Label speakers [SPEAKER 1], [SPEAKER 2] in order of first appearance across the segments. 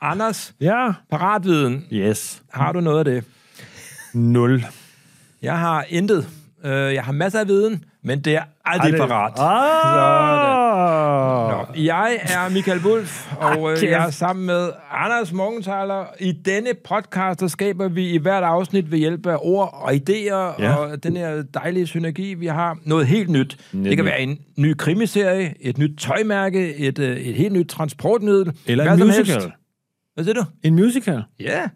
[SPEAKER 1] Anders,
[SPEAKER 2] Ja.
[SPEAKER 1] paratviden.
[SPEAKER 2] Yes.
[SPEAKER 1] Har du noget af det?
[SPEAKER 2] Nul.
[SPEAKER 1] Jeg har intet. Øh, Jeg har masser af viden, men det er aldrig parat.
[SPEAKER 2] Ah!
[SPEAKER 1] Nå, jeg er Michael Wolf, og øh,
[SPEAKER 2] kæft.
[SPEAKER 1] jeg er sammen med Anders Morgenthaler. I denne podcast, der skaber vi i hvert afsnit ved hjælp af ord og idéer,
[SPEAKER 2] Ja.
[SPEAKER 1] og den her dejlige synergi, vi har. Noget helt nyt. Det
[SPEAKER 2] Nemlig.
[SPEAKER 1] kan være en ny krimiserie, et nyt tøjmærke, et, øh, et helt nyt transportmiddel.
[SPEAKER 2] Eller
[SPEAKER 1] hvad
[SPEAKER 2] en
[SPEAKER 1] som
[SPEAKER 2] musical.
[SPEAKER 1] helst. Hvad siger du?
[SPEAKER 2] En musical?
[SPEAKER 1] Ja. Yeah.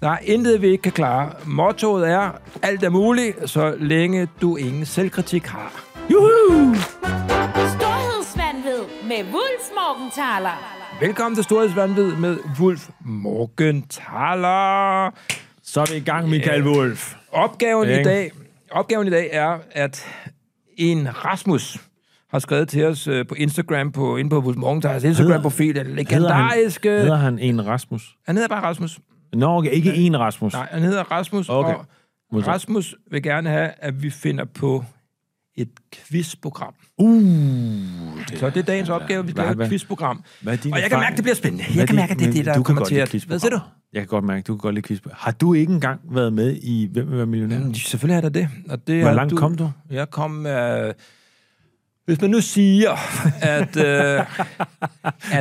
[SPEAKER 1] Der er intet, vi ikke kan klare. Mottoet er, alt er muligt, så længe du ingen selvkritik har.
[SPEAKER 2] Juhu!
[SPEAKER 3] Storhedsvandved med Wulf Morgenthaler.
[SPEAKER 1] Velkommen til Storhedsvandvid med Wolf Morgenthaler.
[SPEAKER 2] Så er vi i gang, Michael Wolf.
[SPEAKER 1] Opgaven i,
[SPEAKER 2] Ikke?
[SPEAKER 1] dag, opgaven i dag er, at en Rasmus har skrevet til os øh, på Instagram, på, inde på Wolf Morgenthalers Instagram-profil, den
[SPEAKER 2] Hedder han,
[SPEAKER 1] legendariske...
[SPEAKER 2] hedder han en Rasmus?
[SPEAKER 1] Han hedder bare Rasmus.
[SPEAKER 2] Nå, okay, ikke en Rasmus.
[SPEAKER 1] Nej, han hedder Rasmus,
[SPEAKER 2] Okay.
[SPEAKER 1] og
[SPEAKER 2] Modtaget.
[SPEAKER 1] Rasmus vil gerne have, at vi finder på et quizprogram.
[SPEAKER 2] Uh, det
[SPEAKER 1] Så det er dagens opgave, vi
[SPEAKER 2] Hvad-
[SPEAKER 1] laver et
[SPEAKER 2] hvad-
[SPEAKER 1] quizprogram.
[SPEAKER 2] hvad er din
[SPEAKER 1] Og jeg kan
[SPEAKER 2] erfaring?
[SPEAKER 1] mærke, det bliver spændende.
[SPEAKER 2] Hvad
[SPEAKER 1] Jeg kan
[SPEAKER 2] er
[SPEAKER 1] mærke, at det er
[SPEAKER 2] men
[SPEAKER 1] det, der
[SPEAKER 2] du kan
[SPEAKER 1] kommer
[SPEAKER 2] godt
[SPEAKER 1] til
[SPEAKER 2] lide
[SPEAKER 1] at... Hvad
[SPEAKER 2] quizprogrammer.
[SPEAKER 1] siger du?
[SPEAKER 2] Jeg kan godt mærke, du kan godt lide quizprogrammer. Har du ikke engang været med i Hvem vil være millionær?
[SPEAKER 1] Mm, Selvfølgelig er der det. Og det
[SPEAKER 2] Hvor
[SPEAKER 1] er
[SPEAKER 2] langt
[SPEAKER 1] du,
[SPEAKER 2] kom du?
[SPEAKER 1] Jeg kom... Øh, hvis man nu siger, at, øh, at,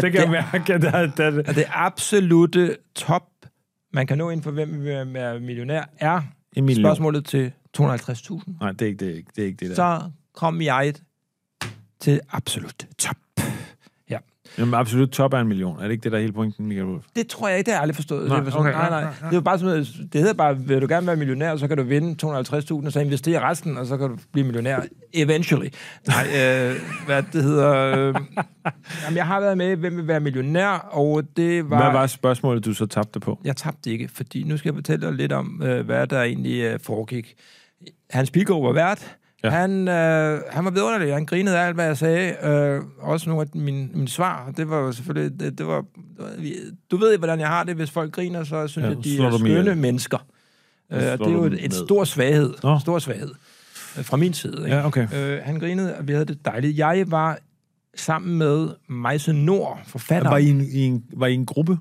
[SPEAKER 1] det, det,
[SPEAKER 2] mærke, at der, der,
[SPEAKER 1] at det absolutte top, man kan nå inden for, hvem vil være millionær, er
[SPEAKER 2] en million.
[SPEAKER 1] spørgsmålet til 250.000.
[SPEAKER 2] Nej, det er ikke det, er ikke- det, er ikke det der.
[SPEAKER 1] Så kom jeg til absolut top.
[SPEAKER 2] Jamen, absolut top er en million. Er det ikke det, der er hele pointen, Michael Wolf?
[SPEAKER 1] Det tror jeg ikke, det har jeg aldrig forstået.
[SPEAKER 2] Nej,
[SPEAKER 1] det var sådan,
[SPEAKER 2] okay,
[SPEAKER 1] nej, nej.
[SPEAKER 2] nej, nej, nej.
[SPEAKER 1] Det, var bare sådan, noget- det hedder bare, vil du gerne være millionær, så kan du vinde 250.000, og så investere resten, og så kan du blive millionær eventually. Nej, øh, hvad det hedder... Øh, jamen, jeg har været med, i hvem vil være millionær, og det var...
[SPEAKER 2] Hvad var spørgsmålet, du så tabte på?
[SPEAKER 1] Jeg tabte ikke, fordi nu skal jeg fortælle dig lidt om, øh, hvad der egentlig øh, foregik. Hans Pilgaard var vært.
[SPEAKER 2] Ja.
[SPEAKER 1] Ja. Han, øh, han var vidunderlig. Han grinede af alt, hvad jeg sagde. Øh, også nogle af mine, mine svar. Det var jo selvfølgelig... Det, det var, du ved, hvordan jeg har det. Hvis folk griner, så synes
[SPEAKER 2] Ja,
[SPEAKER 1] ja, jeg,
[SPEAKER 2] slår
[SPEAKER 1] de
[SPEAKER 2] du
[SPEAKER 1] er
[SPEAKER 2] dem ihjel.
[SPEAKER 1] skønne mennesker. Øh,
[SPEAKER 2] slår
[SPEAKER 1] det er
[SPEAKER 2] du
[SPEAKER 1] jo
[SPEAKER 2] dem
[SPEAKER 1] et, et
[SPEAKER 2] ned.
[SPEAKER 1] stor svaghed.
[SPEAKER 2] Nå.
[SPEAKER 1] Stor svaghed. øh, Fra min side. Ikke?
[SPEAKER 2] Ja, okay.
[SPEAKER 1] Øh, han grinede, og vi havde det dejligt. Jeg var sammen med Majse Nord, forfatteren.
[SPEAKER 2] Altså, Var I, en, i en, var I en gruppe?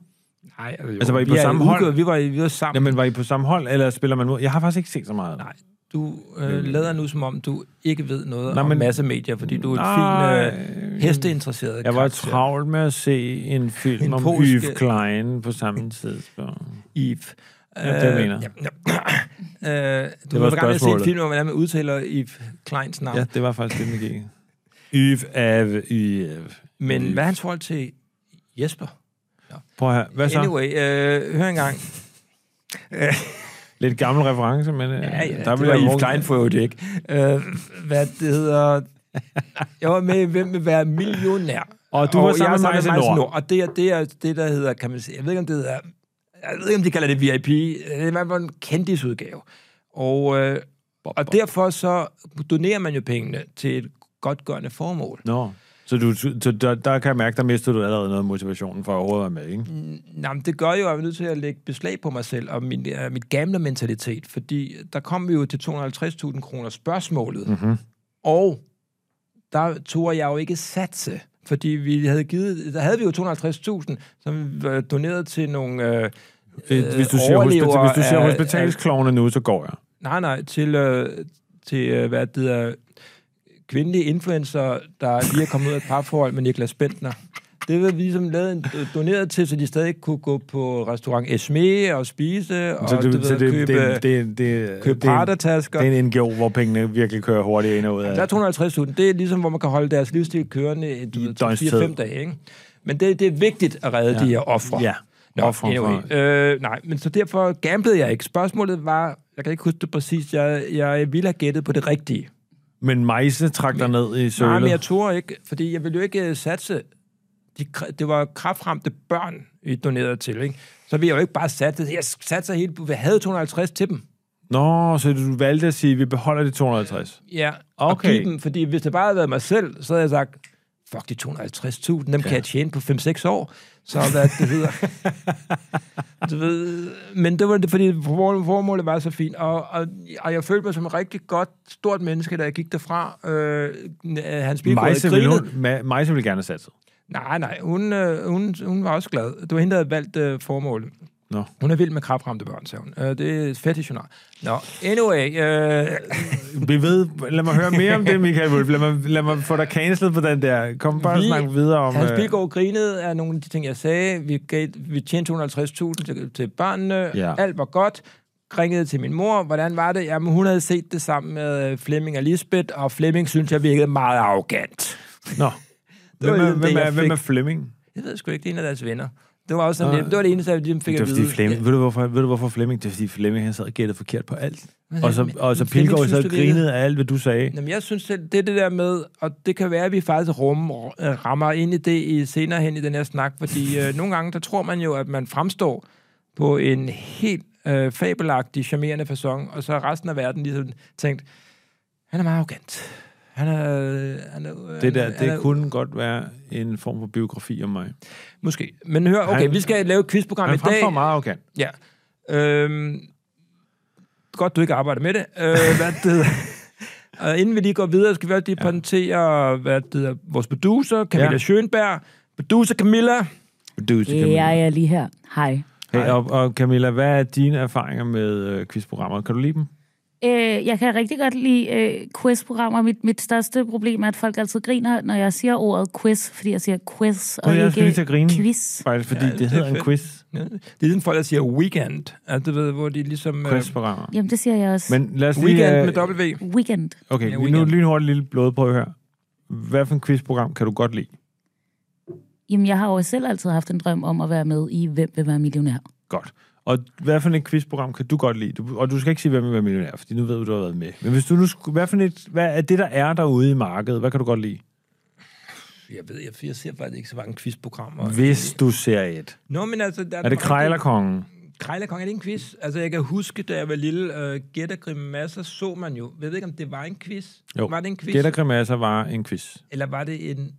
[SPEAKER 1] Nej,
[SPEAKER 2] Altså, var I på
[SPEAKER 1] vi er
[SPEAKER 2] samme
[SPEAKER 1] udgået-
[SPEAKER 2] hold?
[SPEAKER 1] Vi var, i- vi var sammen.
[SPEAKER 2] Jamen, var I på samme hold, eller spiller man mod? Jeg har faktisk ikke set så meget.
[SPEAKER 1] Nej, du øh, lader nu som om, du ikke ved noget
[SPEAKER 2] Nej,
[SPEAKER 1] Nej, men...
[SPEAKER 2] men-
[SPEAKER 1] om massemedier, fordi du er en
[SPEAKER 2] Nej.
[SPEAKER 1] fin øh, hesteinteresseret
[SPEAKER 2] Jeg var
[SPEAKER 1] karakter.
[SPEAKER 2] travlt med at se en film
[SPEAKER 1] En
[SPEAKER 2] en om
[SPEAKER 1] polsk-
[SPEAKER 2] Yves Klein på samme tidspunkt.
[SPEAKER 1] Yves. Øh,
[SPEAKER 2] Ja, det mener jeg.
[SPEAKER 1] Ja, ja. øh, du
[SPEAKER 2] var
[SPEAKER 1] var i gang med at se en
[SPEAKER 2] spørgsmålet.
[SPEAKER 1] film om, hvordan man udtaler Yves Kleins navn.
[SPEAKER 2] Ja,
[SPEAKER 1] Ja,
[SPEAKER 2] det var faktisk det, den gik. Yves Ave, Yves.
[SPEAKER 1] men
[SPEAKER 2] Yves.
[SPEAKER 1] hvad er hans forhold til Jesper?
[SPEAKER 2] Prøv at høre. Hvad så?
[SPEAKER 1] Anyway, øh, hør engang.
[SPEAKER 2] Lidt gammel reference, men... øh,
[SPEAKER 1] Ja, ja,
[SPEAKER 2] der
[SPEAKER 1] der det
[SPEAKER 2] blev
[SPEAKER 1] var
[SPEAKER 2] jeg
[SPEAKER 1] Yves
[SPEAKER 2] brugt-
[SPEAKER 1] Klein for øvrigt ikke. Øh, hvad det hedder... Jeg var med i Hvem vil være millionær?
[SPEAKER 2] Og du var
[SPEAKER 1] jeg er
[SPEAKER 2] sammen med Maja
[SPEAKER 1] Mads
[SPEAKER 2] Nord.
[SPEAKER 1] Og det er, det er det, der hedder, kan man sige, jeg ved ikke, om det hedder, jeg ved ikke, om de kalder det VIP, det er i hvert fald en kendisudgave. Og, øh, og derfor så donerer man jo pengene til et godtgørende formål.
[SPEAKER 2] Nå. Så, du, så der, der kan jeg mærke, der mistede du allerede noget af motivationen for at overhovedet være med, ikke?
[SPEAKER 1] Nå, men det gør jo, at jeg er nødt til at lægge beslag på mig selv og min, øh, mit gamle mentalitet, fordi der kom vi jo til 250.000 kroner spørgsmålet, mm-hmm. og der tog jeg jo ikke satse, fordi vi havde givet, der havde vi jo 250.000, som var doneret til nogle... Øh,
[SPEAKER 2] Øh, hvis du
[SPEAKER 1] øh,
[SPEAKER 2] ser, hospita-
[SPEAKER 1] overlever
[SPEAKER 2] hvis du ser
[SPEAKER 1] af-
[SPEAKER 2] hospitalsklovene nu, så går jeg.
[SPEAKER 1] Nej, nej, til, øh, til øh, hvad det hedder, kvindelige influencer, der lige er kommet ud af et parforhold med Niklas Bentner. Det var vi ligesom lavet en, øh, doneret til, så de stadig kunne gå på restaurant Esme og spise, og
[SPEAKER 2] Så
[SPEAKER 1] du
[SPEAKER 2] det, så
[SPEAKER 1] ved,
[SPEAKER 2] det, det,
[SPEAKER 1] købe,
[SPEAKER 2] det,
[SPEAKER 1] det,
[SPEAKER 2] det, det,
[SPEAKER 1] købe
[SPEAKER 2] det, er en-
[SPEAKER 1] Prada-tasker.
[SPEAKER 2] det er en NGO, hvor pengene virkelig kører hurtigt ind og ud af.
[SPEAKER 1] Der er 250.000. Det er ligesom, hvor man kan holde deres livsstil kørende du
[SPEAKER 2] I
[SPEAKER 1] ved,
[SPEAKER 2] døgnstid.
[SPEAKER 1] 4-5 dage. Ikke? Men det, det er vigtigt at redde ja. de her ofre.
[SPEAKER 2] Ja.
[SPEAKER 1] Nå,
[SPEAKER 2] Ofre
[SPEAKER 1] anyway. øh, nej, men så derfor gamblede jeg ikke. Spørgsmålet var, jeg kan ikke huske det præcis, jeg, jeg ville have gættet på det rigtige.
[SPEAKER 2] Men Majse trak dig ned i
[SPEAKER 1] Nej, men jeg
[SPEAKER 2] sølet.
[SPEAKER 1] turde ikke, fordi jeg ville jo ikke øh, satse. De, kr- det var kraftramte børn, vi donerede til, ikke? Så ville jeg jo ikke bare satse. Jeg satser helt på, jeg havde 250 til dem.
[SPEAKER 2] Nå, så du valgte at sige, at vi beholder de 250.
[SPEAKER 1] Ja,
[SPEAKER 2] Okay.
[SPEAKER 1] og give dem, fordi hvis det bare havde været mig selv, så havde jeg sagt, fuck de 250.000, dem ja. kan jeg tjene på 5-6 år. Så hvad det hedder. du ved, men det var det, fordi for- formålet var så fint. Og, og, og jeg følte mig som et rigtig godt, stort menneske, da jeg gik derfra. Øh, n- øh, Hans Bilgaard
[SPEAKER 2] Majse
[SPEAKER 1] grinede.
[SPEAKER 2] ville, hun, Ma- Majse ville gerne satse.
[SPEAKER 1] Nej, nej, hun, øh, hun, hun var også glad. Det var hende, der havde valgt øh, formålet.
[SPEAKER 2] Nå.
[SPEAKER 1] Hun er vild med kræftramte børn, sagde hun. Øh, det er fedt, hun har. Nå, anyway. Øh,
[SPEAKER 2] Vi ved, lad mig høre mere om det, Michael Wolf. Lad mig, lad mig få dig cancelet på den der. Kom bare og
[SPEAKER 1] Vi-
[SPEAKER 2] snak videre om...
[SPEAKER 1] Hans
[SPEAKER 2] øh,
[SPEAKER 1] Bilgaard grinede af nogle af de ting, jeg sagde. Vi, gav, vi tjente 250.000 til, til børnene.
[SPEAKER 2] Ja.
[SPEAKER 1] Alt var godt. Ringede til min mor. Hvordan var det? Jamen, hun havde set det sammen med øh, Flemming og Lisbeth, og Flemming synes, jeg virkede meget arrogant.
[SPEAKER 2] Nå.
[SPEAKER 1] Det var
[SPEAKER 2] Hvem er,
[SPEAKER 1] ligesom det,
[SPEAKER 2] hvem, er,
[SPEAKER 1] jeg
[SPEAKER 2] hvem er
[SPEAKER 1] fik.
[SPEAKER 2] Flemming?
[SPEAKER 1] Jeg ved sgu ikke, det er en af deres venner. Det var også sådan,
[SPEAKER 2] Nå.
[SPEAKER 1] lidt- det var det eneste, jeg ligesom fik
[SPEAKER 2] Det
[SPEAKER 1] at
[SPEAKER 2] var fordi
[SPEAKER 1] vide.
[SPEAKER 2] Flemming, ved, du hvorfor, ved du hvorfor Flemming? Det er fordi Flemming, han sad og gættede forkert på alt.
[SPEAKER 1] Men-
[SPEAKER 2] Og så,
[SPEAKER 1] men-
[SPEAKER 2] og så
[SPEAKER 1] Flemming
[SPEAKER 2] Pilgaard
[SPEAKER 1] synes,
[SPEAKER 2] så
[SPEAKER 1] det virkede-
[SPEAKER 2] grinede af alt, hvad du sagde.
[SPEAKER 1] Jamen, jeg synes, selv, det er det der med, og det kan være, at vi faktisk rummer, rammer ind i det i, senere hen i den her snak, fordi øh, nogle gange, der tror man jo, at man fremstår på en helt øh, fabelagtig, charmerende façon, og så har resten af verden ligesom tænkt, han er meget arrogant. Han er... øh, Han er
[SPEAKER 2] Det
[SPEAKER 1] han,
[SPEAKER 2] der,
[SPEAKER 1] han er,
[SPEAKER 2] det kunne godt være en form for biografi om mig.
[SPEAKER 1] Måske. Men hør, okay,
[SPEAKER 2] Han-
[SPEAKER 1] vi skal lave et quizprogram i
[SPEAKER 2] Han
[SPEAKER 1] dag.
[SPEAKER 2] fremstår meget arrogant.
[SPEAKER 1] Ja. Øhm, godt, du ikke arbejder med det. Øh, hvad det hedder. Og inden vi lige går videre, skal vi også lige ja. præsentere hvad det hedder, vores producer, Camilla
[SPEAKER 2] Ja.
[SPEAKER 1] ja. Schönberg. Producer Camilla.
[SPEAKER 2] Du,
[SPEAKER 4] Ja,
[SPEAKER 2] Camilla.
[SPEAKER 4] jeg er lige her. Hej.
[SPEAKER 2] Hey, og, og Camilla, hvad er dine erfaringer med øh, quizprogrammer? Kan du lide dem?
[SPEAKER 4] Øh, jeg kan rigtig godt lide øh, quizprogrammer. Mit, mit største problem er, at folk altid griner, når jeg siger ordet quiz, fordi jeg siger quiz og
[SPEAKER 2] Nå, jeg skal lige til
[SPEAKER 4] ikke
[SPEAKER 2] at grine.
[SPEAKER 4] quiz.
[SPEAKER 2] Faktisk, fordi
[SPEAKER 1] Ja,
[SPEAKER 2] ja,
[SPEAKER 1] det er
[SPEAKER 2] det hedder en
[SPEAKER 1] fedt.
[SPEAKER 2] quiz.
[SPEAKER 1] Ja. Det er ligesom folk, der siger weekend. Altså, du ved, hvor de ligesom... Øh,
[SPEAKER 2] Quizprogrammer.
[SPEAKER 4] Jamen, det siger jeg også. Men,
[SPEAKER 2] Men lad os lige... øh,
[SPEAKER 1] weekend med W.
[SPEAKER 4] Weekend.
[SPEAKER 2] Okay,
[SPEAKER 1] Ja,
[SPEAKER 2] lige nu
[SPEAKER 1] weekend.
[SPEAKER 2] lynhurtigt lille blodprøve her. Hvad for en quizprogram kan du godt lide?
[SPEAKER 4] Jamen, jeg har jo selv altid haft en drøm om at være med i Hvem vil være millionær?
[SPEAKER 2] Godt. Og hvad for et quizprogram kan du godt lide? Du, og du skal ikke sige, hvem vil være millionær, fordi nu ved du, du har været med. Men hvis du nu... skulle- Hvad, for et, hvad er det, der er derude i markedet? Hvad kan du godt lide?
[SPEAKER 1] Jeg ved, jeg, jeg ser faktisk ikke så mange quizprogrammer.
[SPEAKER 2] Hvis du ser et.
[SPEAKER 1] Nå, men altså... Der
[SPEAKER 2] Er det Krejlerkongen?
[SPEAKER 1] Krejlerkong, er det en quiz? Altså, jeg kan huske, da jeg var lille, uh, Gæt og Grimasser så man jo. Jeg ved ikke, om det var en quiz.
[SPEAKER 2] Jo.
[SPEAKER 1] Var det en quiz?
[SPEAKER 2] Gæt og grimasser var en quiz.
[SPEAKER 1] Eller var det en
[SPEAKER 2] Det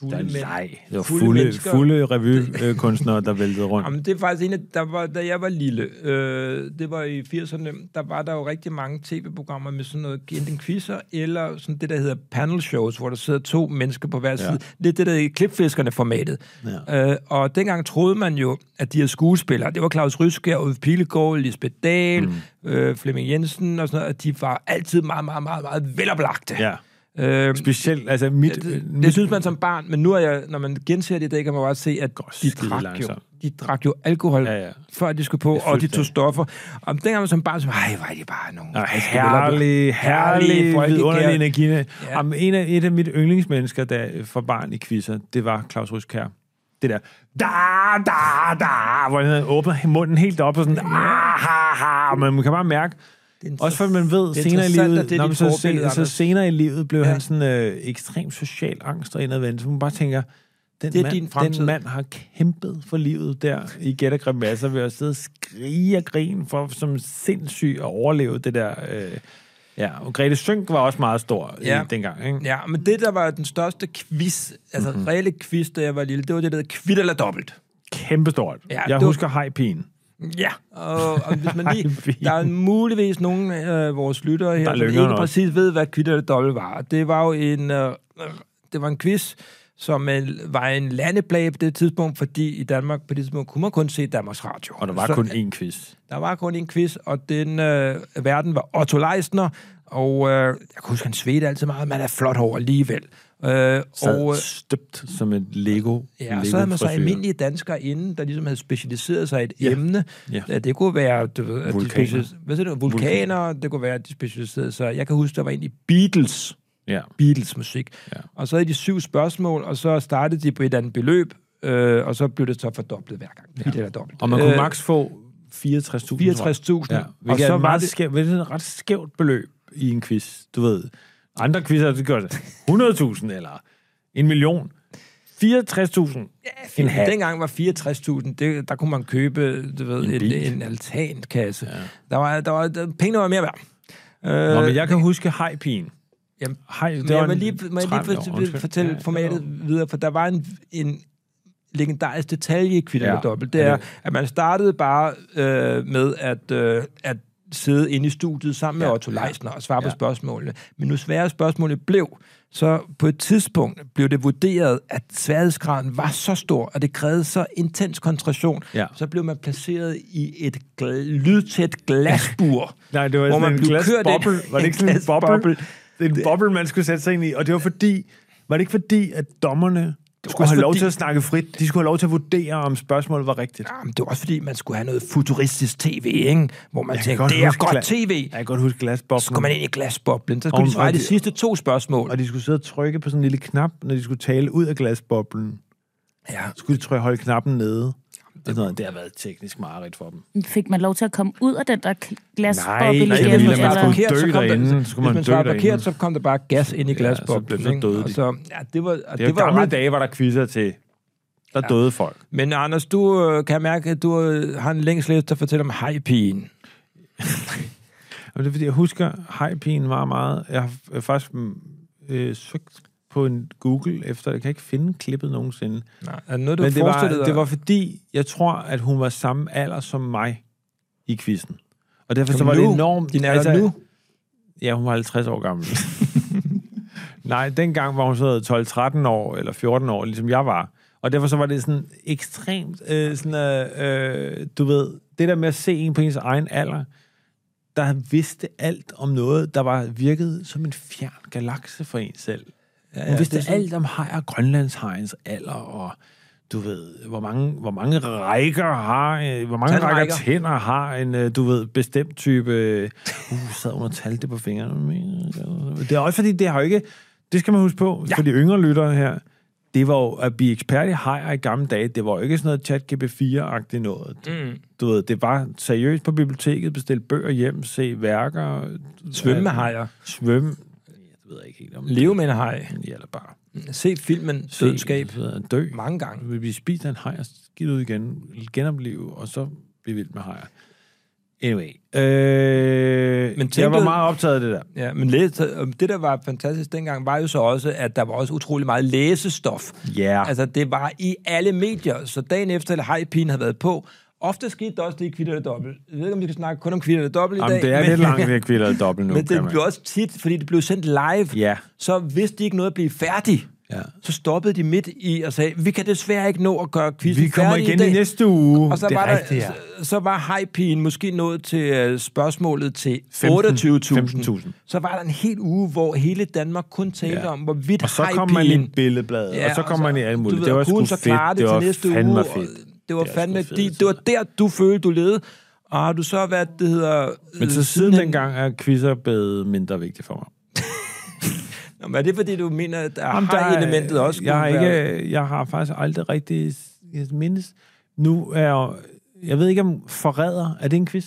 [SPEAKER 1] fulde
[SPEAKER 2] er en
[SPEAKER 1] mænd?
[SPEAKER 2] leg. Det var
[SPEAKER 1] fulde
[SPEAKER 2] fulde,
[SPEAKER 1] mennesker.
[SPEAKER 2] fulde revykunstnere, der væltede rundt.
[SPEAKER 1] Jamen, det er faktisk en af, der var, da jeg var lille, øh, det var i 80'erne, der var der jo rigtig mange tv-programmer med sådan noget, enten quizzer, eller sådan det, der hedder panel shows, hvor der sidder to mennesker på hver side. Lidt det, der i klipfiskerne-formatet. Ja. Øh, og dengang troede man jo, at de her skuespillere, det var Claus Ryskjær, Ulf Pilegaard, Lisbeth Dahl, mm. øh, Flemming Jensen og sådan noget, at de var altid meget, meget, meget, meget veloplagte.
[SPEAKER 2] Ja.
[SPEAKER 1] Øh,
[SPEAKER 2] Specielt, altså mit...
[SPEAKER 1] det, det,
[SPEAKER 2] mit
[SPEAKER 1] det synes man som barn, men nu er jeg, når man genser det i dag, kan man jo også se, at de
[SPEAKER 2] skide
[SPEAKER 1] drak, jo,
[SPEAKER 2] langsomt.
[SPEAKER 1] de drak jo alkohol,
[SPEAKER 2] Ja, ja.
[SPEAKER 1] før de skulle på, og de tog
[SPEAKER 2] fuldstændig.
[SPEAKER 1] stoffer. Og dengang man som barn, så ej, hvor er de bare nogle...
[SPEAKER 2] Ej,
[SPEAKER 1] friske
[SPEAKER 2] herlig,
[SPEAKER 1] Herlige
[SPEAKER 2] herlig,
[SPEAKER 1] folk,
[SPEAKER 2] vidunderlig
[SPEAKER 1] ikke?
[SPEAKER 2] energi. Ja. Jamen, en af, et af mit yndlingsmennesker der, for barn i quizzer, det var Claus Ryskjær. Det der, da, da, da, hvor han havde åbnet munden helt op, og sådan, ah, ha, ha, og man kan bare mærke,
[SPEAKER 1] Det er
[SPEAKER 2] også for at man ved,
[SPEAKER 1] det er
[SPEAKER 2] senere i
[SPEAKER 1] interessant,
[SPEAKER 2] livet,
[SPEAKER 1] at det er
[SPEAKER 2] nå,
[SPEAKER 1] dit
[SPEAKER 2] men så,
[SPEAKER 1] forbillede,
[SPEAKER 2] se, så
[SPEAKER 1] Anders.
[SPEAKER 2] senere i livet blev
[SPEAKER 1] Ja.
[SPEAKER 2] ja. han sådan øh, ekstremt social angst og indadvendt, så man bare tænker, den,
[SPEAKER 1] Det er
[SPEAKER 2] mand,
[SPEAKER 1] din fremtid.
[SPEAKER 2] den mand har kæmpet for livet der i gæt og grimasser ved at sidde og skrige og grine for som sindssyg at overleve det der... Øh, ja, og Grete Sønk var også meget stor ja.
[SPEAKER 1] Ja.
[SPEAKER 2] i, dengang, ikke?
[SPEAKER 1] Ja, men det, der var den største quiz, altså
[SPEAKER 2] Mhm.
[SPEAKER 1] mm-hmm. reelle quiz, da jeg var lille, det var det, der hedder kvit eller dobbelt.
[SPEAKER 2] Kæmpestort.
[SPEAKER 1] Ja,
[SPEAKER 2] jeg
[SPEAKER 1] det var-
[SPEAKER 2] husker hajpigen.
[SPEAKER 1] Ja, og, og hvis man
[SPEAKER 2] Ej,
[SPEAKER 1] lige,
[SPEAKER 2] fint.
[SPEAKER 1] der er muligvis nogle af øh, vores lyttere her, som
[SPEAKER 2] lynger
[SPEAKER 1] ikke
[SPEAKER 2] nok.
[SPEAKER 1] præcis ved, hvad kvitter det dobbelt var. Det var jo en, øh, det var en quiz, som øh, var en landeplage på det tidspunkt, fordi i Danmark på det tidspunkt kunne man kun se Danmarks Radio.
[SPEAKER 2] Og der var
[SPEAKER 1] Så,
[SPEAKER 2] kun én quiz.
[SPEAKER 1] Der var kun en quiz, og den øh, verden var Otto Leisner, og øh, jeg kan huske, han svedte altid meget, man er flot over alligevel. Øh,
[SPEAKER 2] Og,
[SPEAKER 1] og, øh,
[SPEAKER 2] støbt som et Lego.
[SPEAKER 1] Ja, og
[SPEAKER 2] Lego
[SPEAKER 1] så havde man så
[SPEAKER 2] frisyre.
[SPEAKER 1] almindelige danskere inden, der ligesom havde specialiseret sig i et
[SPEAKER 2] Ja.
[SPEAKER 1] ja. emne.
[SPEAKER 2] Ja.
[SPEAKER 1] Ja. Det kunne være du ved, at de
[SPEAKER 2] Vulkaner.
[SPEAKER 1] specialiserede, hvad siger du, vulkaner, det kunne være, at de specialiserede sig. Jeg kan huske, der var en i Beatles,
[SPEAKER 2] Ja.
[SPEAKER 1] Beatles-musik.
[SPEAKER 2] Ja.
[SPEAKER 1] Ja. Og så havde de syv spørgsmål, og så startede de på et eller andet beløb, øh, og så blev det så fordoblet hver gang. Ja. Eller dobbelt.
[SPEAKER 2] Og man kunne
[SPEAKER 1] Øh,
[SPEAKER 2] maks få 64.000. tror jeg.
[SPEAKER 1] 64.000.
[SPEAKER 2] Ja,
[SPEAKER 1] og
[SPEAKER 2] hvilket
[SPEAKER 1] så var
[SPEAKER 2] meget
[SPEAKER 1] det...
[SPEAKER 2] skæv, hvilket er et ret skævt beløb i en quiz, du ved. Andre quizzer, det gør det 100.000 eller en million. 64.000. En hat.
[SPEAKER 1] Dengang var 64.000, det, der kunne man købe du ved, en,
[SPEAKER 2] bil.
[SPEAKER 1] en, en altankasse. Ja. Der var, der var, der, pengene var mere værd.
[SPEAKER 2] Nå, men jeg kan huske hajpigen.
[SPEAKER 1] Jamen,
[SPEAKER 2] Hej, det
[SPEAKER 1] Men
[SPEAKER 2] var
[SPEAKER 1] jeg vil
[SPEAKER 2] en
[SPEAKER 1] lige, må jeg lige
[SPEAKER 2] trend,
[SPEAKER 1] for,
[SPEAKER 2] jo,
[SPEAKER 1] for,
[SPEAKER 2] undskyld.
[SPEAKER 1] fortælle
[SPEAKER 2] Ja,
[SPEAKER 1] ja,
[SPEAKER 2] ja,
[SPEAKER 1] formatet
[SPEAKER 2] ja.
[SPEAKER 1] videre, for der var en, en legendarisk detalje i kvitter
[SPEAKER 2] Ja,
[SPEAKER 1] ja, dobbelt. Det
[SPEAKER 2] er
[SPEAKER 1] er,
[SPEAKER 2] det-
[SPEAKER 1] at man startede bare øh, med, at, øh, at sidde inde i studiet sammen med
[SPEAKER 2] Ja.
[SPEAKER 1] Otto Leisner og svare på
[SPEAKER 2] Ja.
[SPEAKER 1] spørgsmålene. Men nu svære spørgsmålet blev, så på et tidspunkt blev det vurderet, at sværhedsgraden var så stor, og det krævede så intens koncentration,
[SPEAKER 2] Ja.
[SPEAKER 1] så blev man placeret i et gl- lydtæt glasbur.
[SPEAKER 2] Nej, det var
[SPEAKER 1] hvor
[SPEAKER 2] sådan
[SPEAKER 1] man
[SPEAKER 2] en
[SPEAKER 1] blev kørt ind-
[SPEAKER 2] glasboble. Var det ikke sådan en boble?
[SPEAKER 1] glasboble?
[SPEAKER 2] Det er en boble, man skulle sætte sig ind i. Og det var fordi, var det ikke fordi, at dommerne skulle
[SPEAKER 1] også
[SPEAKER 2] have lov
[SPEAKER 1] fordi-
[SPEAKER 2] til at snakke frit? De skulle have lov til at vurdere, om spørgsmålet var rigtigt.
[SPEAKER 1] Jamen, det var også fordi, man skulle have noget futuristisk tv, ikke? hvor man
[SPEAKER 2] Jeg kan
[SPEAKER 1] tænkte,
[SPEAKER 2] godt
[SPEAKER 1] det er
[SPEAKER 2] huske
[SPEAKER 1] godt
[SPEAKER 2] gla-
[SPEAKER 1] tv.
[SPEAKER 2] Jeg kan godt huske
[SPEAKER 1] Så skulle man
[SPEAKER 2] glasboblen.
[SPEAKER 1] ind i glasboblen. Så
[SPEAKER 2] Og-
[SPEAKER 1] skulle de svare
[SPEAKER 2] og
[SPEAKER 1] de
[SPEAKER 2] de-
[SPEAKER 1] sidste to spørgsmål.
[SPEAKER 2] Og de skulle sidde og trykke på sådan en lille knap, når de skulle tale ud af glasboblen.
[SPEAKER 1] Ja.
[SPEAKER 2] Så skulle de trykke holde knappen nede. Det, noget, det har været teknisk mareridt for dem.
[SPEAKER 4] Fik man lov til at komme ud af den der k-
[SPEAKER 2] Nej,
[SPEAKER 4] glasboble
[SPEAKER 2] nej,
[SPEAKER 1] Hvis
[SPEAKER 2] det ville
[SPEAKER 4] igen?
[SPEAKER 1] man
[SPEAKER 2] man
[SPEAKER 1] svarede
[SPEAKER 2] skulle
[SPEAKER 4] Eller?
[SPEAKER 1] forkert,
[SPEAKER 2] dø
[SPEAKER 1] så kom
[SPEAKER 2] derinde.
[SPEAKER 1] der,
[SPEAKER 2] Så
[SPEAKER 1] så
[SPEAKER 2] kunne
[SPEAKER 1] hvis man
[SPEAKER 2] man dø
[SPEAKER 1] svarede
[SPEAKER 2] derinde.
[SPEAKER 1] forkert, så kom der bare gas ind i
[SPEAKER 2] så-
[SPEAKER 1] glasboblen.
[SPEAKER 2] så
[SPEAKER 1] ikke?
[SPEAKER 2] døde
[SPEAKER 1] Og
[SPEAKER 2] de.
[SPEAKER 1] så, ja, det var,
[SPEAKER 2] Det var gamle dage, hvor der quizzer til. Der ja. døde folk.
[SPEAKER 1] Men Anders, du øh, kan jeg mærke, at du øh, har en længsel efter at fortælle om hajpigen.
[SPEAKER 2] Og det er fordi, jeg husker hajpigen meget, meget. Jeg har f- øh, faktisk mm, øh, søgt på en Google efter, jeg kan ikke finde klippet nogensinde.
[SPEAKER 1] Nej, er det noget, du
[SPEAKER 2] Men det var,
[SPEAKER 1] forestillede dig?
[SPEAKER 2] det var fordi, jeg tror, at hun var samme alder som mig i quizzen. Og derfor så
[SPEAKER 1] Som
[SPEAKER 2] var
[SPEAKER 1] nu?
[SPEAKER 2] det enormt... altså,
[SPEAKER 1] Din alder nu?
[SPEAKER 2] Ja, hun var 50 år gammel. Nej, dengang var hun sådan 12-13 år, eller 14 år, ligesom jeg var. Og derfor så var det sådan ekstremt, øh, sådan, øh, øh, du ved, det der med at se en på ens egen alder, der vidste alt om noget, der var virket som en fjern galakse for en selv. Ja, hun vidste
[SPEAKER 1] det er sådan-
[SPEAKER 2] alt om hajer, grønlandshajens alder, og du ved, hvor mange, hvor mange rækker har, øh, hvor mange
[SPEAKER 1] Tandrækker.
[SPEAKER 2] rækker tænder har en, øh, du ved, bestemt type... øh, Uh, sad hun og talte det på fingrene. Det er også fordi, det har jo ikke... Det skal man huske på, ja. for de yngre lyttere her. Det var jo at blive ekspert i hajer i gamle dage. Det var jo ikke sådan noget chat GP4-agtigt noget. Mm. Du ved, det var seriøst på biblioteket, bestille bøger hjem, se værker.
[SPEAKER 1] Svømme med hajer.
[SPEAKER 2] Svømme. Jeg ved ikke helt om det.
[SPEAKER 1] Leve med en haj.
[SPEAKER 2] Eller bare
[SPEAKER 1] Se filmen
[SPEAKER 2] se-
[SPEAKER 1] Dødskab
[SPEAKER 2] Dø.
[SPEAKER 1] mange gange.
[SPEAKER 2] Vi vil blive spist af en haj og skidt ud igen, genopleve, og så blive vildt med hajer. Anyway. Øh,
[SPEAKER 1] Men
[SPEAKER 2] Men jeg var
[SPEAKER 1] tænkte-
[SPEAKER 2] meget optaget af det der.
[SPEAKER 1] Ja, men læs, og det, der var fantastisk dengang, var jo så også, at der var også utrolig meget læsestof.
[SPEAKER 2] Ja.
[SPEAKER 1] Altså, det var i alle medier, så dagen efter, at hajpigen havde været på, ofte skete der også det i kvitter eller dobbelt. Jeg ved ikke, om vi skal snakke kun om kvitter eller dobbelt i
[SPEAKER 2] Jamen,
[SPEAKER 1] dag.
[SPEAKER 2] det er
[SPEAKER 1] men,
[SPEAKER 2] lidt langt ved at kvilde dobbelt nu,
[SPEAKER 1] men
[SPEAKER 2] kan
[SPEAKER 1] det
[SPEAKER 2] man.
[SPEAKER 1] blev også tit, fordi det blev sendt live,
[SPEAKER 2] Ja.
[SPEAKER 1] så vidste de ikke noget at blive færdig.
[SPEAKER 2] Ja.
[SPEAKER 1] Så stoppede de midt i og sagde, vi kan desværre ikke nå at gøre quizzen
[SPEAKER 2] Vi kommer
[SPEAKER 1] færdig
[SPEAKER 2] igen
[SPEAKER 1] i,
[SPEAKER 2] i
[SPEAKER 1] dag.
[SPEAKER 2] næste uge.
[SPEAKER 1] Og så,
[SPEAKER 2] det er
[SPEAKER 1] var der,
[SPEAKER 2] rigtigt, ja.
[SPEAKER 1] så, så var hajpigen måske nået til øh, spørgsmålet til 28.000.
[SPEAKER 2] 15.000.
[SPEAKER 1] Så var der en hel uge, hvor hele Danmark kun talte
[SPEAKER 2] Ja.
[SPEAKER 1] om, hvorvidt
[SPEAKER 2] Og så kom man i
[SPEAKER 1] hajpigen...
[SPEAKER 2] billedbladet, ja, og så kom man i alt
[SPEAKER 1] du
[SPEAKER 2] muligt.
[SPEAKER 1] ved,
[SPEAKER 2] det var
[SPEAKER 1] og kunne
[SPEAKER 2] sgu
[SPEAKER 1] så
[SPEAKER 2] fedt.
[SPEAKER 1] klare
[SPEAKER 2] det
[SPEAKER 1] til
[SPEAKER 2] var
[SPEAKER 1] næste
[SPEAKER 2] fandme
[SPEAKER 1] uge,
[SPEAKER 2] fedt. altså.
[SPEAKER 1] og Det var
[SPEAKER 2] sgu
[SPEAKER 1] fandme...
[SPEAKER 2] fede
[SPEAKER 1] de- Det var der, du følte, du levede. Og du så, hvad det hedder...
[SPEAKER 2] Men
[SPEAKER 1] øh,
[SPEAKER 2] så siden
[SPEAKER 1] sidenhen-
[SPEAKER 2] dengang er quizzer blevet mindre vigtigt for mig.
[SPEAKER 1] Nå, men er det, fordi du mener, at der
[SPEAKER 2] Jamen,
[SPEAKER 1] har
[SPEAKER 2] er-
[SPEAKER 1] elementet også?
[SPEAKER 2] Jeg har,
[SPEAKER 1] skulle være-
[SPEAKER 2] ikke, jeg har faktisk aldrig rigtig jeg mindes. Nu er jeg, jeg ved ikke om forræder, er det en quiz?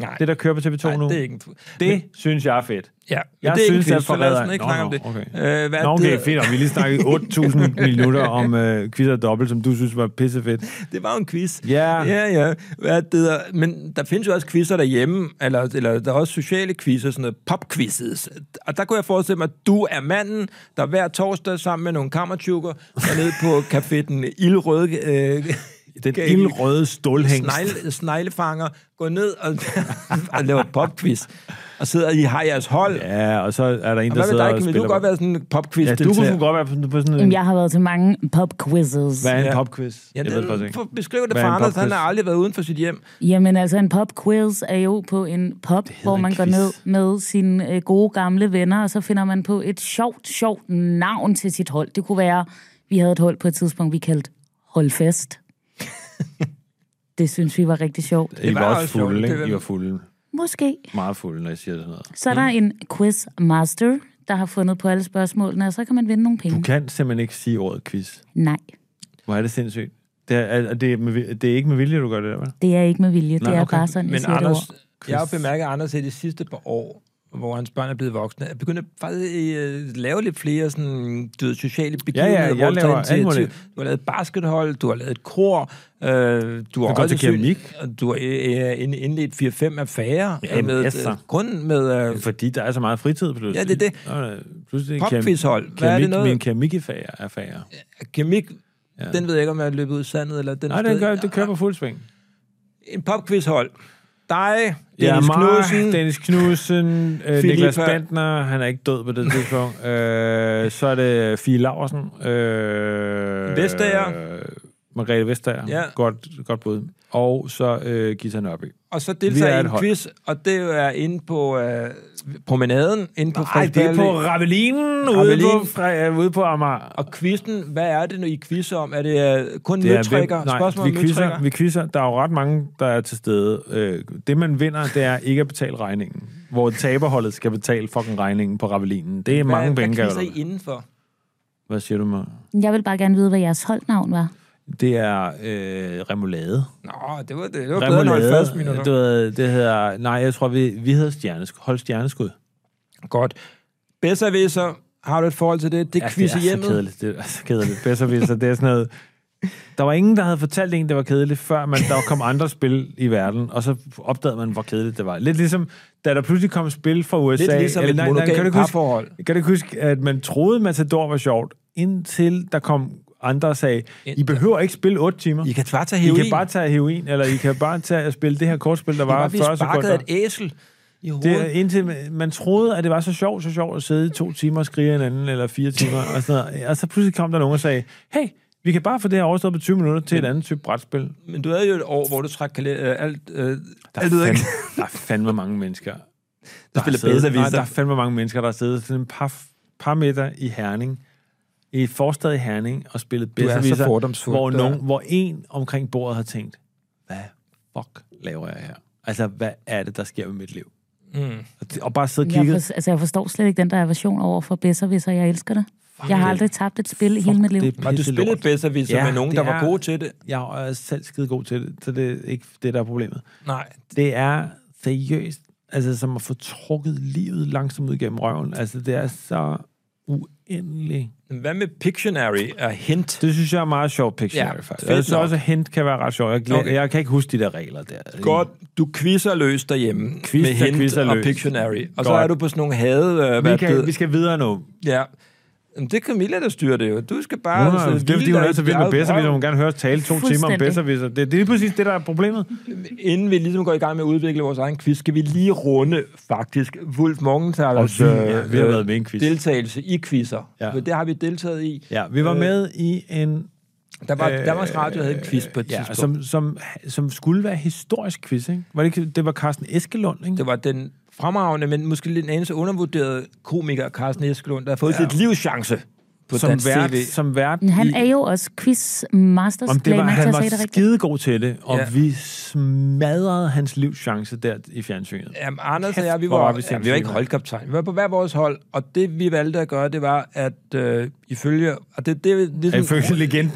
[SPEAKER 1] Nej,
[SPEAKER 2] Det, der kører på TV2 nu?
[SPEAKER 1] nej, det er ikke... en-
[SPEAKER 2] det synes jeg er fedt.
[SPEAKER 1] Ja, men
[SPEAKER 2] Jeg
[SPEAKER 1] det er
[SPEAKER 2] synes,
[SPEAKER 1] ikke en
[SPEAKER 2] at
[SPEAKER 1] quiz, så lad os
[SPEAKER 2] forræder-
[SPEAKER 1] ikke
[SPEAKER 2] Nå,
[SPEAKER 1] snakke om
[SPEAKER 2] nå,
[SPEAKER 1] det.
[SPEAKER 2] okay.
[SPEAKER 1] Øh, hvad
[SPEAKER 2] Nå,
[SPEAKER 1] det
[SPEAKER 2] okay,
[SPEAKER 1] hedder-
[SPEAKER 2] fedt. Og vi lige snakkede 8.000 minutter om øh, quiz og dobbelt, som du synes var pissefedt.
[SPEAKER 1] Det var jo en quiz.
[SPEAKER 2] Ja.
[SPEAKER 1] Ja, ja. Hvad det hedder. Men der findes jo også quizzer derhjemme, eller, eller der er også sociale quizzer, sådan noget popquizzes. Og der kunne jeg forestille mig, at du er manden, der hver torsdag sammen med nogle kammertjukker, er nede på café Den Ildrøde... Øh,
[SPEAKER 2] Den
[SPEAKER 1] Gav-
[SPEAKER 2] ildrøde stålhængst.
[SPEAKER 1] snegle, sneglefanger, går ned og, og laver popquiz. Og sidder i har jeres hold. Ja.
[SPEAKER 2] Ja, og så er der en,
[SPEAKER 1] Og
[SPEAKER 2] der
[SPEAKER 1] hvad med
[SPEAKER 2] sidder
[SPEAKER 1] dig,
[SPEAKER 2] og
[SPEAKER 1] Kim? Vil
[SPEAKER 2] spiller.
[SPEAKER 1] du godt være sådan en popquiz
[SPEAKER 2] ja, du kunne godt være på- på sådan en...
[SPEAKER 4] Jamen, jeg har været til mange pop-quizzes.
[SPEAKER 2] Hvad er en
[SPEAKER 1] Ja.
[SPEAKER 2] popquiz?
[SPEAKER 1] Ja,
[SPEAKER 2] jeg ved det faktisk ikke.
[SPEAKER 1] det, beskriv det
[SPEAKER 2] Hvad
[SPEAKER 1] for
[SPEAKER 2] er en
[SPEAKER 1] Anders, han
[SPEAKER 2] popquiz?
[SPEAKER 1] har aldrig været uden for sit hjem.
[SPEAKER 4] Jamen altså, en pop-quiz er jo på en pop, hvor man går
[SPEAKER 2] quiz.
[SPEAKER 4] ned med sine øh, gode gamle venner, og så finder man på et sjovt, sjovt navn til sit hold. Det kunne være, vi havde et hold på et tidspunkt, vi kaldte Holdfest. det synes vi var rigtig sjovt.
[SPEAKER 2] I var,
[SPEAKER 1] var
[SPEAKER 2] også
[SPEAKER 1] også sjovt,
[SPEAKER 2] fulde,
[SPEAKER 1] det
[SPEAKER 2] ikke?
[SPEAKER 1] var-
[SPEAKER 2] I var fulde.
[SPEAKER 4] Måske.
[SPEAKER 2] Meget fulde, når jeg siger sådan noget.
[SPEAKER 4] Så er der en quizmaster, der har fundet på alle spørgsmålene, og så kan man vinde nogle penge.
[SPEAKER 2] Du kan simpelthen ikke sige ordet quiz.
[SPEAKER 4] Nej,
[SPEAKER 2] Hvor er det sindssygt. Det er, er, det, er med, vil- det er ikke med vilje, du gør det der, vel?
[SPEAKER 4] det er ikke med vilje.
[SPEAKER 2] Nej,
[SPEAKER 4] det er
[SPEAKER 2] okay.
[SPEAKER 4] bare sådan, jeg
[SPEAKER 1] Men
[SPEAKER 4] siger
[SPEAKER 1] Anders,
[SPEAKER 4] det ord.
[SPEAKER 1] jeg har jo bemærket, at Anders i de sidste par år, hvor hans børn er blevet voksne, er begyndt at faktisk øh, lave lidt flere sådan, du ved, sociale begivenheder.
[SPEAKER 2] jeg
[SPEAKER 1] hvor du tager
[SPEAKER 2] laver alt
[SPEAKER 1] initiativ.
[SPEAKER 2] muligt.
[SPEAKER 1] Du har lavet et baskethold, du har lavet et kor, øh, du har
[SPEAKER 2] går til
[SPEAKER 1] højdesyn,
[SPEAKER 2] keramik.
[SPEAKER 1] og Du har øh, ind- indledt 4-5 affærer.
[SPEAKER 2] Jamen,
[SPEAKER 1] med,
[SPEAKER 2] yes, så.
[SPEAKER 1] grunden med... Øh,
[SPEAKER 2] Fordi der er så meget fritid pludselig.
[SPEAKER 1] Ja, det er det.
[SPEAKER 2] Nå, der- Pludselig keram-
[SPEAKER 1] Popquizhold. Hvad er
[SPEAKER 2] keramik,
[SPEAKER 1] det noget?
[SPEAKER 2] Min keramikaffære er færre.
[SPEAKER 1] keramik, ja. den ved jeg ikke, om jeg er løbet ud i sandet, eller den
[SPEAKER 2] Nej,
[SPEAKER 1] er
[SPEAKER 2] den
[SPEAKER 1] stadig-
[SPEAKER 2] gør, det kører på fuld sving.
[SPEAKER 1] En popquizhold. Dig,
[SPEAKER 2] Ja,
[SPEAKER 1] Dennis ja, Knudsen. Den...
[SPEAKER 2] Dennis Knudsen, øh,
[SPEAKER 1] Philippa.
[SPEAKER 2] Niklas Bantner, han er ikke død på det tidspunkt. øh, så er det Fie Laursen. Øh,
[SPEAKER 1] Vestager.
[SPEAKER 2] Øh, Margrethe Vestager.
[SPEAKER 1] Ja.
[SPEAKER 2] Godt, godt bud. Og så øh, Gita Nørby.
[SPEAKER 1] Og så
[SPEAKER 2] Vi er
[SPEAKER 1] deltager i
[SPEAKER 2] et
[SPEAKER 1] en
[SPEAKER 2] hold.
[SPEAKER 1] quiz, og det er inde på øh, promenaden, inde på
[SPEAKER 2] Nej, det er
[SPEAKER 1] Frederiksberg
[SPEAKER 2] på
[SPEAKER 1] Allé.
[SPEAKER 2] Ravelinen, ude
[SPEAKER 1] Ravelinen.
[SPEAKER 2] på, fra, øh, ude på Amager.
[SPEAKER 1] Og quizzen, hvad er det, når I quizzer om? Er det øh, kun
[SPEAKER 2] Det er
[SPEAKER 1] møtrikker?
[SPEAKER 2] hvem- nej,
[SPEAKER 1] Spørgsmål om
[SPEAKER 2] vi quizzer,
[SPEAKER 1] møtrikker?
[SPEAKER 2] vi quizzer. Der er jo ret mange, der er til stede. Øh, det, man vinder, det er ikke at betale regningen. Hvor taberholdet skal betale fucking regningen på Ravelinen. Det er
[SPEAKER 1] Hvad,
[SPEAKER 2] mange penge,
[SPEAKER 1] hvad
[SPEAKER 2] gør
[SPEAKER 1] quizzer I
[SPEAKER 2] du.
[SPEAKER 1] indenfor?
[SPEAKER 2] Hvad siger du mig?
[SPEAKER 4] Jeg vil bare gerne vide, hvad jeres holdnavn var.
[SPEAKER 2] Det er øh, remoulade.
[SPEAKER 1] Nå, det var, det, det var bedre end
[SPEAKER 2] Remoulade.
[SPEAKER 1] 70 minutter.
[SPEAKER 2] Du ved, det hedder... Nej, jeg tror, vi, vi hedder stjerneskud. Hold stjerneskud.
[SPEAKER 1] Godt. Besserwisser, har du et forhold til det? Det ja,
[SPEAKER 2] det
[SPEAKER 1] quiz
[SPEAKER 2] er
[SPEAKER 1] i
[SPEAKER 2] så
[SPEAKER 1] hjemmet.
[SPEAKER 2] kedeligt. Det er så kedeligt. Bedserviser, det er sådan noget... Der var ingen, der havde fortalt en, det var kedeligt, før man, der kom andre spil i verden, og så opdagede man, hvor kedeligt det var. Lidt ligesom, da der pludselig kom spil fra USA.
[SPEAKER 1] Lidt ligesom et
[SPEAKER 2] kan, du
[SPEAKER 1] monogamt
[SPEAKER 2] ikke huske,
[SPEAKER 1] parforhold.
[SPEAKER 2] kan du ikke huske, at man troede, Matador var sjovt, indtil der kom andre og sagde, I behøver ikke spille 8 timer.
[SPEAKER 1] I kan bare tage
[SPEAKER 2] I
[SPEAKER 1] heroin.
[SPEAKER 2] kan bare tage heroin, eller I kan bare tage at spille det her kortspil, der var
[SPEAKER 1] bare blive
[SPEAKER 2] 40
[SPEAKER 1] sparket af
[SPEAKER 2] sekunder.
[SPEAKER 1] et æsel i hovedet.
[SPEAKER 2] Det er indtil man- man troede, at det var så sjovt, så sjovt at sidde i to timer og skrige af hinanden, eller fire timer, og sådan noget. Og så pludselig kom der nogen og sagde, hey, vi kan bare få det her overstået på 20 minutter til et andet type brætspil.
[SPEAKER 1] Men du havde jo et år, hvor du træk kalender, øh, alt... Øh,
[SPEAKER 2] Der
[SPEAKER 1] alt ud af-
[SPEAKER 2] fandme, der er fandme mange mennesker. Der,
[SPEAKER 1] spiller
[SPEAKER 2] siddet-
[SPEAKER 1] bedre
[SPEAKER 2] nej,
[SPEAKER 1] viser.
[SPEAKER 2] der er fandme mange mennesker, der har siddet til en par, par middag i Herning, i et forstad i Herning, og spillet
[SPEAKER 1] er så
[SPEAKER 2] bedre
[SPEAKER 1] fordomsfuld,
[SPEAKER 2] hvor,
[SPEAKER 1] du er.
[SPEAKER 2] nogen, hvor en omkring bordet har tænkt, hvad fuck laver jeg her? Altså, hvad er det, der sker med mit liv?
[SPEAKER 1] Mm.
[SPEAKER 2] Og det- Og bare sidde og
[SPEAKER 4] Jeg,
[SPEAKER 2] kigge.
[SPEAKER 4] for, altså, jeg forstår slet ikke den der aversion over for Besserwisser. Jeg elsker det. Jeg har
[SPEAKER 2] det.
[SPEAKER 4] aldrig tabt et spil i hele mit liv.
[SPEAKER 2] Det er
[SPEAKER 1] Og du
[SPEAKER 2] pisselort.
[SPEAKER 1] spillede bedserviser
[SPEAKER 2] Ja,
[SPEAKER 1] ja, med nogen,
[SPEAKER 2] det
[SPEAKER 1] der var
[SPEAKER 2] er-
[SPEAKER 1] gode til det.
[SPEAKER 2] Jeg er selv skide god til det, så det er ikke det, der er problemet.
[SPEAKER 1] Nej,
[SPEAKER 2] Det er seriøst, altså som at få trukket livet langsomt ud gennem røven. Altså det er så uendeligt.
[SPEAKER 1] Men Hvad med Pictionary og Hint?
[SPEAKER 2] Det synes jeg er meget sjovt, Pictionary,
[SPEAKER 1] Ja,
[SPEAKER 2] ja, faktisk.
[SPEAKER 1] fedt
[SPEAKER 2] Jeg synes
[SPEAKER 1] nok.
[SPEAKER 2] Altså, også, at hint kan være ret sjovt. Jeg, glæder,
[SPEAKER 1] Okay.
[SPEAKER 2] okay. jeg kan ikke huske de der regler der.
[SPEAKER 1] Godt, du quizzer løs derhjemme
[SPEAKER 2] Quiz,
[SPEAKER 1] med
[SPEAKER 2] der
[SPEAKER 1] Hint
[SPEAKER 2] quizzer
[SPEAKER 1] og
[SPEAKER 2] løs.
[SPEAKER 1] Pictionary. Og så
[SPEAKER 2] Godt.
[SPEAKER 1] er du på sådan nogle hade... Øh,
[SPEAKER 2] Vi,
[SPEAKER 1] hvad
[SPEAKER 2] kan, vi
[SPEAKER 1] kan,
[SPEAKER 2] skal videre nu.
[SPEAKER 1] ja. altså, Jamen, det er Camilla, der styrer det jo. Du skal
[SPEAKER 2] Nå,
[SPEAKER 1] bare...
[SPEAKER 2] altså,
[SPEAKER 1] sidde
[SPEAKER 2] det er fordi,
[SPEAKER 1] vildt
[SPEAKER 2] hun
[SPEAKER 1] og
[SPEAKER 2] er så vild
[SPEAKER 1] ikke
[SPEAKER 2] med
[SPEAKER 1] drage
[SPEAKER 2] bedserviser. Hun vil gerne høre os tale to timer om
[SPEAKER 4] Fuldstændig.
[SPEAKER 2] bedserviser. Det, det er lige præcis det, der er problemet.
[SPEAKER 1] Inden vi ligesom går i gang med at udvikle vores egen quiz, skal vi lige runde faktisk Wolf Morgenthalers øh,
[SPEAKER 2] Og vi- ja, vi har været med i en quiz.
[SPEAKER 1] deltagelse i quizzer.
[SPEAKER 2] Ja.
[SPEAKER 1] Ja. For det har vi deltaget i.
[SPEAKER 2] Ja, vi
[SPEAKER 1] Øh,
[SPEAKER 2] var med i en
[SPEAKER 1] Der var,
[SPEAKER 2] Øh,
[SPEAKER 1] Danmarks Radio havde en quiz på et ja,
[SPEAKER 2] Ja,
[SPEAKER 1] tidspunkt.
[SPEAKER 2] som, som, som skulle være historisk quiz, ikke? Var det, ikke, det var Carsten Eskelund, ikke?
[SPEAKER 1] Det var den fremragende, men måske lidt en anelse undervurderede komiker, Carsten Eskelund, der har fået ja. sit livschance på
[SPEAKER 2] som
[SPEAKER 1] dansk
[SPEAKER 2] vært,
[SPEAKER 1] TV.
[SPEAKER 2] som vært
[SPEAKER 4] Men Han
[SPEAKER 2] i,
[SPEAKER 4] er jo også quiz masters
[SPEAKER 2] om det var,
[SPEAKER 4] playmaker,
[SPEAKER 2] han
[SPEAKER 4] sagde det
[SPEAKER 2] var
[SPEAKER 4] rigtigt.
[SPEAKER 2] skidegod til det, og
[SPEAKER 1] Ja.
[SPEAKER 2] ja. vi smadrede hans livschance der i fjernsynet.
[SPEAKER 1] Jamen, Anders og
[SPEAKER 2] Kæft,
[SPEAKER 1] jeg, vi
[SPEAKER 2] hvor
[SPEAKER 1] var,
[SPEAKER 2] var vi
[SPEAKER 1] ja, vi var ikke
[SPEAKER 2] sindssyge.
[SPEAKER 1] holdkaptajn. Vi var på hver vores hold, og det vi valgte at gøre, det var, at øh, ifølge... Og det, det, er
[SPEAKER 2] Ja.
[SPEAKER 1] ligesom,
[SPEAKER 2] Ifølge legenden,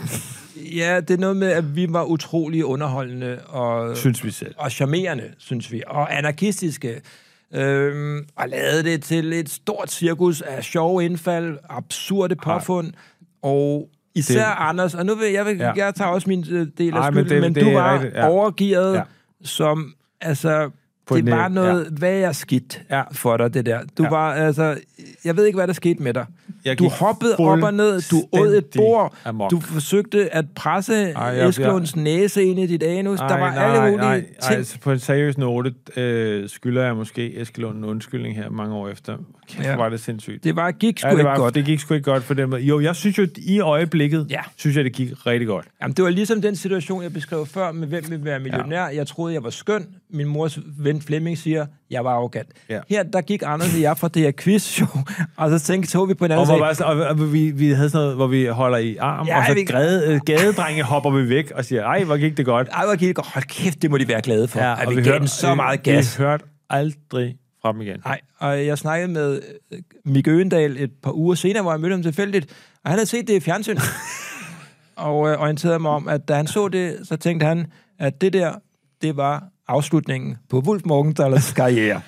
[SPEAKER 1] ja, det er noget med, at vi var utrolig underholdende og,
[SPEAKER 2] synes vi selv.
[SPEAKER 1] øh, og charmerende, synes vi, og anarkistiske. Øhm, og lavede det til et stort cirkus af sjove indfald, absurde påfund, og især det,
[SPEAKER 2] Det-
[SPEAKER 1] Anders, og nu vil jeg, vil,
[SPEAKER 2] Ja.
[SPEAKER 1] ja. jeg tager også min øh, del af
[SPEAKER 2] Ej,
[SPEAKER 1] skylden,
[SPEAKER 2] men
[SPEAKER 1] men,
[SPEAKER 2] det-
[SPEAKER 1] men
[SPEAKER 2] det
[SPEAKER 1] du
[SPEAKER 2] er
[SPEAKER 1] var
[SPEAKER 2] rigtigt, ja.
[SPEAKER 1] overgearet,
[SPEAKER 2] Ja.
[SPEAKER 1] ja. som, altså,
[SPEAKER 2] På
[SPEAKER 1] det
[SPEAKER 2] et
[SPEAKER 1] var
[SPEAKER 2] næb,
[SPEAKER 1] noget ja. værre skidt
[SPEAKER 2] Ja.
[SPEAKER 1] for dig, det der. Du ja. var, altså, jeg ved ikke, hvad der skete med dig.
[SPEAKER 2] Jeg
[SPEAKER 1] Du
[SPEAKER 2] gik
[SPEAKER 1] hoppede op og ned, du åd et
[SPEAKER 2] fuldstændig
[SPEAKER 1] bord,
[SPEAKER 2] amok.
[SPEAKER 1] du forsøgte at presse
[SPEAKER 2] Ej, jeg-
[SPEAKER 1] Eskelunds næse ind i dit anus, der var alle mulige
[SPEAKER 2] nej,
[SPEAKER 1] ting.
[SPEAKER 2] Ej, altså, på en seriøs note øh, skylder jeg måske Eskelund en undskyldning her mange år efter. Kæft,
[SPEAKER 1] Ja.
[SPEAKER 2] ja. var det sindssygt.
[SPEAKER 1] Det var, gik sgu
[SPEAKER 2] ja, det,
[SPEAKER 1] ikke godt.
[SPEAKER 2] det gik sgu ikke godt for dem. Jo, jeg synes jo, i øjeblikket,
[SPEAKER 1] Ja.
[SPEAKER 2] ja. synes jeg, det gik rigtig godt.
[SPEAKER 1] Jamen, det var ligesom den situation, jeg beskrev før med, hvem vil være millionær. Jeg troede, jeg var skøn. Min mors ven Flemming siger, jeg var arrogant.
[SPEAKER 2] Ja.
[SPEAKER 1] Her, der gik Anders og jeg fra det her quiz-show, og så tænkte så vi på hinanden
[SPEAKER 2] Og,
[SPEAKER 1] og
[SPEAKER 2] hvor,
[SPEAKER 1] sagde,
[SPEAKER 2] bare, sådan- og, og vi, vi havde sådan noget, hvor vi holder i arm,
[SPEAKER 1] altså- Ja,
[SPEAKER 2] ja, og så
[SPEAKER 1] vi-
[SPEAKER 2] vi... græde, øh, gadedrenge hopper vi væk og siger, ej, hvor gik det godt.
[SPEAKER 1] ej, hvor gik det godt. hold kæft, det må de være glade for, ja, at
[SPEAKER 2] og
[SPEAKER 1] vi, vi gav dem så meget gas.
[SPEAKER 2] Vi hørte aldrig fra dem igen.
[SPEAKER 1] Nej, og jeg snakkede med øh, Mikke Øgendal et par uger senere, hvor jeg mødte ham tilfældigt, og han havde set det i fjernsynet. og øh, orienterede mig om, at da han så det, så tænkte han, at det der, det var afslutningen på Wolf Morgenthalers karriere.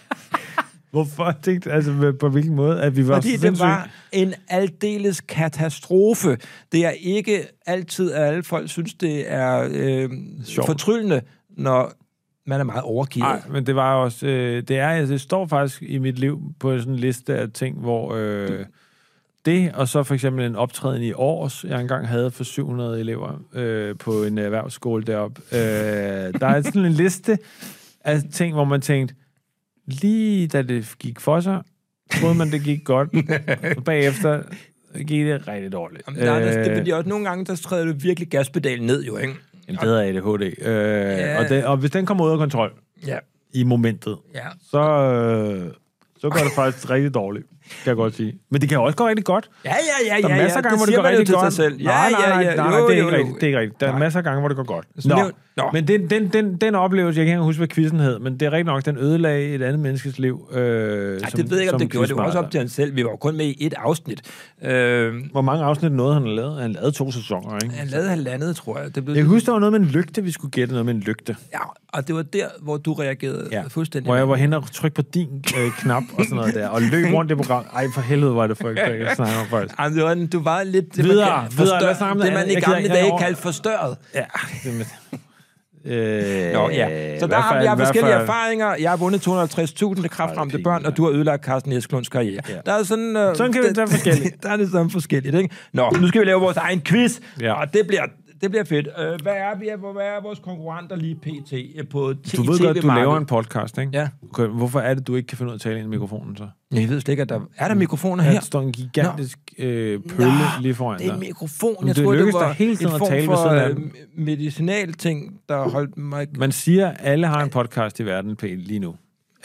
[SPEAKER 2] Hvorfor tænkte altså hvad- på hvilken måde, at vi var
[SPEAKER 1] Fordi
[SPEAKER 2] så
[SPEAKER 1] det
[SPEAKER 2] sindssyge?
[SPEAKER 1] var en aldeles katastrofe. Det er ikke altid, at alle folk synes, det er øh,
[SPEAKER 2] Sjovt.
[SPEAKER 1] fortryllende, når man er meget overgivet.
[SPEAKER 2] Nej, men det var også... Øh, det, er, altså, det står faktisk i mit liv på sådan en liste af ting, hvor... Øh, det, og så for eksempel en optræden i års, jeg engang havde for 700 elever øh, på en erhvervsskole deroppe. Øh, der er sådan en liste af ting, hvor man tænkte, lige da det gik for sig, troede man, det gik godt. og bagefter gik det rigtig dårligt.
[SPEAKER 1] Jamen, der, er- der, det,
[SPEAKER 2] Øh,
[SPEAKER 1] fordi også nogle gange, der træder du virkelig gaspedalen ned, jo, ikke?
[SPEAKER 2] en bedre ADHD. Øh,
[SPEAKER 1] Ja.
[SPEAKER 2] og, den, og hvis den kommer ud af kontrol
[SPEAKER 1] Ja.
[SPEAKER 2] i momentet,
[SPEAKER 1] ja.
[SPEAKER 2] så, øh, så går det faktisk rigtig dårligt, kan jeg godt sige. Men det kan jo også gå rigtig godt.
[SPEAKER 1] Ja, ja, ja,
[SPEAKER 2] Der er
[SPEAKER 1] ja,
[SPEAKER 2] masser
[SPEAKER 1] ja.
[SPEAKER 2] af gange,
[SPEAKER 1] siger
[SPEAKER 2] hvor det går
[SPEAKER 1] man jo
[SPEAKER 2] rigtig
[SPEAKER 1] til
[SPEAKER 2] godt.
[SPEAKER 1] sig selv. Ja,
[SPEAKER 2] nej, nej,
[SPEAKER 1] ja, ja.
[SPEAKER 2] nej, nej,
[SPEAKER 1] Jo,
[SPEAKER 2] det er
[SPEAKER 1] jo,
[SPEAKER 2] ikke
[SPEAKER 1] jo.
[SPEAKER 2] rigtigt. Det er ikke rigtigt. Der er
[SPEAKER 1] Nej.
[SPEAKER 2] masser af gange, hvor det går godt.
[SPEAKER 1] Så nævn- Nå.
[SPEAKER 2] Men den, den, den, den oplevelse, jeg kan ikke engang huske, hvad quizzen hed, men det er rigtigt nok, den ødelagde et andet menneskes liv. Øh,
[SPEAKER 1] Ej,
[SPEAKER 2] Ej,
[SPEAKER 1] det ved jeg ikke, om det gjorde. Det var også op til han selv. Vi var jo kun med i et afsnit. Øh,
[SPEAKER 2] Hvor mange afsnit nåede han lavet? Han lavede to sæsoner, ikke?
[SPEAKER 1] han lavede halvandet, tror jeg. Det blev,
[SPEAKER 2] Altså- Jeg kan huske, der var noget med en lygte, vi skulle gætte noget med en lygte.
[SPEAKER 1] ja, og det var der, hvor du reagerede ja. fuldstændig.
[SPEAKER 2] Hvor jeg var hen og trykke på din øh, knap og sådan noget der, og løb rundt i programmet. Ej, for helvede var det for ikke, jeg snakker om faktisk.
[SPEAKER 1] Jamen, det var, en- du var lidt... Det,
[SPEAKER 2] Videre,
[SPEAKER 1] man,
[SPEAKER 2] videre. Lad os snakke om
[SPEAKER 1] det,
[SPEAKER 2] noget
[SPEAKER 1] man
[SPEAKER 2] andet.
[SPEAKER 1] i
[SPEAKER 2] Jeg gider
[SPEAKER 1] gamle
[SPEAKER 2] ikke
[SPEAKER 1] dage
[SPEAKER 2] have
[SPEAKER 1] kaldte forstørret.
[SPEAKER 2] Ja, det med... Øh,
[SPEAKER 1] Nå, ja. Så
[SPEAKER 2] i
[SPEAKER 1] der
[SPEAKER 2] hvert
[SPEAKER 1] har
[SPEAKER 2] fald-
[SPEAKER 1] vi
[SPEAKER 2] i
[SPEAKER 1] har
[SPEAKER 2] hvert
[SPEAKER 1] forskellige
[SPEAKER 2] fald-
[SPEAKER 1] erfaringer. Jeg har vundet 250.000 til kraftramte
[SPEAKER 2] pinligt,
[SPEAKER 1] børn, og du har ødelagt Carsten Esklunds karriere.
[SPEAKER 2] Ja.
[SPEAKER 1] Der er sådan... Øh,
[SPEAKER 2] Sådan kan vi-
[SPEAKER 1] det-
[SPEAKER 2] der er forskelligt.
[SPEAKER 1] der er det sådan forskelligt, ikke? Nå, nu skal vi lave vores egen quiz,
[SPEAKER 2] Ja.
[SPEAKER 1] og det bliver... Det bliver fedt. Øh, hvad er vi? Hvor- Hvad er vores konkurrenter lige pt. på t-
[SPEAKER 2] Du ved godt, du laver en podcast, ikke?
[SPEAKER 1] Ja.
[SPEAKER 2] Okay, hvorfor er det, du ikke kan finde ud af at tale ind i mikrofonen så?
[SPEAKER 1] Jeg ved slet ikke, at der... Er der mikrofoner
[SPEAKER 2] Mm. Ja.
[SPEAKER 1] her?
[SPEAKER 2] Der står en gigantisk øh, pølle
[SPEAKER 1] Nå,
[SPEAKER 2] lige foran
[SPEAKER 1] Det er en
[SPEAKER 2] dig.
[SPEAKER 1] mikrofon.
[SPEAKER 2] Men
[SPEAKER 1] Jeg
[SPEAKER 2] det
[SPEAKER 1] troede, det
[SPEAKER 2] lykkes dig
[SPEAKER 1] var
[SPEAKER 2] hele tiden
[SPEAKER 1] en
[SPEAKER 2] at
[SPEAKER 1] form
[SPEAKER 2] tale ved
[SPEAKER 1] for
[SPEAKER 2] siden af
[SPEAKER 1] øh,
[SPEAKER 2] den.
[SPEAKER 1] medicinal ting, der holdt mig...
[SPEAKER 2] Man siger, at alle har en podcast i verden P, lige nu.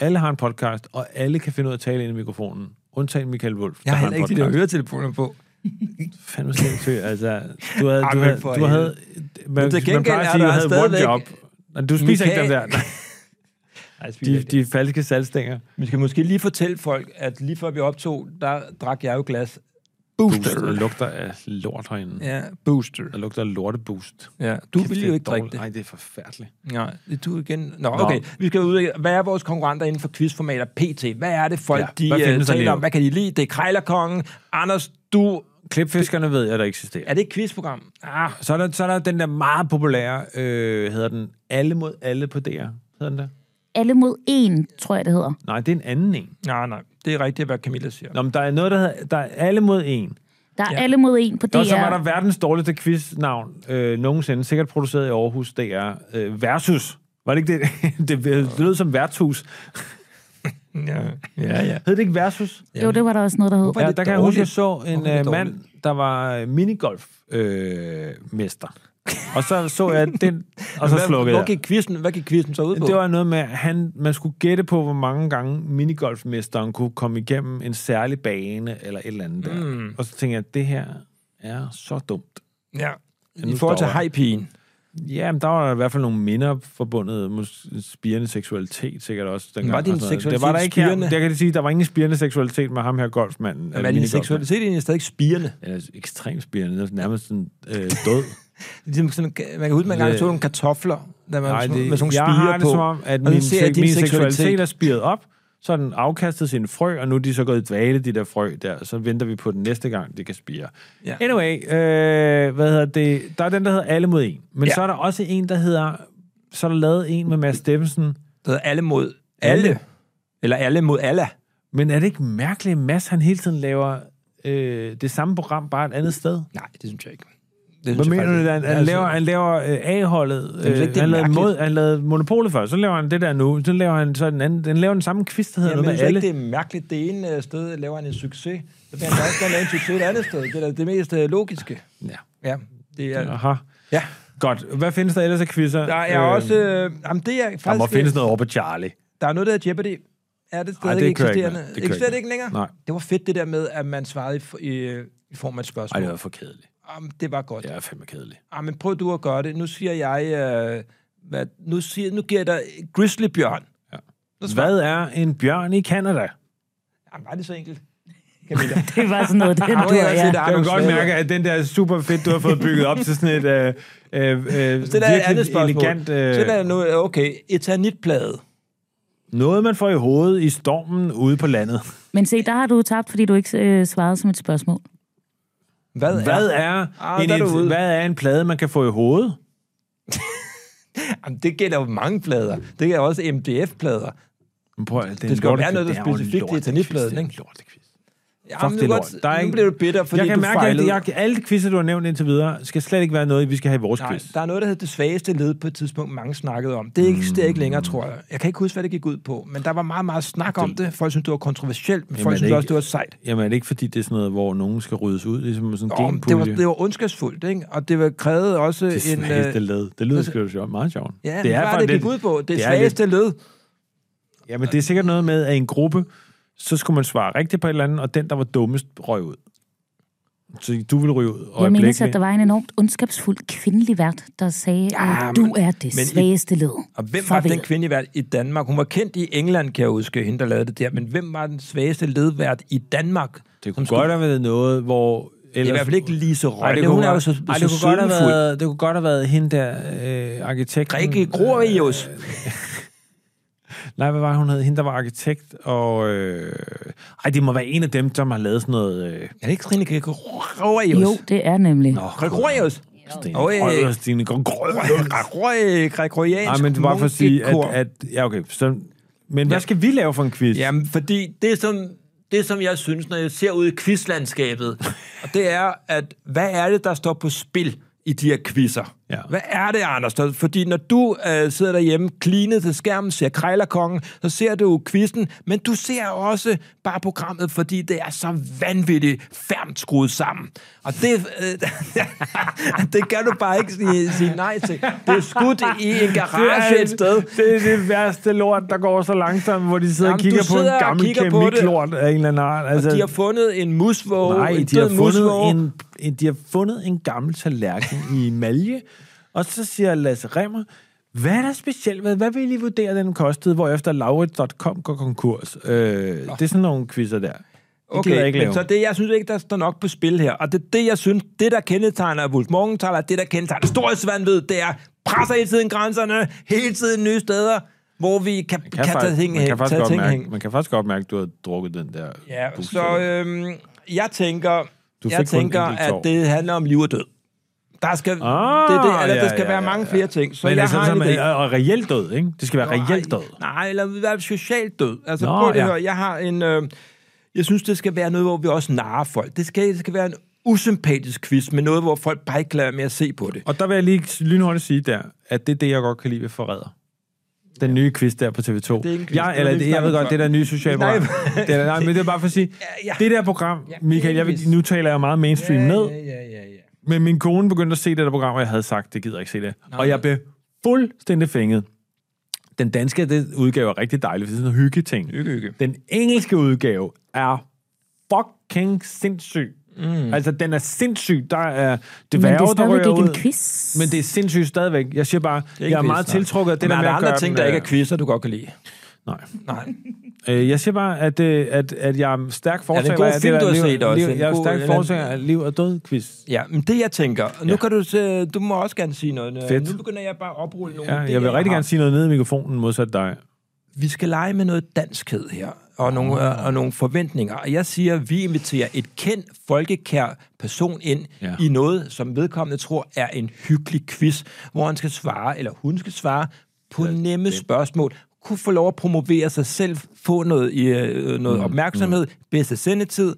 [SPEAKER 2] Alle har en podcast, og alle kan finde ud af at tale ind i mikrofonen. Undtagen Michael Wolf,
[SPEAKER 1] Jeg har heller
[SPEAKER 2] en
[SPEAKER 1] ikke de der høretelefoner på.
[SPEAKER 2] Fandme sindssygt. Altså, du havde...
[SPEAKER 1] Ej,
[SPEAKER 2] Du
[SPEAKER 1] men
[SPEAKER 2] havde,
[SPEAKER 1] for
[SPEAKER 2] du havde man,
[SPEAKER 1] til
[SPEAKER 2] man
[SPEAKER 1] gengæld
[SPEAKER 2] plejer
[SPEAKER 1] er
[SPEAKER 2] at sige,
[SPEAKER 1] der
[SPEAKER 2] at du havde one
[SPEAKER 1] stadigvæk-
[SPEAKER 2] job. Nej, Du spiser ikke dem
[SPEAKER 1] Michael-
[SPEAKER 2] der. Nej, de, de falske salgstænger.
[SPEAKER 1] Vi skal måske lige fortælle folk, at lige før vi optog, der drak jeg jo glas booster.
[SPEAKER 2] Det lugter af lort herinde.
[SPEAKER 1] Ja, booster.
[SPEAKER 2] Der lugter af lorteboost.
[SPEAKER 1] Ja, du ville jo ikke drikke det.
[SPEAKER 2] Nej, det er forfærdeligt.
[SPEAKER 1] Nej, det du igen. Nå, okay. Vi skal ud. Hvad er vores konkurrenter inden for quizformater PT? Hvad er det folk,
[SPEAKER 2] Ja,
[SPEAKER 1] de
[SPEAKER 2] hvad
[SPEAKER 1] øh,
[SPEAKER 2] findes der lige
[SPEAKER 1] taler om?
[SPEAKER 2] nu?
[SPEAKER 1] Hvad kan de lide? Det er Krejlerkongen. Anders, du...
[SPEAKER 2] Klipfiskerne ved jeg, der eksisterer.
[SPEAKER 1] Er det et quizprogram? Ah,
[SPEAKER 2] Så er der, så er der den der meget populære, øh, hedder den Alle mod alle på DR. Hedder den der?
[SPEAKER 4] Alle mod en, tror jeg, det hedder.
[SPEAKER 2] Nej, det er en anden en.
[SPEAKER 1] nej, nej. Det er rigtigt, hvad Camilla siger.
[SPEAKER 2] Nå, men der er noget, der hedder der er Alle mod en.
[SPEAKER 4] Der er
[SPEAKER 1] Ja.
[SPEAKER 4] alle mod en på DR.
[SPEAKER 2] Og så var der verdens dårligste quiznavn øh, nogensinde, sikkert produceret i Aarhus, DR. Øh, versus. Var det ikke det? det lød som værtshus.
[SPEAKER 1] Ja, ja. ja.
[SPEAKER 2] Hed det ikke Versus?
[SPEAKER 4] Jo, det var der også noget, der hed.
[SPEAKER 1] er
[SPEAKER 2] Ja,
[SPEAKER 1] det
[SPEAKER 2] der kan jeg huske, jeg
[SPEAKER 1] dårligt?
[SPEAKER 2] så en
[SPEAKER 1] Hvorfor er det
[SPEAKER 2] øh, mand, der var øh, minigolfmester. Øh, mester. og så så jeg den, og så
[SPEAKER 1] Hvad-
[SPEAKER 2] slukkede
[SPEAKER 1] hvor
[SPEAKER 2] jeg.
[SPEAKER 1] gik quizzen, hvad gik quizzen så ud på?
[SPEAKER 2] Det var noget med, at han, man skulle gætte på, hvor mange gange minigolfmesteren kunne komme igennem en særlig bane eller et eller andet der. Og så tænkte jeg, det her er så dumt.
[SPEAKER 1] ja. I
[SPEAKER 2] nu
[SPEAKER 1] forhold til
[SPEAKER 2] står jeg.
[SPEAKER 1] hajpigen.
[SPEAKER 2] Ja, men der var i hvert fald nogle minder forbundet med spirende seksualitet, sikkert også. Dengang,
[SPEAKER 1] Var din
[SPEAKER 2] og sådan noget.
[SPEAKER 1] seksualitet
[SPEAKER 2] det var der ikke her,
[SPEAKER 1] spirende?
[SPEAKER 2] jeg kan sige, der var ingen spirende seksualitet med ham her golfmanden. eller
[SPEAKER 1] Men er din
[SPEAKER 2] minigolfmanden.
[SPEAKER 1] seksualitet egentlig stadig spirende?
[SPEAKER 2] Eller ekstremt spirende, nærmest sådan øh, død.
[SPEAKER 1] Ligesom sådan, man kan huske, man engang
[SPEAKER 2] Det-
[SPEAKER 1] tog nogle kartofler, der man,
[SPEAKER 2] Nej, det,
[SPEAKER 1] med sådan nogle
[SPEAKER 2] jeg
[SPEAKER 1] spiger
[SPEAKER 2] har det
[SPEAKER 1] på.
[SPEAKER 2] som om, at
[SPEAKER 1] Og nu
[SPEAKER 2] min,
[SPEAKER 1] ser jeg
[SPEAKER 2] se,
[SPEAKER 1] din
[SPEAKER 2] min seksualitet
[SPEAKER 1] seksualitet.
[SPEAKER 2] er spiret op, så har den afkastet sine frø, og nu er de så gået i dvale, de der frø der, så venter vi på den næste gang, det kan spire.
[SPEAKER 1] Ja.
[SPEAKER 2] Ja. Anyway, øh, hvad hedder det? Der er den, der hedder Alle mod en, men
[SPEAKER 1] Ja.
[SPEAKER 2] ja. så er der også en, der hedder, så er der lavet en med Mads Steffensen,
[SPEAKER 1] Der hedder alle mod alle.
[SPEAKER 2] Alle.
[SPEAKER 1] Eller alle mod alle.
[SPEAKER 2] men er det ikke mærkeligt, at Mads han hele tiden laver øh, det samme program, bare et andet sted?
[SPEAKER 1] Nej, det synes jeg ikke. Det
[SPEAKER 2] Hvad
[SPEAKER 1] synes jeg
[SPEAKER 2] mener
[SPEAKER 1] faktisk
[SPEAKER 2] du,
[SPEAKER 1] ikke.
[SPEAKER 2] han, han
[SPEAKER 1] Altså,
[SPEAKER 2] laver, han laver øh, A-holdet,
[SPEAKER 1] synes
[SPEAKER 2] øh,
[SPEAKER 1] ikke, det er
[SPEAKER 2] han, lavede
[SPEAKER 1] mærkeligt.
[SPEAKER 2] mod, han lavede Monopolet før, så laver han det der nu, så laver han så den anden, den laver den samme quiz, der hedder
[SPEAKER 1] Jamen,
[SPEAKER 2] noget
[SPEAKER 1] jeg
[SPEAKER 2] med
[SPEAKER 1] synes
[SPEAKER 2] alle.
[SPEAKER 1] ikke, det er mærkeligt. Det ene øh, sted laver han en succes. Så bliver han da også gerne lave en succes et andet sted. Det er da det mest øh, logiske.
[SPEAKER 2] Ja.
[SPEAKER 1] Ja, det er...
[SPEAKER 2] Aha.
[SPEAKER 1] Ja.
[SPEAKER 2] Godt. Hvad findes der ellers af quizzer? Øhm,
[SPEAKER 1] Der er også... Øh, jamen, det er faktisk...
[SPEAKER 2] Der må findes noget over på Charlie.
[SPEAKER 1] Der er noget, der hedder Jeopardy. Er det stadig
[SPEAKER 2] kører ikke med.
[SPEAKER 1] eksisterende?
[SPEAKER 2] Det kører
[SPEAKER 1] eksisterer
[SPEAKER 2] ikke
[SPEAKER 1] det ikke længere?
[SPEAKER 2] Nej.
[SPEAKER 1] Det var fedt, det der med, at man svarede i, f- i, øh, i form af et
[SPEAKER 2] Ej,
[SPEAKER 1] spørgsmål.
[SPEAKER 2] det
[SPEAKER 1] Ej,
[SPEAKER 2] var for kedeligt.
[SPEAKER 1] Jamen, det var godt.
[SPEAKER 2] Det
[SPEAKER 1] Ja.
[SPEAKER 2] er fandme kedeligt.
[SPEAKER 1] Jamen, Ah, prøv du at gøre det. Nu siger jeg... Øh, hvad, nu, siger, nu giver jeg dig grizzlybjørn.
[SPEAKER 2] Hvad er en bjørn i Kanada?
[SPEAKER 1] Jamen, Ah, var det så enkelt? Camilla. det
[SPEAKER 4] Det var sådan noget, den du ja.
[SPEAKER 2] Jeg kan godt mærke, at den der super fedt, du har fået bygget op til sådan et øh, øh, øh,
[SPEAKER 1] det der er et andet
[SPEAKER 2] virkelig
[SPEAKER 1] spørgsmål.
[SPEAKER 2] elegant... Øh,
[SPEAKER 1] Så der er nu, okay, eternitplade.
[SPEAKER 2] noget, man får i hovedet i stormen ude på landet.
[SPEAKER 4] Men se, der har du tabt, fordi du ikke øh, svarede som et spørgsmål.
[SPEAKER 1] Hvad,
[SPEAKER 2] Hvad
[SPEAKER 1] er?
[SPEAKER 2] er,
[SPEAKER 1] Ah,
[SPEAKER 2] en,
[SPEAKER 1] der er du ude.
[SPEAKER 2] hvad er en plade, man kan få i hovedet?
[SPEAKER 1] Jamen, det gælder jo mange plader. Det gælder også MDF-plader.
[SPEAKER 2] Men Prøv, at- det, er en
[SPEAKER 1] Det skal jo
[SPEAKER 2] lorte-
[SPEAKER 1] være noget, der
[SPEAKER 2] det er jo en
[SPEAKER 1] specifikt i
[SPEAKER 2] lortequiz.
[SPEAKER 1] eternitpladen,
[SPEAKER 2] Det er en
[SPEAKER 1] ikke? Ah,
[SPEAKER 2] lortequiz. Fuck det
[SPEAKER 1] nu,
[SPEAKER 2] lort.
[SPEAKER 1] godt- nu bliver du bitter, fordi
[SPEAKER 2] jeg kan
[SPEAKER 1] du
[SPEAKER 2] mærke,
[SPEAKER 1] fejlede.
[SPEAKER 2] At jeg, alle de quizzer, du har nævnt indtil videre, skal slet ikke være noget, vi skal have i vores
[SPEAKER 1] Nej,
[SPEAKER 2] quiz.
[SPEAKER 1] der er noget, der hedder det svageste led på et tidspunkt, mange snakkede om. Det er ikke, det er ikke
[SPEAKER 2] Mm.
[SPEAKER 1] længere, tror jeg. Jeg kan ikke huske, hvad det gik ud på, men der var meget, meget snak om det. Folk syntes, det var kontroversielt, men
[SPEAKER 2] Jamen, er
[SPEAKER 1] folk syntes
[SPEAKER 2] det
[SPEAKER 1] også,
[SPEAKER 2] ikke-
[SPEAKER 1] det var sejt.
[SPEAKER 2] Jamen er det ikke, fordi det er sådan noget, hvor nogen skal ryddes ud, ligesom sådan en
[SPEAKER 1] Om, det, var,
[SPEAKER 2] genpulje?
[SPEAKER 1] det var ondskabsfuldt, ikke? og det var krævet også
[SPEAKER 2] det
[SPEAKER 1] en...
[SPEAKER 2] svageste
[SPEAKER 1] øh,
[SPEAKER 2] led. Det lyder sgu sjovt. Meget sjovt.
[SPEAKER 1] Ja, det er hvad er det, det
[SPEAKER 2] faktisk
[SPEAKER 1] gik ud på? Det,
[SPEAKER 2] det
[SPEAKER 1] det
[SPEAKER 2] er
[SPEAKER 1] svageste led.
[SPEAKER 2] Ja, men det er sikkert noget med, at en gruppe, så skulle man svare rigtigt på et eller andet, og den, der var dummest, røg ud. Så du ville ryge ud
[SPEAKER 4] Jeg mindes, at
[SPEAKER 2] øjeblikkeligt.
[SPEAKER 4] der var en enormt ondskabsfuld kvindelig vært, der sagde,
[SPEAKER 1] Ja,
[SPEAKER 4] ja, du
[SPEAKER 1] men-
[SPEAKER 4] er det
[SPEAKER 1] men i-
[SPEAKER 4] svageste led.
[SPEAKER 1] Og hvem var
[SPEAKER 4] Farvel.
[SPEAKER 1] den kvindelige vært i Danmark? Hun var kendt i England, kan jeg huske, hende, der lavede det der. Men hvem var den svageste ledvært i Danmark?
[SPEAKER 2] Det kunne godt have været noget, hvor...
[SPEAKER 1] Det er i
[SPEAKER 2] Ellers,
[SPEAKER 1] hvert fald ikke Lise
[SPEAKER 2] Ej,
[SPEAKER 1] Rønne. Hun er jo så,
[SPEAKER 2] ej,
[SPEAKER 1] så
[SPEAKER 2] det, kunne godt have
[SPEAKER 1] sødmefuld.
[SPEAKER 2] været, det kunne godt have været hende der, øh, arkitekten...
[SPEAKER 1] Rikke Grovius.
[SPEAKER 2] Nej, hvad var hun hed? Hende, der var arkitekt, og... Øh, ej, det må være en af dem, som har lavet sådan noget... Øh,
[SPEAKER 1] Er det ikke Trine Gregorius?
[SPEAKER 4] Jo, det er nemlig.
[SPEAKER 1] Gregorius?
[SPEAKER 2] Stine
[SPEAKER 1] Oj.
[SPEAKER 2] Krøyer, Stine Krøyer.
[SPEAKER 1] Gregoriansk
[SPEAKER 2] Nej, men det var bare for at sige, at, at... Ja, okay. Så, men hvad skal vi lave for en quiz?
[SPEAKER 1] Jamen, fordi det som, det, som jeg synes, når jeg ser ud i quizlandskabet, og det er, at hvad er det, der står på spil i de her quizzer?
[SPEAKER 2] Ja.
[SPEAKER 1] Hvad er det, Anders? Der- Fordi når du øh, sidder derhjemme, klinet til skærmen, ser Krejlerkongen, så ser du quizzen, men du ser også bare programmet, fordi det er så vanvittigt færmt skruet sammen. Og det, øh, det kan du bare ikke sige, sige nej til. Det er skudt i en garage et sted.
[SPEAKER 2] Det er det værste lort, der går så langsomt, hvor de sidder Jamen,
[SPEAKER 1] Jamen,
[SPEAKER 2] og kigger
[SPEAKER 1] du
[SPEAKER 2] på
[SPEAKER 1] sidder
[SPEAKER 2] en
[SPEAKER 1] og
[SPEAKER 2] gammel
[SPEAKER 1] kigger på det.
[SPEAKER 2] kemiklort af en eller anden art. Altså,
[SPEAKER 1] De har fundet en musvåge,
[SPEAKER 2] nej,
[SPEAKER 1] en
[SPEAKER 2] de har,
[SPEAKER 1] død
[SPEAKER 2] fundet
[SPEAKER 1] musvåge.
[SPEAKER 2] en, en, de har fundet en gammel tallerken i malje, og så siger Lasse Remmer, hvad er der specielt? Hvad, hvad vil I vurdere, den kostede, hvorefter laurit.com går konkurs? Øh, det er sådan nogle quizzer der. Det gider jeg ikke lave.
[SPEAKER 1] men så det, jeg synes ikke, der står nok på spil her. Og det er det, jeg synes, det der kendetegner Wolf Morgenthaler, det der kendetegner Storhedsvandvid, det er presser hele tiden grænserne, hele tiden nye steder, hvor vi kan, kan,
[SPEAKER 2] kan
[SPEAKER 1] kan tage
[SPEAKER 2] faktisk-
[SPEAKER 1] ting
[SPEAKER 2] man, kan
[SPEAKER 1] hen.
[SPEAKER 2] faktisk
[SPEAKER 1] Tage
[SPEAKER 2] godt
[SPEAKER 1] ting
[SPEAKER 2] mærke,
[SPEAKER 1] hen.
[SPEAKER 2] man kan faktisk godt mærke, at du har drukket den der
[SPEAKER 1] Ja,
[SPEAKER 2] buks
[SPEAKER 1] så
[SPEAKER 2] der.
[SPEAKER 1] øhm, jeg tænker,
[SPEAKER 2] Du fik kun
[SPEAKER 1] jeg tænker
[SPEAKER 2] en enkelt
[SPEAKER 1] at
[SPEAKER 2] tår.
[SPEAKER 1] det handler om liv og død. Der skal, det, er det, eller
[SPEAKER 2] Ah, ja,
[SPEAKER 1] der skal
[SPEAKER 2] ja,
[SPEAKER 1] være
[SPEAKER 2] ja,
[SPEAKER 1] mange
[SPEAKER 2] ja.
[SPEAKER 1] flere ting. Så
[SPEAKER 2] Men
[SPEAKER 1] jeg
[SPEAKER 2] altså,
[SPEAKER 1] har
[SPEAKER 2] som,
[SPEAKER 1] en idé.
[SPEAKER 2] er, og reelt død, ikke? Det skal være reelt død.
[SPEAKER 1] Nej, eller i hvert fald socialt død. Altså,
[SPEAKER 2] Nå,
[SPEAKER 1] Nå, prøv at
[SPEAKER 2] ja.
[SPEAKER 1] ja. høre, jeg har en... Øh, jeg synes, det skal være noget, hvor vi også narrer folk. Det skal, det skal være en usympatisk quiz, men noget, hvor folk bare ikke lader med at se på det.
[SPEAKER 2] Og der vil jeg lige lynhurtigt sige der, at det er det, jeg godt kan lide ved Forræder. Den nye quiz der på TV2. Det
[SPEAKER 1] er ikke en quiz,
[SPEAKER 2] jeg,
[SPEAKER 1] det
[SPEAKER 2] eller,
[SPEAKER 1] var det,
[SPEAKER 2] det,
[SPEAKER 1] vi
[SPEAKER 2] jeg ved
[SPEAKER 1] snakkede
[SPEAKER 2] godt,
[SPEAKER 1] om
[SPEAKER 2] det der nye sociale
[SPEAKER 1] Nej.
[SPEAKER 2] program. det er, nej, men det er bare for at sige,
[SPEAKER 1] Ja, ja.
[SPEAKER 2] det der program,
[SPEAKER 1] det er
[SPEAKER 2] Michael, jeg
[SPEAKER 1] en
[SPEAKER 2] vil,
[SPEAKER 1] quiz.
[SPEAKER 2] nu taler jeg meget mainstream ned,
[SPEAKER 1] ja, ja, ja.
[SPEAKER 2] men min kone begyndte at se det der program, og jeg havde sagt, det gider jeg ikke se det. Og jeg blev fuldstændig fænget. Den danske det udgave er rigtig dejlig, for det er sådan en hyggeting.
[SPEAKER 1] Hygge, hygge.
[SPEAKER 2] Den engelske udgave er fucking sindssyg. Mm. Altså, den er sindssyg. Der er det
[SPEAKER 4] Men det er
[SPEAKER 2] værre, der
[SPEAKER 4] stadigvæk
[SPEAKER 2] rører
[SPEAKER 4] ikke
[SPEAKER 2] ud.
[SPEAKER 4] en quiz.
[SPEAKER 2] Men det er sindssygt stadigvæk. Jeg siger bare, er jeg er meget tiltrukket af det
[SPEAKER 1] men
[SPEAKER 2] der med
[SPEAKER 1] er der
[SPEAKER 2] at gøre
[SPEAKER 1] andre ting,
[SPEAKER 2] den,
[SPEAKER 1] der ikke
[SPEAKER 2] øh,
[SPEAKER 1] er quizzer, du godt kan lide?
[SPEAKER 2] Nej.
[SPEAKER 1] Nej.
[SPEAKER 2] Øh, jeg siger bare, at, øh, at, at jeg er stærk forsager
[SPEAKER 1] god
[SPEAKER 2] af det
[SPEAKER 1] film, du
[SPEAKER 2] der
[SPEAKER 1] har
[SPEAKER 2] liv,
[SPEAKER 1] set også?
[SPEAKER 2] liv,
[SPEAKER 1] En
[SPEAKER 2] jeg er
[SPEAKER 1] god-
[SPEAKER 2] stærk
[SPEAKER 1] en eller anden-
[SPEAKER 2] forsager af liv og død quiz.
[SPEAKER 1] Ja, men det jeg tænker, og nu
[SPEAKER 2] Ja.
[SPEAKER 1] ja. kan du, se- du må også gerne sige noget.
[SPEAKER 2] Fedt.
[SPEAKER 1] Nu begynder jeg bare at oprulle nogle
[SPEAKER 2] Ja,
[SPEAKER 1] idéer,
[SPEAKER 2] jeg vil rigtig
[SPEAKER 1] har.
[SPEAKER 2] gerne sige noget ned i mikrofonen modsat dig.
[SPEAKER 1] vi skal lege med noget danskhed her, og nogle,
[SPEAKER 2] Ah.
[SPEAKER 1] øh, og nogle forventninger. Og jeg siger, at vi inviterer et kendt, folkekær person ind
[SPEAKER 2] Ja.
[SPEAKER 1] ja. i noget, som vedkommende tror er en hyggelig quiz, hvor han skal svare, eller hun skal svare, på nemme spørgsmål. Kunne få lov at promovere sig selv, få noget, i, øh, noget opmærksomhed, bedste sendetid.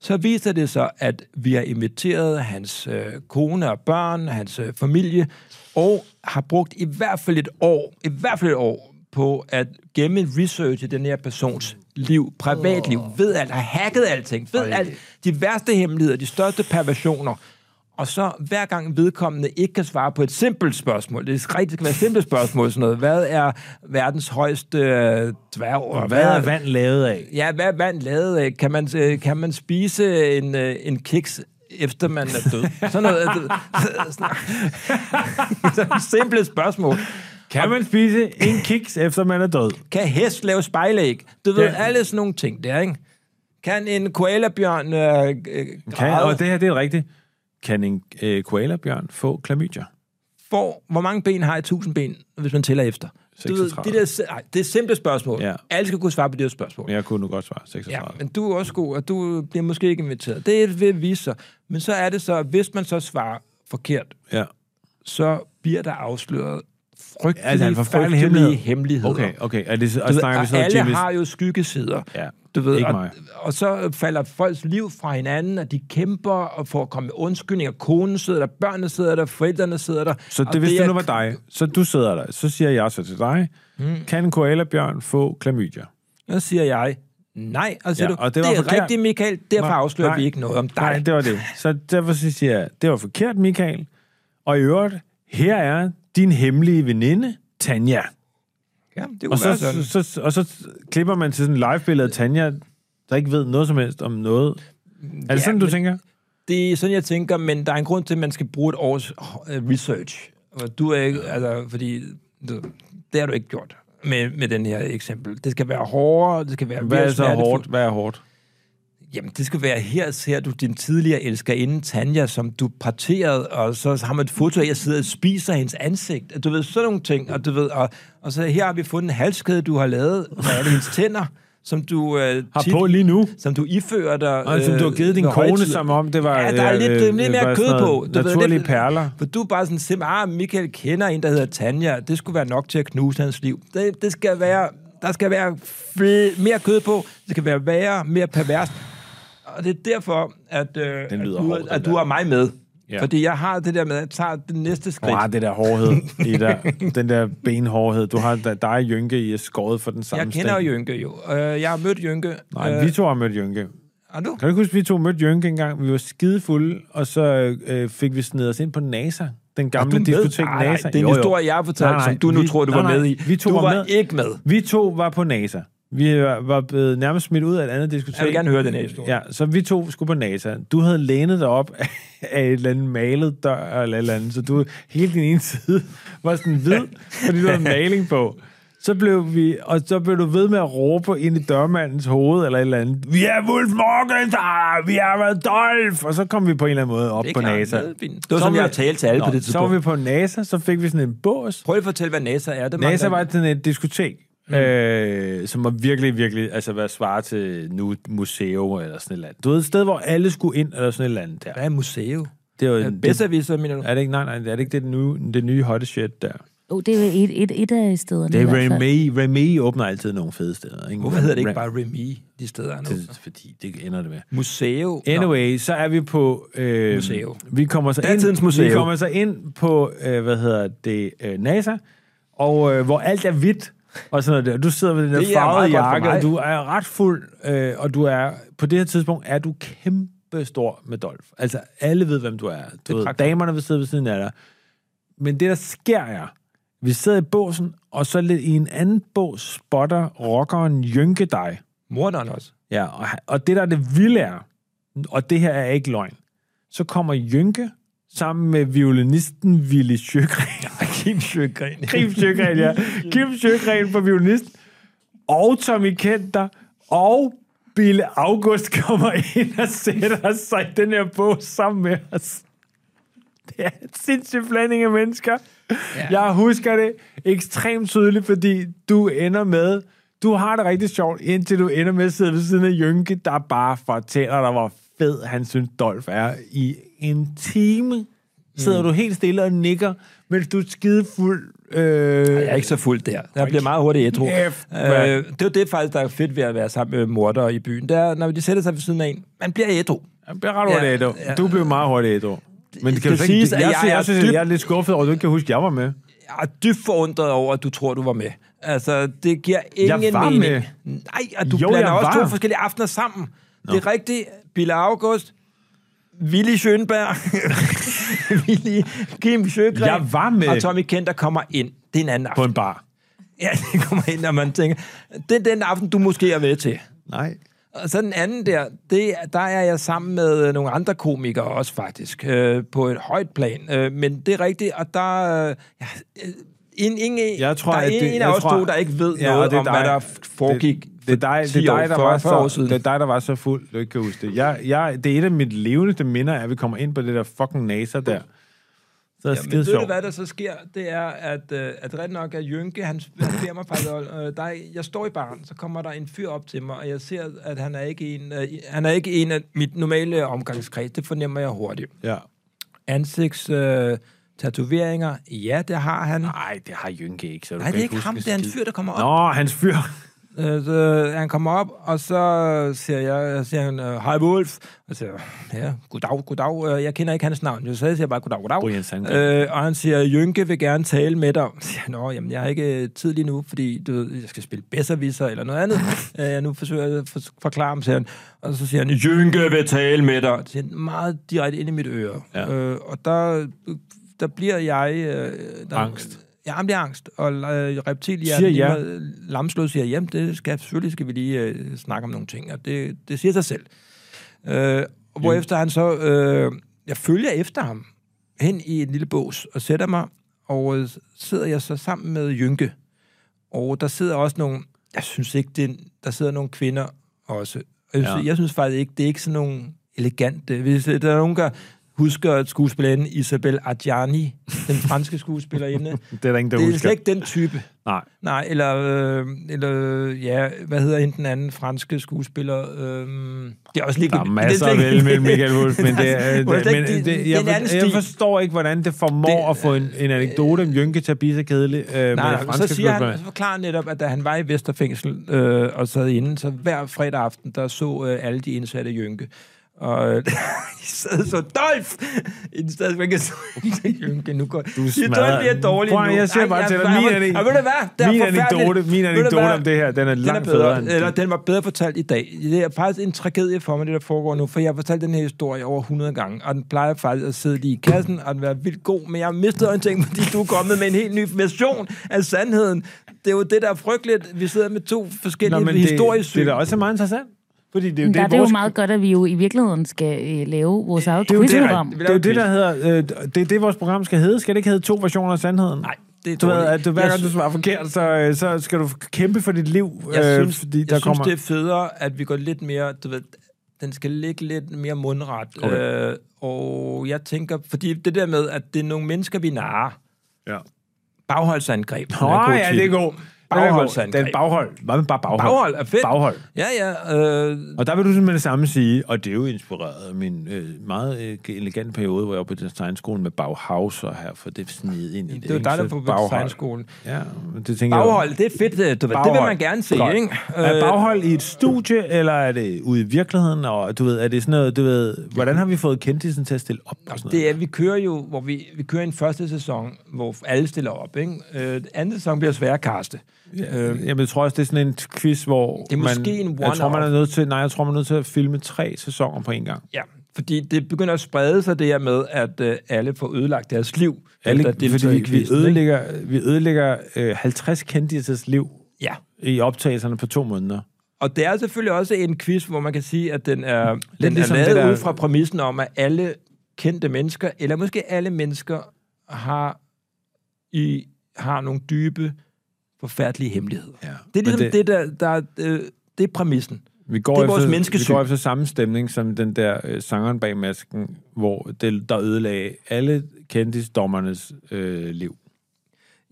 [SPEAKER 1] Så viser det sig, at vi har inviteret hans øh, kone og børn, hans øh, familie, og har brugt i hvert fald et år, i hvert fald et år, på at gemme en research i den her persons liv, privatliv, ved alt, har hacket alting, ved alt, de værste hemmeligheder, de største perversioner. Og så hver gang vedkommende ikke kan svare på et simpelt spørgsmål, det skal rigtig det skal være et simpelt spørgsmål, sådan noget, hvad er verdens højeste øh, dværg? Og
[SPEAKER 2] Hvad er vand lavet af?
[SPEAKER 1] Ja, hvad er vand lavet af? Kan man, øh, kan man spise en, øh, en kiks, efter man er død? Sådan noget. øh, så- så- Sådan simple spørgsmål.
[SPEAKER 2] Kan man spise en kiks, efter man er død?
[SPEAKER 1] Kan hest lave spejlæg? Du ved,
[SPEAKER 2] Ja.
[SPEAKER 1] alle sådan nogle ting der, ikke? Kan en koalabjørn øh, øh,
[SPEAKER 2] Kan,
[SPEAKER 1] græde?
[SPEAKER 2] og det her, det er rigtigt. Kan en øh, koalabjørn få klamydia?
[SPEAKER 1] Får, hvor mange ben har et tusind ben, hvis man tæller efter? Du ved,
[SPEAKER 2] 36.
[SPEAKER 1] det, der, si- ej, det er simple spørgsmål.
[SPEAKER 2] Ja.
[SPEAKER 1] Ja. Alle skal kunne svare på det her spørgsmål.
[SPEAKER 2] Jeg kunne nu godt svare
[SPEAKER 1] Ja,
[SPEAKER 2] 36.
[SPEAKER 1] men du er også god, og du bliver måske ikke inviteret. Det vil vise sig. Men så er det så, at hvis man så svarer forkert,
[SPEAKER 2] Ja.
[SPEAKER 1] så bliver der afsløret frygtelige,
[SPEAKER 2] Ja, det er en forfærdelig
[SPEAKER 1] frygtelige
[SPEAKER 2] hemmelighed.
[SPEAKER 1] hemmeligheder. hemmeligheder.
[SPEAKER 2] Okay, okay. Er det,
[SPEAKER 1] Du
[SPEAKER 2] og
[SPEAKER 1] ved,
[SPEAKER 2] snakker vi
[SPEAKER 1] og
[SPEAKER 2] så om
[SPEAKER 1] alle
[SPEAKER 2] Jimmys?
[SPEAKER 1] har jo skyggesider.
[SPEAKER 2] Ja,
[SPEAKER 1] Du ved,
[SPEAKER 2] ikke
[SPEAKER 1] og,
[SPEAKER 2] mig.
[SPEAKER 1] og så falder folks liv fra hinanden, og de kæmper og får at komme med undskyldninger. Konen sidder der, børnene sidder der, forældrene sidder der.
[SPEAKER 2] Så
[SPEAKER 1] Og
[SPEAKER 2] det, hvis det,
[SPEAKER 1] er-
[SPEAKER 2] nu var dig, så du sidder der, så siger jeg så til dig,
[SPEAKER 1] Hmm.
[SPEAKER 2] mm. kan en koalabjørn få klamydia?
[SPEAKER 1] Så siger jeg, nej. Og, så siger
[SPEAKER 2] Mm. Ja,
[SPEAKER 1] du,
[SPEAKER 2] og det
[SPEAKER 1] det,
[SPEAKER 2] var
[SPEAKER 1] det er
[SPEAKER 2] forkert.
[SPEAKER 1] rigtigt, Michael. Derfor
[SPEAKER 2] Nej,
[SPEAKER 1] afslører
[SPEAKER 2] nej,
[SPEAKER 1] vi ikke noget om dig.
[SPEAKER 2] Nej, det var det. Så derfor så siger jeg, det var forkert, Michael. Og i øvrigt, her er din hemmelige veninde, Tanja.
[SPEAKER 1] ja, det
[SPEAKER 2] Og
[SPEAKER 1] kunne
[SPEAKER 2] så,
[SPEAKER 1] være sådan.
[SPEAKER 2] så, så, og så klipper man til sådan en live-billede af Tanja, der ikke ved noget som helst om noget. Er det
[SPEAKER 1] Ja,
[SPEAKER 2] sådan, du
[SPEAKER 1] men-
[SPEAKER 2] tænker?
[SPEAKER 1] Det er sådan, jeg tænker, men der er en grund til, at man skal bruge et års øh, research. Og du er ikke, altså, fordi du, det har du ikke gjort med, med den her eksempel. Det skal være hårdere, det skal være
[SPEAKER 2] Hvad
[SPEAKER 1] mere
[SPEAKER 2] er så
[SPEAKER 1] smertefuldt.
[SPEAKER 2] hårdt? Hvad er hårdt?
[SPEAKER 1] Jamen, det skal være, her ser du din tidligere elskerinde Tanja, som du parterede, og så har man et foto af, jeg sidder og spiser hendes ansigt. Du ved, sådan nogle ting, og du ved, og, og så her har vi fundet en halskæde, du har lavet, og er det hendes tænder, som du, øh,
[SPEAKER 2] Har
[SPEAKER 1] tit,
[SPEAKER 2] på lige nu.
[SPEAKER 1] som du ifører dig.
[SPEAKER 2] Og som du har givet din
[SPEAKER 1] ved
[SPEAKER 2] kone,
[SPEAKER 1] højtider.
[SPEAKER 2] som om det var...
[SPEAKER 1] Ja, der er
[SPEAKER 2] øh,
[SPEAKER 1] lidt,
[SPEAKER 2] øh,
[SPEAKER 1] øh, lidt mere
[SPEAKER 2] var sådan
[SPEAKER 1] kød
[SPEAKER 2] noget
[SPEAKER 1] på. Du ved,
[SPEAKER 2] Naturlige
[SPEAKER 1] lidt-
[SPEAKER 2] perler.
[SPEAKER 1] For du er bare sådan simpelthen, ah, Michael kender en, der hedder Tanja. Det skulle være nok til at knuse hans liv. Det, det skal være, der skal være fl- mere kød på. Det skal være værre, mere pervers. Og det er derfor, at, øh,
[SPEAKER 2] Den lyder
[SPEAKER 1] at, du,
[SPEAKER 2] hård, den
[SPEAKER 1] at
[SPEAKER 2] der.
[SPEAKER 1] du har mig med.
[SPEAKER 2] Ja.
[SPEAKER 1] Ja. Fordi jeg har det der med, at jeg tager det næste skridt.
[SPEAKER 2] Åh, ah, det der hårdhed i der, den der benhårdhed. Du har der, dig og Jynke, I er skåret for den samme
[SPEAKER 1] jeg kender
[SPEAKER 2] stang.
[SPEAKER 1] jo Jynke jo. Øh, jeg har mødt Jynke.
[SPEAKER 2] Nej, vi to har mødt Jynke.
[SPEAKER 1] har du?
[SPEAKER 2] Kan du ikke huske, at vi to mødte Jynke engang? Vi var skidefulde, og så øh, fik vi snedet os ind på NASA. Den gamle
[SPEAKER 1] du med?
[SPEAKER 2] diskotek
[SPEAKER 1] Nej, nej,
[SPEAKER 2] NASA.
[SPEAKER 1] det er en historie, jeg har fortalt, som du nu tror, du var med i.
[SPEAKER 2] Vi to
[SPEAKER 1] Du
[SPEAKER 2] var,
[SPEAKER 1] var
[SPEAKER 2] med.
[SPEAKER 1] ikke med.
[SPEAKER 2] Vi to var på NASA. Vi var, var blevet nærmest smidt ud af et andet diskotek.
[SPEAKER 1] Jeg vil gerne høre den her historie.
[SPEAKER 2] Ja, så vi to skulle på NASA. Du havde lænet dig op af et eller andet malet dør eller et eller andet, så du, hele din ene side var sådan hvid, fordi du havde maling på. Så blev vi, og så blev du ved med at råbe ind i dørmandens hoved eller et eller andet. Vi er Wolf Morgenthaler! Vi er Rodolf! Og så kom vi på en eller anden måde op
[SPEAKER 1] Det er
[SPEAKER 2] på
[SPEAKER 1] klart,
[SPEAKER 2] NASA.
[SPEAKER 1] det er fint. Det var sådan, jeg talte til alle på det
[SPEAKER 2] Så var vi
[SPEAKER 1] tidspunkt.
[SPEAKER 2] på NASA, så fik vi sådan en bås,
[SPEAKER 1] Prøv lige at fortælle, hvad NASA er. Det
[SPEAKER 2] NASA
[SPEAKER 1] mangler-
[SPEAKER 2] var sådan et diskotek, mm. øh, som var virkelig, virkelig, altså hvad svarer til nu museum eller sådan et eller andet. Du ved, et sted, hvor alle skulle ind eller sådan et eller andet der.
[SPEAKER 1] Hvad er museum?
[SPEAKER 2] Mm, Det var,
[SPEAKER 1] Øh, Bedst
[SPEAKER 2] det,
[SPEAKER 1] at vi så, mener du?
[SPEAKER 2] er det ikke, nej, nej, er det ikke det nye, det nye hotte shit der?
[SPEAKER 4] Jo, det er vel et, et, et af stederne
[SPEAKER 2] Det
[SPEAKER 4] i
[SPEAKER 2] er
[SPEAKER 4] hvert fald.
[SPEAKER 2] Remy. Remy åbner altid nogle fede steder. Ikke?
[SPEAKER 1] Hvorfor hedder det ikke
[SPEAKER 2] Rem-
[SPEAKER 1] bare Remy, de steder nu?
[SPEAKER 2] Det, er fordi det ender det med.
[SPEAKER 1] Museum.
[SPEAKER 2] Anyway, så er vi på... Øh,
[SPEAKER 1] Museum.
[SPEAKER 2] Vi kommer så
[SPEAKER 1] Datidens
[SPEAKER 2] ind,
[SPEAKER 1] museum.
[SPEAKER 2] Vi kommer så ind på, øh, hvad hedder det, øh, NASA, og øh, hvor alt er hvidt. Og sådan noget der. Du sidder med den der
[SPEAKER 1] Det er
[SPEAKER 2] farvede
[SPEAKER 1] meget godt for
[SPEAKER 2] jakke,
[SPEAKER 1] mig.
[SPEAKER 2] og du er ret fuld, øh, og du er, på det her tidspunkt er du kæmpe stor med Dolf. Altså, alle ved, hvem du er. Du ved,
[SPEAKER 1] pragtfuldt.
[SPEAKER 2] damerne vil sidde ved siden af dig. Men det, der sker, er, vi sidder i båsen, og så lidt i en anden bås spotter rockeren Jynke dig.
[SPEAKER 1] Nå, Morderen også.
[SPEAKER 2] Ja, og, og det der er det vilde er, og det her er ikke løgn, så kommer Jynke sammen med violinisten Willy Sjøgren.
[SPEAKER 1] Kim Sjøgren.
[SPEAKER 2] Kim Sjøgren, ja. Kim Sjøgren på violinist. Og Tommy Kenter. Og Bille August kommer ind og sætter sig i den her bog sammen med os. Det er en sindssyg blanding af mennesker. Ja. Jeg husker det ekstremt tydeligt, fordi du ender med... Du har det rigtig sjovt, indtil du ender med at sidde ved siden af Jynke, der bare fortæller dig, hvor fed han synes, Dolf er. I en time sidder mm. du helt stille og nikker, mens du er skidefuld. Øh,
[SPEAKER 1] Jeg er ikke så fuld der. Jeg bliver meget hurtigt ædru.
[SPEAKER 2] Kæft,
[SPEAKER 1] Øh,
[SPEAKER 2] mand.
[SPEAKER 1] det er jo det faktisk, der er fedt ved at være sammen med mordere i byen. Det er, når de sætter sig ved siden af en, man bliver ædru.
[SPEAKER 2] Jeg bliver ret hurtigt
[SPEAKER 1] Ja,
[SPEAKER 2] ædru.
[SPEAKER 1] ja.
[SPEAKER 2] Du blev meget hurtigt ædru. Men det kan
[SPEAKER 1] skal
[SPEAKER 2] du så ikke,
[SPEAKER 1] siges,
[SPEAKER 2] jeg,
[SPEAKER 1] at
[SPEAKER 2] jeg,
[SPEAKER 1] jeg
[SPEAKER 2] jeg,
[SPEAKER 1] er
[SPEAKER 2] jeg, synes,
[SPEAKER 1] dybt-
[SPEAKER 2] jeg er lidt skuffet over, at du ikke kan huske, at jeg var med.
[SPEAKER 1] Jeg er dybt forundret over, at du tror, du var med. Altså, det giver
[SPEAKER 2] Jeg
[SPEAKER 1] ingen
[SPEAKER 2] var
[SPEAKER 1] mening.
[SPEAKER 2] med.
[SPEAKER 1] Nej, og du
[SPEAKER 2] Jo,
[SPEAKER 1] jo, blander
[SPEAKER 2] jeg
[SPEAKER 1] også
[SPEAKER 2] var.
[SPEAKER 1] to forskellige aftener sammen. Nå. Det er rigtigt. Bille August, Willy Schønberg, Willy, Kim Sjøgren
[SPEAKER 2] Jeg var med.
[SPEAKER 1] og Tommy Kent, der kommer ind. Det er en anden
[SPEAKER 2] På
[SPEAKER 1] aften.
[SPEAKER 2] en bar.
[SPEAKER 1] Ja, det kommer ind, når man tænker, det er den aften, du måske er med til.
[SPEAKER 2] Nej.
[SPEAKER 1] Og så den anden der, det, der er jeg sammen med øh, nogle andre komikere også faktisk, øh, på et højt plan. Øh, men det er rigtigt, og der, øh, ja, øh, en, ingen,
[SPEAKER 2] Jeg tror,
[SPEAKER 1] der er
[SPEAKER 2] at
[SPEAKER 1] en,
[SPEAKER 2] det-
[SPEAKER 1] en
[SPEAKER 2] jeg
[SPEAKER 1] af os
[SPEAKER 2] tror-
[SPEAKER 1] to, der ikke ved
[SPEAKER 2] Ja,
[SPEAKER 1] ja,
[SPEAKER 2] og
[SPEAKER 1] noget
[SPEAKER 2] det er
[SPEAKER 1] om,
[SPEAKER 2] dig.
[SPEAKER 1] hvad der foregik
[SPEAKER 2] Det er dig,
[SPEAKER 1] for
[SPEAKER 2] det
[SPEAKER 1] 10
[SPEAKER 2] er
[SPEAKER 1] år,
[SPEAKER 2] dig, der
[SPEAKER 1] 40
[SPEAKER 2] var
[SPEAKER 1] år
[SPEAKER 2] så,
[SPEAKER 1] siden.
[SPEAKER 2] det er dig, der var så fuld, du ikke kan huske det. Jeg, jeg, det er et af mit levende minder, er, at vi kommer ind på det der fucking NASA der. Så er det
[SPEAKER 1] Ja,
[SPEAKER 2] skide
[SPEAKER 1] men ved du,
[SPEAKER 2] sjovt.
[SPEAKER 1] hvad der så sker? Det er, at, øh, at ret nok er Jynke, han han beder mig faktisk, øh, der, er- jeg står i baren, så kommer der en fyr op til mig, og jeg ser, at han er ikke en, øh, han er ikke en af mit normale omgangskreds. Det fornemmer jeg hurtigt.
[SPEAKER 2] Ja.
[SPEAKER 1] Ansigtsfarve, øh, Tatoveringer, ja, det har han.
[SPEAKER 2] Nej, det har Jynke ikke, så du
[SPEAKER 1] Nej,
[SPEAKER 2] Ah, kan
[SPEAKER 1] det er ikke
[SPEAKER 2] huske
[SPEAKER 1] ham,
[SPEAKER 2] en
[SPEAKER 1] det er en
[SPEAKER 2] skid.
[SPEAKER 1] fyr, der kommer op.
[SPEAKER 2] Nå, hans fyr.
[SPEAKER 1] Øh, så han kommer op, og så siger jeg, siger han, øh, hej Wolf. Og så siger jeg, ja, goddag, goddag. Øh, Jeg kender ikke hans navn, så jeg siger bare, goddag, goddag.
[SPEAKER 2] Brian Sandgren.
[SPEAKER 1] øh, og han siger, Jynke vil gerne tale med dig. Så siger jeg, Nå, jamen, jeg har ikke øh, tid lige nu, fordi du, ved, jeg skal spille bedserviser eller noget andet. Øh, jeg nu forsøger jeg at for- forklare ham, siger han. Og så siger han, Jynke vil tale med dig. Det siger han meget direkte ind i mit øre.
[SPEAKER 2] Ja.
[SPEAKER 1] Øh, og der, der bliver jeg... Øh, der,
[SPEAKER 2] Angst.
[SPEAKER 1] Ja, han bliver angst. Og øh, reptilhjernen...
[SPEAKER 2] Siger
[SPEAKER 1] i
[SPEAKER 2] ja.
[SPEAKER 1] mig- lamslået siger, jamen, det skal, selvfølgelig skal vi lige øh, snakke om nogle ting, og det, det siger sig selv. Øh, og hvorefter han så, øh, jeg følger efter ham hen i en lille bås og sætter mig, og øh, sidder jeg så sammen med Jynke. Og der sidder også nogle, jeg synes ikke, det, er en- der sidder nogle kvinder også. Og Jeg,
[SPEAKER 2] Ja.
[SPEAKER 1] ja. jeg synes faktisk ikke, det er ikke sådan nogle elegante. Hvis øh, der er nogen, der husker at skuespillerinden Isabel Adjani, den franske skuespillerinde,
[SPEAKER 2] Det er der ingen, der
[SPEAKER 1] det er
[SPEAKER 2] husker.
[SPEAKER 1] slet ikke den type.
[SPEAKER 2] Nej.
[SPEAKER 1] Nej, eller, øh, eller øh, ja, hvad hedder hende den anden franske skuespiller? Øh, det er Altså, også lige
[SPEAKER 2] Der er masser af vel mellem Michael Wolf, men det er...
[SPEAKER 1] det,
[SPEAKER 2] det-
[SPEAKER 1] det,
[SPEAKER 2] men
[SPEAKER 1] det,
[SPEAKER 2] det-
[SPEAKER 1] det er en anden
[SPEAKER 2] Jeg jeg
[SPEAKER 1] stil.
[SPEAKER 2] forstår ikke, hvordan det formår
[SPEAKER 1] Det-
[SPEAKER 2] at få en en anekdote om Jynke til at blive så kedelig. øh, med
[SPEAKER 1] Nej,
[SPEAKER 2] det
[SPEAKER 1] nej,
[SPEAKER 2] franske
[SPEAKER 1] så siger han,
[SPEAKER 2] fodbold.
[SPEAKER 1] så forklarer han netop, at da han var i Vesterfængsel øh, og sad inde, så hver fredag aften, der så øh, alle de indsatte Jynke. Og øh, de sad så, Dolf! I stedet for, man kan sige, Jynke, nu går... Du
[SPEAKER 2] smadrer
[SPEAKER 1] bliver
[SPEAKER 2] den.
[SPEAKER 1] dårlig
[SPEAKER 2] Prøv at-
[SPEAKER 1] nu.
[SPEAKER 2] jeg siger
[SPEAKER 1] Ej,
[SPEAKER 2] bare til dig,
[SPEAKER 1] jeg-
[SPEAKER 2] min
[SPEAKER 1] jeg-
[SPEAKER 2] anek-
[SPEAKER 1] og ved du hvad? Det er
[SPEAKER 2] min
[SPEAKER 1] forfærdeligt.
[SPEAKER 2] anekdote-
[SPEAKER 1] Ved
[SPEAKER 2] min
[SPEAKER 1] du
[SPEAKER 2] anekdote
[SPEAKER 1] hvad?
[SPEAKER 2] om det her, den er langt
[SPEAKER 1] bedre,
[SPEAKER 2] federe end-
[SPEAKER 1] Eller den var bedre fortalt i dag. Det er faktisk en tragedie for mig, det der foregår nu, for jeg har fortalt den her historie over 100 gange, og den plejer faktisk at sidde lige i kassen, og den være vildt god, men jeg har mistet orientering, fordi du er kommet med en helt ny version af sandheden. Det er jo det, der er frygteligt. Vi sidder med to forskellige
[SPEAKER 2] Nå, men
[SPEAKER 1] historiske
[SPEAKER 2] det, det er da også meget interessant. Fordi det er jo
[SPEAKER 4] Men
[SPEAKER 2] det,
[SPEAKER 4] der er det jo
[SPEAKER 2] vores-
[SPEAKER 4] meget godt, at vi jo i virkeligheden skal øh, lave vores eget
[SPEAKER 2] det er jo det,
[SPEAKER 4] quizprogram.
[SPEAKER 2] det, er jo det, der hedder, øh, det er det, vores program skal hedde. Skal det ikke hedde to versioner af sandheden?
[SPEAKER 1] Nej, det er
[SPEAKER 2] Du ved,
[SPEAKER 1] dårligt.
[SPEAKER 2] at du, hver
[SPEAKER 1] Jeg
[SPEAKER 2] gang du
[SPEAKER 1] synes-
[SPEAKER 2] svarer forkert, så, øh, så skal du kæmpe for dit liv,
[SPEAKER 1] Jeg
[SPEAKER 2] øh,
[SPEAKER 1] synes,
[SPEAKER 2] fordi
[SPEAKER 1] jeg
[SPEAKER 2] der
[SPEAKER 1] synes
[SPEAKER 2] kommer...
[SPEAKER 1] det er federe, at vi går lidt mere, du ved, den skal ligge lidt mere mundret.
[SPEAKER 2] Okay.
[SPEAKER 1] Øh, og jeg tænker, fordi det der med, at det er nogle mennesker, vi narer.
[SPEAKER 2] Ja.
[SPEAKER 1] Bagholdsangreb.
[SPEAKER 2] Nå,
[SPEAKER 1] er en god
[SPEAKER 2] ja,
[SPEAKER 1] titel.
[SPEAKER 2] det er god. Den er god.
[SPEAKER 1] Bagholdsangreb.
[SPEAKER 2] Den baghold. Hvad med bare baghold?
[SPEAKER 1] Baghold er fedt.
[SPEAKER 2] Baghold.
[SPEAKER 1] Ja, ja. Øh,
[SPEAKER 2] Og der vil du med det samme sige, og det er jo inspireret af min øh, meget øh, elegante periode, hvor jeg var på designskolen med Bauhaus og her, for det sned ind i det.
[SPEAKER 1] det var
[SPEAKER 2] ikke?
[SPEAKER 1] dig, der
[SPEAKER 2] Så
[SPEAKER 1] på
[SPEAKER 2] baghold.
[SPEAKER 1] designskolen.
[SPEAKER 2] Ja, men det tænker jeg.
[SPEAKER 1] Baghold, det er fedt. øh, Du ved, det vil
[SPEAKER 2] Baghold.
[SPEAKER 1] man gerne se,
[SPEAKER 2] Godt.
[SPEAKER 1] ikke?
[SPEAKER 2] Er
[SPEAKER 1] Øh,
[SPEAKER 2] baghold i et studie, eller er det ude i virkeligheden? Og du ved, er det sådan noget, du ved, hvordan har vi fået kendtisen til at stille op? Og sådan noget?
[SPEAKER 1] Det er, vi kører jo, hvor vi, vi kører en første sæson, hvor alle stiller op, ikke? Øh, anden sæson bliver svær at kaste.
[SPEAKER 2] Øh, Jamen, jeg tror også, det er sådan en quiz, hvor
[SPEAKER 1] er måske en
[SPEAKER 2] man, jeg tror, man er
[SPEAKER 1] one-off.
[SPEAKER 2] nødt til, nej, jeg tror, man er nødt til at filme tre sæsoner på en gang.
[SPEAKER 1] Ja, fordi det begynder at sprede sig det her med, at øh, alle får ødelagt deres liv.
[SPEAKER 2] Alle,
[SPEAKER 1] efter at deltage
[SPEAKER 2] fordi vi,
[SPEAKER 1] i
[SPEAKER 2] vi
[SPEAKER 1] quizzen, ikke?
[SPEAKER 2] ødelægger, vi ødelægger øh, 50 kendtisers liv
[SPEAKER 1] Ja,
[SPEAKER 2] i optagelserne på to måneder.
[SPEAKER 1] og det er selvfølgelig også en quiz, hvor man kan sige, at den er, den
[SPEAKER 2] ligesom
[SPEAKER 1] er lavet
[SPEAKER 2] det der-
[SPEAKER 1] ud fra præmissen om, at alle kendte mennesker, eller måske alle mennesker, har, i, har nogle dybe, forfærdelige hemmeligheder.
[SPEAKER 2] Ja.
[SPEAKER 1] Det er
[SPEAKER 2] Men
[SPEAKER 1] ligesom
[SPEAKER 2] det-
[SPEAKER 1] det, det der, der øh, det er præmissen.
[SPEAKER 2] Vi går
[SPEAKER 1] Det er vores
[SPEAKER 2] efter, Vi
[SPEAKER 1] menneskesyn.
[SPEAKER 2] går efter samme stemning som den der øh, sangeren bag masken, hvor det, der ødelagde alle kendtisdommernes øh, liv.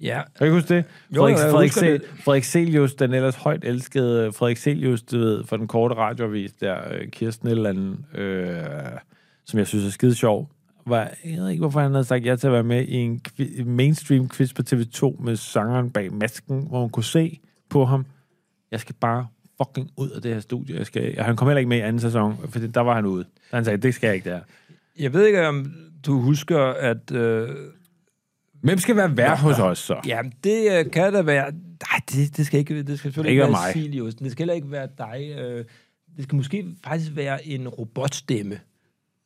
[SPEAKER 1] Ja,
[SPEAKER 2] Kan du ikke huske det?
[SPEAKER 1] Jo,
[SPEAKER 2] Frederik,
[SPEAKER 1] jeg
[SPEAKER 2] Frederik,
[SPEAKER 1] husker
[SPEAKER 2] Se- Frederik Selius, den ellers højt elskede Frederik Selius, du ved, for den korte radioavis der, øh, Kirsten et eller anden, øh, som jeg synes er skide sjov, var, jeg ved ikke, hvorfor han havde sagt ja til at være med i en kvi- en mainstream quiz på TV2 med sangeren bag masken, hvor hun kunne se på ham, jeg skal bare fucking ud af det her studie. Jeg skal, og han kom heller ikke med i anden sæson, for der var han ude. Så han sagde, det skal jeg ikke, der.
[SPEAKER 1] jeg ved ikke, om du husker, at... Øh,
[SPEAKER 2] Hvem skal være vært hos os så?
[SPEAKER 1] Jamen, det øh, kan da være... Nej, det, det skal ikke, det skal selvfølgelig
[SPEAKER 2] Ikke
[SPEAKER 1] ikke være
[SPEAKER 2] mig.
[SPEAKER 1] mig. Silius. Det skal heller ikke være dig. Øh, det skal måske faktisk være en robotstemme.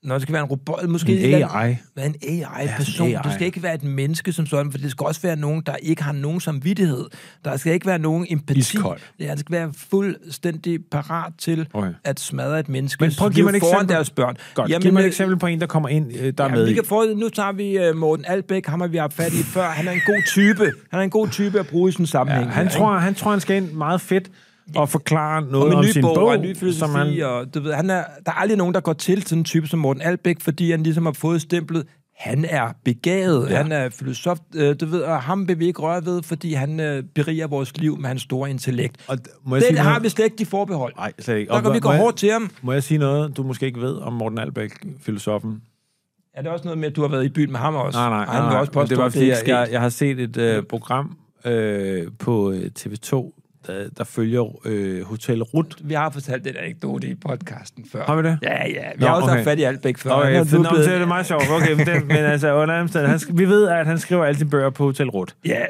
[SPEAKER 1] Når det skal være en robot... Måske
[SPEAKER 2] En
[SPEAKER 1] et eller andet-
[SPEAKER 2] AI.
[SPEAKER 1] Være en AI-person.
[SPEAKER 2] Ja, en AI.
[SPEAKER 1] Du skal ikke være et menneske som sådan, for det skal også være nogen, der ikke har nogen samvittighed. Der skal ikke være nogen empati.
[SPEAKER 2] Iskold.
[SPEAKER 1] Ja, det skal være fuldstændig parat til
[SPEAKER 2] Okay.
[SPEAKER 1] at smadre et menneske.
[SPEAKER 2] Men prøv at give mig et
[SPEAKER 1] foran
[SPEAKER 2] eksempel.
[SPEAKER 1] deres børn.
[SPEAKER 2] Godt, Jamen, giv mig et
[SPEAKER 1] øh,
[SPEAKER 2] eksempel på en, der kommer ind, øh, der er
[SPEAKER 1] Jamen,
[SPEAKER 2] med
[SPEAKER 1] vi
[SPEAKER 2] i.
[SPEAKER 1] kan få, nu tager vi uh, Morten Albæk, ham har vi haft fat i før. Han er en god type. Han er en god type at bruge i sådan en
[SPEAKER 2] Ja,
[SPEAKER 1] sammenhæng.
[SPEAKER 2] han,
[SPEAKER 1] her,
[SPEAKER 2] tror, han tror, han skal ind meget fedt og forklare
[SPEAKER 1] ikke?
[SPEAKER 2] noget
[SPEAKER 1] om
[SPEAKER 2] om
[SPEAKER 1] en ny
[SPEAKER 2] sin
[SPEAKER 1] bog,
[SPEAKER 2] bog,
[SPEAKER 1] og en ny filosofi,
[SPEAKER 2] som
[SPEAKER 1] han...
[SPEAKER 2] han,
[SPEAKER 1] og du ved, han er, der er aldrig nogen, der går til sådan en type som Morten Albæk, fordi han ligesom har fået stemplet, han er begavet,
[SPEAKER 2] Ja.
[SPEAKER 1] ja. han er filosof, øh, du ved, og ham vil vi ikke røre ved, fordi han øh, beriger vores liv med hans store intellekt.
[SPEAKER 2] Og
[SPEAKER 1] Og
[SPEAKER 2] d- må jeg
[SPEAKER 1] det
[SPEAKER 2] sige noget?
[SPEAKER 1] har vi slet ikke de forbehold.
[SPEAKER 2] Nej, slet ikke.
[SPEAKER 1] Der kan
[SPEAKER 2] Og
[SPEAKER 1] vi
[SPEAKER 2] må
[SPEAKER 1] gå
[SPEAKER 2] jeg-
[SPEAKER 1] hårdt til ham.
[SPEAKER 2] Må jeg sige noget, du måske ikke ved om Morten Albæk, filosofen?
[SPEAKER 1] Er det også noget med, at du har været i byen med ham også?
[SPEAKER 2] Nej, nej,
[SPEAKER 1] Og
[SPEAKER 2] nej.
[SPEAKER 1] han vil
[SPEAKER 2] nej.
[SPEAKER 1] også
[SPEAKER 2] Men
[SPEAKER 1] påstå,
[SPEAKER 2] det var,
[SPEAKER 1] at det
[SPEAKER 2] fordi,
[SPEAKER 1] er
[SPEAKER 2] det jeg,
[SPEAKER 1] helt-
[SPEAKER 2] jeg har set et øh, program øh, på øh, TV2, der, der følger øh, Hotel Rut.
[SPEAKER 1] Vi har fortalt den anekdote i podcasten før.
[SPEAKER 2] Har vi det?
[SPEAKER 1] Ja, ja. Vi
[SPEAKER 2] Nå,
[SPEAKER 1] har også haft
[SPEAKER 2] okay.
[SPEAKER 1] fat i Albæk før.
[SPEAKER 2] Nå,
[SPEAKER 1] Han
[SPEAKER 2] okay,
[SPEAKER 1] er
[SPEAKER 2] for,
[SPEAKER 1] nu
[SPEAKER 2] nå, men
[SPEAKER 1] blevet-
[SPEAKER 2] det er det meget sjovt. Okay, men, den, men altså, under alle omstændigheder, han, sk- vi ved, at han skriver alle sine bøger på Hotel Rut.
[SPEAKER 1] Ja.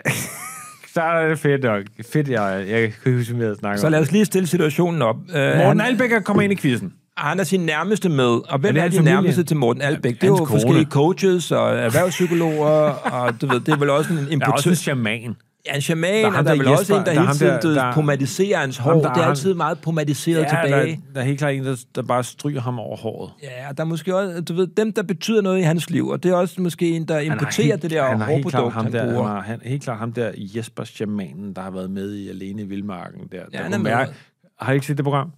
[SPEAKER 2] Så er det fedt nok. Fedt, jeg, jeg kan huske, hvad jeg snakker
[SPEAKER 1] Så
[SPEAKER 2] om.
[SPEAKER 1] lad os lige stille situationen op. Uh,
[SPEAKER 2] Morten
[SPEAKER 1] han,
[SPEAKER 2] Albækker kommer ind i quizzen.
[SPEAKER 1] han er sin nærmeste med. Og hvem
[SPEAKER 2] det
[SPEAKER 1] er, er
[SPEAKER 2] hans
[SPEAKER 1] de
[SPEAKER 2] familie?
[SPEAKER 1] nærmeste til Morten Albæk? Det er
[SPEAKER 2] hans
[SPEAKER 1] jo
[SPEAKER 2] kone.
[SPEAKER 1] forskellige coaches og erhvervspsykologer, og du ved, det er vel også en
[SPEAKER 2] Der er også
[SPEAKER 1] importør.
[SPEAKER 2] en shaman.
[SPEAKER 1] Ja, en shaman,
[SPEAKER 2] er
[SPEAKER 1] og
[SPEAKER 2] ham
[SPEAKER 1] der er
[SPEAKER 2] der
[SPEAKER 1] vel også en,
[SPEAKER 2] Jesper,
[SPEAKER 1] der,
[SPEAKER 2] der er
[SPEAKER 1] hele
[SPEAKER 2] ham
[SPEAKER 1] tiden
[SPEAKER 2] der-
[SPEAKER 1] der,
[SPEAKER 2] der-
[SPEAKER 1] pomadiserer hans hår.
[SPEAKER 2] Ham der
[SPEAKER 1] det er
[SPEAKER 2] har-
[SPEAKER 1] altid meget pomadiseret tilbage.
[SPEAKER 2] Der, der er helt klart en, der, der bare stryger ham over håret.
[SPEAKER 1] Ja, og der er måske også, du ved, dem, der betyder noget i hans liv, og det er også måske en, der
[SPEAKER 2] Han har
[SPEAKER 1] importerer
[SPEAKER 2] helt-
[SPEAKER 1] det der
[SPEAKER 2] han har helt klart
[SPEAKER 1] hårprodukt, han,
[SPEAKER 2] ham
[SPEAKER 1] han
[SPEAKER 2] der,
[SPEAKER 1] bruger.
[SPEAKER 2] Han har han, helt klart ham der Jesper Shamanen, der har været med i Alene i Vildmarken. Der, der
[SPEAKER 1] han
[SPEAKER 2] hun
[SPEAKER 1] er med.
[SPEAKER 2] mærker- har I ikke set det program?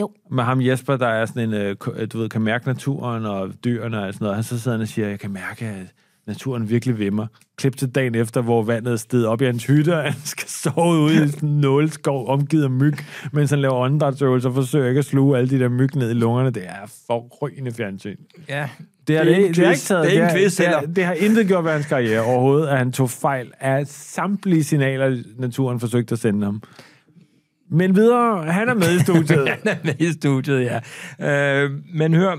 [SPEAKER 4] Jo.
[SPEAKER 2] Med ham Jesper, der er sådan en, øh, ko- øh, du ved, kan mærke naturen og dyrene og sådan noget. Han så sidder han og siger, jeg kan mærke, at naturen virkelig vimmer. Klip til dagen efter, hvor vandet steg op i hans hytte, og han skal sove ude i sådan en nåleskov omgivet af myg, mens han laver åndedrætsøvelser og forsøger ikke at sluge alle de der myg ned i lungerne. Det er forrygende fjernsyn.
[SPEAKER 1] Ja,
[SPEAKER 2] Det,
[SPEAKER 1] Det
[SPEAKER 2] er
[SPEAKER 1] er
[SPEAKER 2] det,
[SPEAKER 1] ikke
[SPEAKER 2] ikke, det, er
[SPEAKER 1] quiz.
[SPEAKER 2] ikke taget,
[SPEAKER 1] Det er ikke en quiz
[SPEAKER 2] det, er,
[SPEAKER 1] heller.
[SPEAKER 2] det har intet gjort ved hans karriere overhovedet, at han tog fejl af samtlige signaler, naturen forsøgte at sende ham. Men videre, han er med i studiet.
[SPEAKER 1] han er med i studiet, ja. Øh, men hør,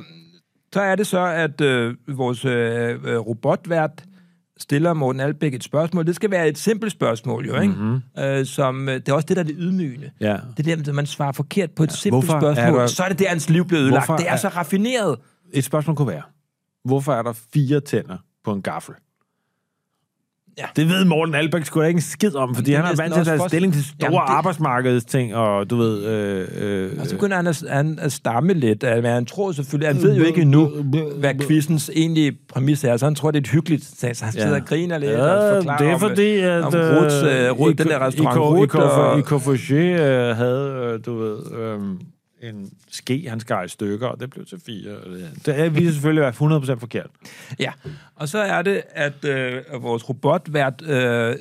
[SPEAKER 1] så er det så, at øh, vores øh, øh, robotvært stiller Morten Albæk et spørgsmål. Det skal være et simpelt spørgsmål, jo, ikke? Mm-hmm. Øh, som, øh, det er også det, der er det ydmygende.
[SPEAKER 2] Mhm. ja.
[SPEAKER 1] Det er der, man svarer forkert på et ja, simpelt
[SPEAKER 2] hvorfor er
[SPEAKER 1] spørgsmål.
[SPEAKER 2] der-
[SPEAKER 1] Så er det der, hans liv bliver ødelagt.
[SPEAKER 2] Hvorfor
[SPEAKER 1] Det er,
[SPEAKER 2] er-
[SPEAKER 1] så raffineret.
[SPEAKER 2] Et spørgsmål kunne være, hvorfor er der fire tænder på en gaffel?
[SPEAKER 1] Ja.
[SPEAKER 2] Det ved Morten Albæk sgu da ikke en skid om, fordi
[SPEAKER 1] Det er
[SPEAKER 2] han er
[SPEAKER 1] næsten
[SPEAKER 2] vant til at
[SPEAKER 1] også
[SPEAKER 2] tage
[SPEAKER 1] for-
[SPEAKER 2] stilling til store
[SPEAKER 1] Jamen,
[SPEAKER 2] Jamen,
[SPEAKER 1] det- Altså,
[SPEAKER 2] det... arbejdsmarkedsting, og du ved... Øh, øh,
[SPEAKER 1] Og så begynder han at, han at stamme lidt, at hvad han tror selvfølgelig, han ved jo ikke endnu, hvad quizens egentlige præmis er, så han tror, det er et hyggeligt sag, så han sidder og griner lidt og forklarer
[SPEAKER 2] det er
[SPEAKER 1] om,
[SPEAKER 2] fordi,
[SPEAKER 1] øh,
[SPEAKER 2] at...
[SPEAKER 1] om Ruts, øh, Rud,
[SPEAKER 2] I-
[SPEAKER 1] den der restaurant
[SPEAKER 2] I- I-
[SPEAKER 1] Rut,
[SPEAKER 2] I-
[SPEAKER 1] og-
[SPEAKER 2] I Kofoché øh, havde, øh, du ved, øh, en ske, han skar i stykker, og det blev til fire. og Det, det er vi selvfølgelig være 100% forkert.
[SPEAKER 1] Ja, og så er det, at øh, vores robotvært øh,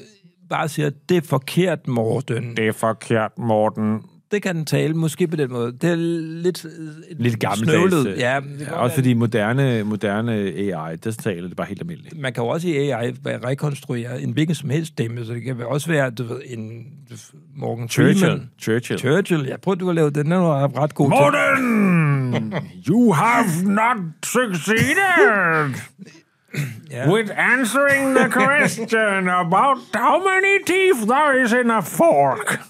[SPEAKER 1] bare siger, det er forkert, Morten.
[SPEAKER 2] Det er forkert, Morten.
[SPEAKER 1] Det kan den tale, måske på den måde. Det er lidt, øh,
[SPEAKER 2] Lidt gammeldags.
[SPEAKER 1] snøvlet.
[SPEAKER 2] øh,
[SPEAKER 1] Ja, det kan godt
[SPEAKER 2] også
[SPEAKER 1] være.
[SPEAKER 2] fordi moderne, moderne AI, der taler det bare helt almindeligt.
[SPEAKER 1] Man kan jo også i AI rekonstruere en hvilken som helst stemme, så det kan også være, du ved, en Morgan Freeman.
[SPEAKER 2] Churchill. Churchill.
[SPEAKER 1] Churchill. Jeg prøvede, du at lave den, den er ret god til.
[SPEAKER 2] Morten! You have not succeeded
[SPEAKER 1] Ja.
[SPEAKER 2] with answering the question about how many teeth there is in a fork.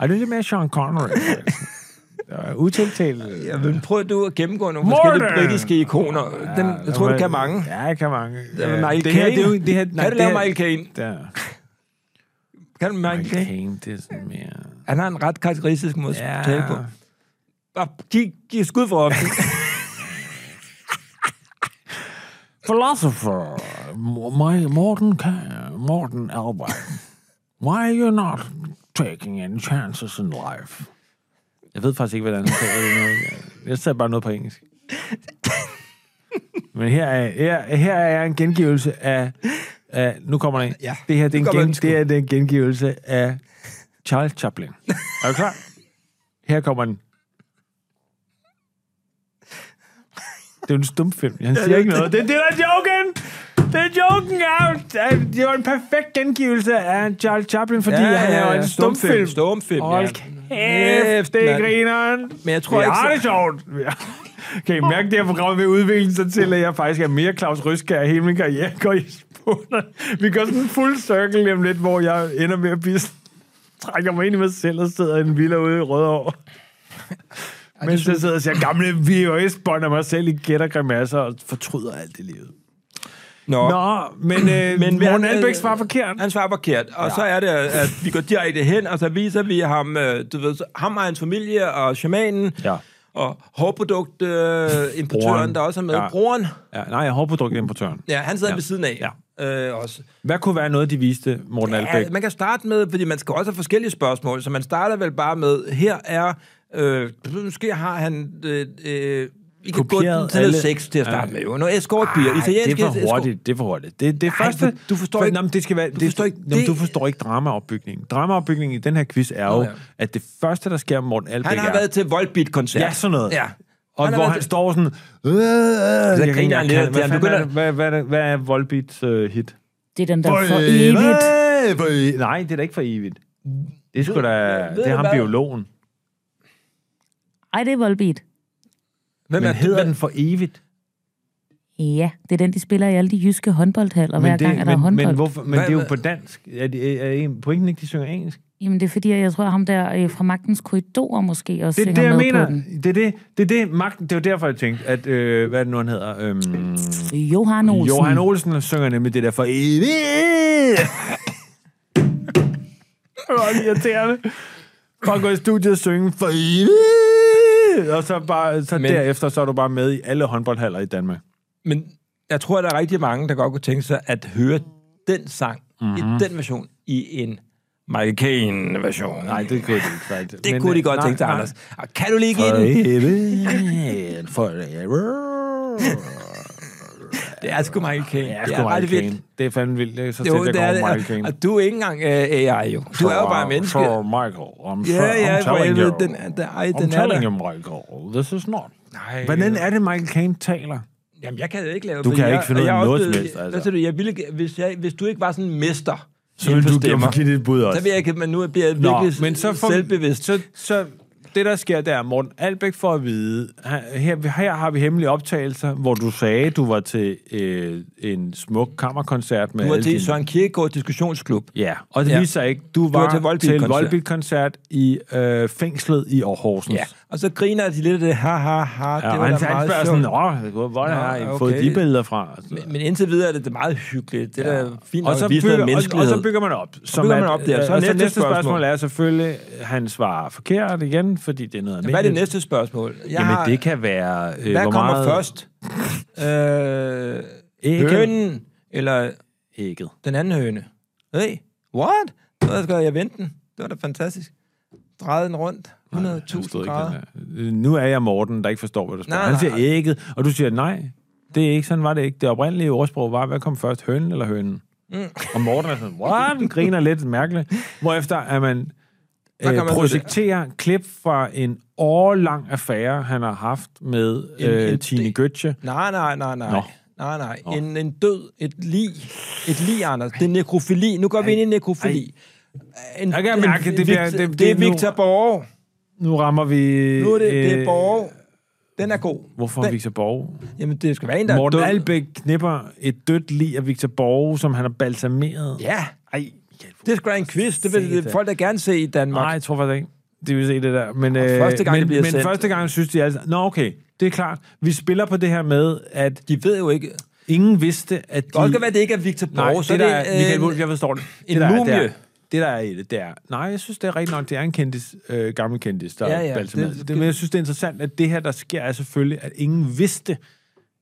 [SPEAKER 2] Er det lidt mere Sean Connery? Uh, Utiltalt.
[SPEAKER 1] Ja, men prøv du at gennemgå nogle
[SPEAKER 2] Morten!
[SPEAKER 1] forskellige britiske ikoner. Dem, jeg tror, du kan mange.
[SPEAKER 2] Ja, jeg kan mange.
[SPEAKER 1] Ja, Michael
[SPEAKER 2] det her,
[SPEAKER 1] Caine.
[SPEAKER 2] Det er jo, det her,
[SPEAKER 1] kan
[SPEAKER 2] nej,
[SPEAKER 1] du
[SPEAKER 2] det
[SPEAKER 1] lave
[SPEAKER 2] her-
[SPEAKER 1] Michael Caine?
[SPEAKER 2] Der.
[SPEAKER 1] Kan du Michael Caine?
[SPEAKER 2] Michael Caine, det er sådan mere...
[SPEAKER 1] Han har en ret karakteristisk måde at
[SPEAKER 2] Ja.
[SPEAKER 1] tale på. Bare giv, giv skud for ofte.
[SPEAKER 2] Philosopher M- my- Morten, Ca- Morten Albert, why are you not taking any chances in life? Jeg ved faktisk ikke, hvordan han sagde det nu. Jeg sagde bare noget på engelsk. Men her er, her, her er en gengivelse af, af... Nu kommer den.
[SPEAKER 1] Ja,
[SPEAKER 2] det her det
[SPEAKER 1] nu
[SPEAKER 2] er,
[SPEAKER 1] kommer
[SPEAKER 2] en
[SPEAKER 1] den
[SPEAKER 2] gen,
[SPEAKER 1] sgu.
[SPEAKER 2] det, her, det er en gengivelse af Charles Chaplin. Er du klar? Her kommer den. Det er jo en stumfilm. Han siger ikke noget. Det er det, der er joken! Det er joken! Ja, det var en perfekt gengivelse af Charles Chaplin, fordi ja, han er jo en stumfilm.
[SPEAKER 1] Stumfilm,
[SPEAKER 2] Hold kæft, det er
[SPEAKER 1] mand.
[SPEAKER 2] grineren.
[SPEAKER 1] Men jeg tror
[SPEAKER 2] vi
[SPEAKER 1] ikke,
[SPEAKER 2] har
[SPEAKER 1] så-
[SPEAKER 2] det sjovt. Vi har- Kan I mærke, det her program vil udvikle sig til, at jeg faktisk er mere Claus Ryskær i hele min karriere. Går i spunder. Vi går sådan en full circle lige om lidt, hvor jeg ender med at blive sådan- trækker mig ind i mig selv og sidder i en villa ude i Rødovre. Mens jeg sidder og ser gamle VHS-bånd af mig selv i gæt og grimasser og fortryder alt i livet.
[SPEAKER 1] Nå.
[SPEAKER 2] Nå, men, øh, men Morten
[SPEAKER 1] øh,
[SPEAKER 2] Albæk svarer forkert.
[SPEAKER 1] Han svarer forkert. Og ja. så er det, at vi går direkte hen, og så viser vi ham, øh, du ved, så- ham og hans familie og shamanen.
[SPEAKER 2] Ja.
[SPEAKER 1] Og hårproduktimportøren, øh, importøren,
[SPEAKER 2] Broren.
[SPEAKER 1] der også er med. Ja.
[SPEAKER 2] Ja.
[SPEAKER 1] Broren.
[SPEAKER 2] Ja, nej, jeg har hårdprodukt importøren.
[SPEAKER 1] Ja, han sidder ja. ved siden af. Ja. Øh, også.
[SPEAKER 2] Hvad kunne være noget, de viste, Morten
[SPEAKER 1] Ja,
[SPEAKER 2] Albæk?
[SPEAKER 1] man kan starte med, fordi man skal også have forskellige spørgsmål, så man starter vel bare med, her er, øh, måske har han, øh, øh, vi kan gå
[SPEAKER 2] Kopieret
[SPEAKER 1] den til noget
[SPEAKER 2] alle-
[SPEAKER 1] sex til at starte med, jo. Noget escortpiger,
[SPEAKER 2] Ej,
[SPEAKER 1] italiensk
[SPEAKER 2] det er for hurtigt. Det er for hurtigt. Det, det
[SPEAKER 1] Ej,
[SPEAKER 2] første,
[SPEAKER 1] for- du forstår
[SPEAKER 2] for,
[SPEAKER 1] ikke-
[SPEAKER 2] Nå, men det skal være,
[SPEAKER 1] du
[SPEAKER 2] det,
[SPEAKER 1] forstår ikke-
[SPEAKER 2] nå, men
[SPEAKER 1] det-
[SPEAKER 2] du forstår ikke dramaopbygningen. Dramaopbygningen i den her quiz er jo,
[SPEAKER 1] ja.
[SPEAKER 2] at det første, der sker med Morten Albæk
[SPEAKER 1] Han har
[SPEAKER 2] er,
[SPEAKER 1] været til Volbeat-koncert.
[SPEAKER 2] Ja, sådan noget.
[SPEAKER 1] Ja.
[SPEAKER 2] Og
[SPEAKER 1] Han
[SPEAKER 2] han
[SPEAKER 1] har
[SPEAKER 2] hvor
[SPEAKER 1] været-
[SPEAKER 2] han står sådan... Øh, øh, jeg kan ikke
[SPEAKER 1] griner
[SPEAKER 2] engang
[SPEAKER 1] han lidt,
[SPEAKER 2] kalde-
[SPEAKER 1] og han
[SPEAKER 2] Hvad, fanden er,
[SPEAKER 1] begynder-
[SPEAKER 2] det? hvad, hvad, hvad er Volbeats øh, hit?
[SPEAKER 4] Det er den der for evigt.
[SPEAKER 2] Øh, for evigt. Nej, det er da ikke for evigt. Det er sgu da...
[SPEAKER 1] ved
[SPEAKER 2] Det
[SPEAKER 1] du
[SPEAKER 2] er ham
[SPEAKER 1] hvad?
[SPEAKER 2] biologen.
[SPEAKER 4] Ej, det er Volbeat.
[SPEAKER 1] Hvem
[SPEAKER 2] Men
[SPEAKER 1] er
[SPEAKER 2] hedder
[SPEAKER 1] hvem-
[SPEAKER 2] den for evigt?
[SPEAKER 4] Ja, det er den, de spiller i alle de jyske håndboldhaller, hver
[SPEAKER 2] Men
[SPEAKER 4] gang, at der er
[SPEAKER 2] men,
[SPEAKER 4] håndbold.
[SPEAKER 2] men, hvorfor, men
[SPEAKER 1] Hvad-
[SPEAKER 2] det er jo
[SPEAKER 1] hvad-
[SPEAKER 2] på dansk. Er, de, er, er pointen ikke, de synger engelsk?
[SPEAKER 4] Jamen, det er fordi, at jeg tror, at ham der øh, fra Magtens Korridorer måske også
[SPEAKER 2] Det er det,
[SPEAKER 4] synger
[SPEAKER 2] jeg
[SPEAKER 4] med
[SPEAKER 2] mener.
[SPEAKER 4] på den.
[SPEAKER 2] Det er det, det er det, magten. Det er jo derfor, jeg tænkte, at... Øh, hvad er det nu, han hedder? Øhm,
[SPEAKER 4] Johan Olsen.
[SPEAKER 2] Johan Olsen synger nemlig det der for evigt. det var irriterende. Bare gå i studiet og synge for evigt. Og så, bare, så
[SPEAKER 1] Men-
[SPEAKER 2] derefter, så er du bare med i alle håndboldhaller i Danmark.
[SPEAKER 1] Men jeg tror, at der er rigtig mange, der godt kunne tænke sig at høre den sang mm-hmm.
[SPEAKER 2] Mhm.
[SPEAKER 1] i den version i en Michael Caine-version.
[SPEAKER 2] Nej, det kunne de ikke. faktisk.
[SPEAKER 1] det
[SPEAKER 2] Men,
[SPEAKER 1] kunne de
[SPEAKER 2] øh,
[SPEAKER 1] godt
[SPEAKER 2] nej,
[SPEAKER 1] tænke sig,
[SPEAKER 2] nej.
[SPEAKER 1] Anders. Og kan du lige give
[SPEAKER 2] For
[SPEAKER 1] den?
[SPEAKER 2] evigt. Forever.
[SPEAKER 1] Det er sgu Michael Caine.
[SPEAKER 2] Ja, det er
[SPEAKER 1] ret
[SPEAKER 2] Michael Caine. Det er fandme vildt. Det er Så tæt,
[SPEAKER 1] Jo,
[SPEAKER 2] jeg
[SPEAKER 1] det er
[SPEAKER 2] kommer Michael
[SPEAKER 1] det.
[SPEAKER 2] Caine.
[SPEAKER 1] Og du er ikke engang uh, AI, jo. Du er jo bare
[SPEAKER 2] So,
[SPEAKER 1] menneske.
[SPEAKER 2] So, Michael, I'm,
[SPEAKER 1] Ja,
[SPEAKER 2] yeah,
[SPEAKER 1] ja,
[SPEAKER 2] I'm
[SPEAKER 1] for
[SPEAKER 2] telling
[SPEAKER 1] helvede,
[SPEAKER 2] you.
[SPEAKER 1] den er- den- ej,
[SPEAKER 2] I'm
[SPEAKER 1] den er
[SPEAKER 2] telling
[SPEAKER 1] der.
[SPEAKER 2] you, Michael, this is not.
[SPEAKER 1] Nej.
[SPEAKER 2] Hvordan er det, Michael Caine taler?
[SPEAKER 1] Jamen, jeg kan jo ikke lave...
[SPEAKER 2] Du
[SPEAKER 1] fordi
[SPEAKER 2] kan
[SPEAKER 1] jeg,
[SPEAKER 2] ikke finde
[SPEAKER 1] og
[SPEAKER 2] ud af
[SPEAKER 1] jeg er
[SPEAKER 2] noget
[SPEAKER 1] også
[SPEAKER 2] som
[SPEAKER 1] blevet-
[SPEAKER 2] helst, altså.
[SPEAKER 1] Hvad siger du? Jeg ville, ikke- hvis, jeg, hvis du ikke var sådan en mester
[SPEAKER 2] Så vil
[SPEAKER 1] inden for
[SPEAKER 2] du
[SPEAKER 1] stemmer,
[SPEAKER 2] give, give dit bud også.
[SPEAKER 1] så vil jeg ikke... Men nu bliver jeg
[SPEAKER 2] Nå,
[SPEAKER 1] virkelig
[SPEAKER 2] men så får,
[SPEAKER 1] selvbevidst.
[SPEAKER 2] Så, så det, der sker, der, Morten Albæk får at vide, her, her- her har vi hemmelige optagelser, hvor du sagde, du var til øh, en smuk kammerkoncert med
[SPEAKER 1] Du var
[SPEAKER 2] alle
[SPEAKER 1] til
[SPEAKER 2] dine-
[SPEAKER 1] Søren Kierkegaard Diskussionsklub.
[SPEAKER 2] Ja, og det ja.
[SPEAKER 1] Ja.
[SPEAKER 2] viser sig ikke. Du var,
[SPEAKER 1] til Volbeat-koncert.
[SPEAKER 2] til Volbeat-koncert i øh, fængslet i Aarhus.
[SPEAKER 1] Ja. Og så griner de lidt af det, ha, ha, ha, ja,
[SPEAKER 2] Ja,
[SPEAKER 1] det
[SPEAKER 2] og
[SPEAKER 1] var
[SPEAKER 2] han
[SPEAKER 1] da
[SPEAKER 2] han
[SPEAKER 1] meget
[SPEAKER 2] spørger
[SPEAKER 1] sjovt.
[SPEAKER 2] sådan, Åh, hvor hvor har I
[SPEAKER 1] Nå,
[SPEAKER 2] fået
[SPEAKER 1] okay.
[SPEAKER 2] de billeder fra? Og så-
[SPEAKER 1] Men, men indtil videre er det, det er meget hyggeligt. Det er da fint nok
[SPEAKER 2] og, så
[SPEAKER 1] at vise noget
[SPEAKER 2] bygger, og, og
[SPEAKER 1] menneskelighed.
[SPEAKER 2] så bygger man op. Som
[SPEAKER 1] bygger man op der.
[SPEAKER 2] øh,
[SPEAKER 1] Så
[SPEAKER 2] og så
[SPEAKER 1] næste
[SPEAKER 2] næste spørgsmål.
[SPEAKER 1] spørgsmål
[SPEAKER 2] er selvfølgelig, han svarer forkert igen, fordi det er noget
[SPEAKER 1] Hvad er det
[SPEAKER 2] almindeligt.
[SPEAKER 1] næste spørgsmål? Jeg
[SPEAKER 2] Jamen, det kan være... Øh,
[SPEAKER 1] Hvad
[SPEAKER 2] hvor
[SPEAKER 1] kommer
[SPEAKER 2] meget
[SPEAKER 1] først? øh,
[SPEAKER 2] Ægget.
[SPEAKER 1] hønen eller
[SPEAKER 2] Ægget.
[SPEAKER 1] den anden høne? Hey, what? Så skal jeg vente den. Det var da fantastisk. Drejede den rundt. 100.000
[SPEAKER 2] Han stod ikke,
[SPEAKER 1] grader.
[SPEAKER 2] den her. Øh, Nu er jeg Morten, der ikke forstår, hvad du spørger.
[SPEAKER 1] Nej,
[SPEAKER 2] Han siger
[SPEAKER 1] nej.
[SPEAKER 2] ægget, og du siger nej. Det er ikke sådan, var det ikke. Det oprindelige ordsprog var, hvad kom først, hønen eller hønen? Mm. Og Morten er sådan, what? griner lidt mærkeligt. Hvorefter er man, øh,
[SPEAKER 1] kan man få det.
[SPEAKER 2] projekterer klip fra en årlang affære, han har haft med
[SPEAKER 1] En-
[SPEAKER 2] øh,
[SPEAKER 1] en-
[SPEAKER 2] Tine Gøtje.
[SPEAKER 1] Nej, nej, nej, nej.
[SPEAKER 2] Nå.
[SPEAKER 1] Nej, nej. En, en død, et lig. Et lig, Anders. Det er nekrofili. Nu går vi ind i nekrofili. En,
[SPEAKER 2] Jeg kan mærke, det bliver- det-
[SPEAKER 1] det er
[SPEAKER 2] det- nu-
[SPEAKER 1] Victor Borge.
[SPEAKER 2] Nu rammer vi...
[SPEAKER 1] Nu er det, det er
[SPEAKER 2] øh,
[SPEAKER 1] Borge. Den er god.
[SPEAKER 2] Hvorfor
[SPEAKER 1] Den-
[SPEAKER 2] Victor Borg?
[SPEAKER 1] Jamen, det skal være en, der
[SPEAKER 2] Morten
[SPEAKER 1] er død.
[SPEAKER 2] Albæk knipper et dødt lig af Victor Borg, som han har balsameret.
[SPEAKER 1] Ja,
[SPEAKER 2] Ej,
[SPEAKER 1] det skal være en quiz. Det vil det, folk, der gerne se i Danmark.
[SPEAKER 2] Nej, jeg tror faktisk ikke. De vil se det der. Men, øh,
[SPEAKER 1] første gang,
[SPEAKER 2] men,
[SPEAKER 1] det bliver
[SPEAKER 2] men
[SPEAKER 1] sendt.
[SPEAKER 2] første gang synes de altså, nå okay, det er klart. Vi spiller på det her med, at
[SPEAKER 1] De ved jo ikke.
[SPEAKER 2] ingen vidste, at de...
[SPEAKER 1] Det godt kan være, det ikke er Victor Borge.
[SPEAKER 2] Nej, det,
[SPEAKER 1] så
[SPEAKER 2] det
[SPEAKER 1] er
[SPEAKER 2] der er,
[SPEAKER 1] det,
[SPEAKER 2] Michael
[SPEAKER 1] øh,
[SPEAKER 2] Wolf, jeg forstår det.
[SPEAKER 1] en
[SPEAKER 2] det der er-
[SPEAKER 1] mumie.
[SPEAKER 2] Det, er- det der er i det, det er... Nej, jeg synes, det er rigtigt nok. Det er en kendis, øh, gammel kendis, der
[SPEAKER 1] Ja,
[SPEAKER 2] ja,
[SPEAKER 1] ja,
[SPEAKER 2] ja, balsameret.
[SPEAKER 1] det-
[SPEAKER 2] Det, men jeg synes, det er interessant, at det her, der sker, er selvfølgelig, at ingen vidste,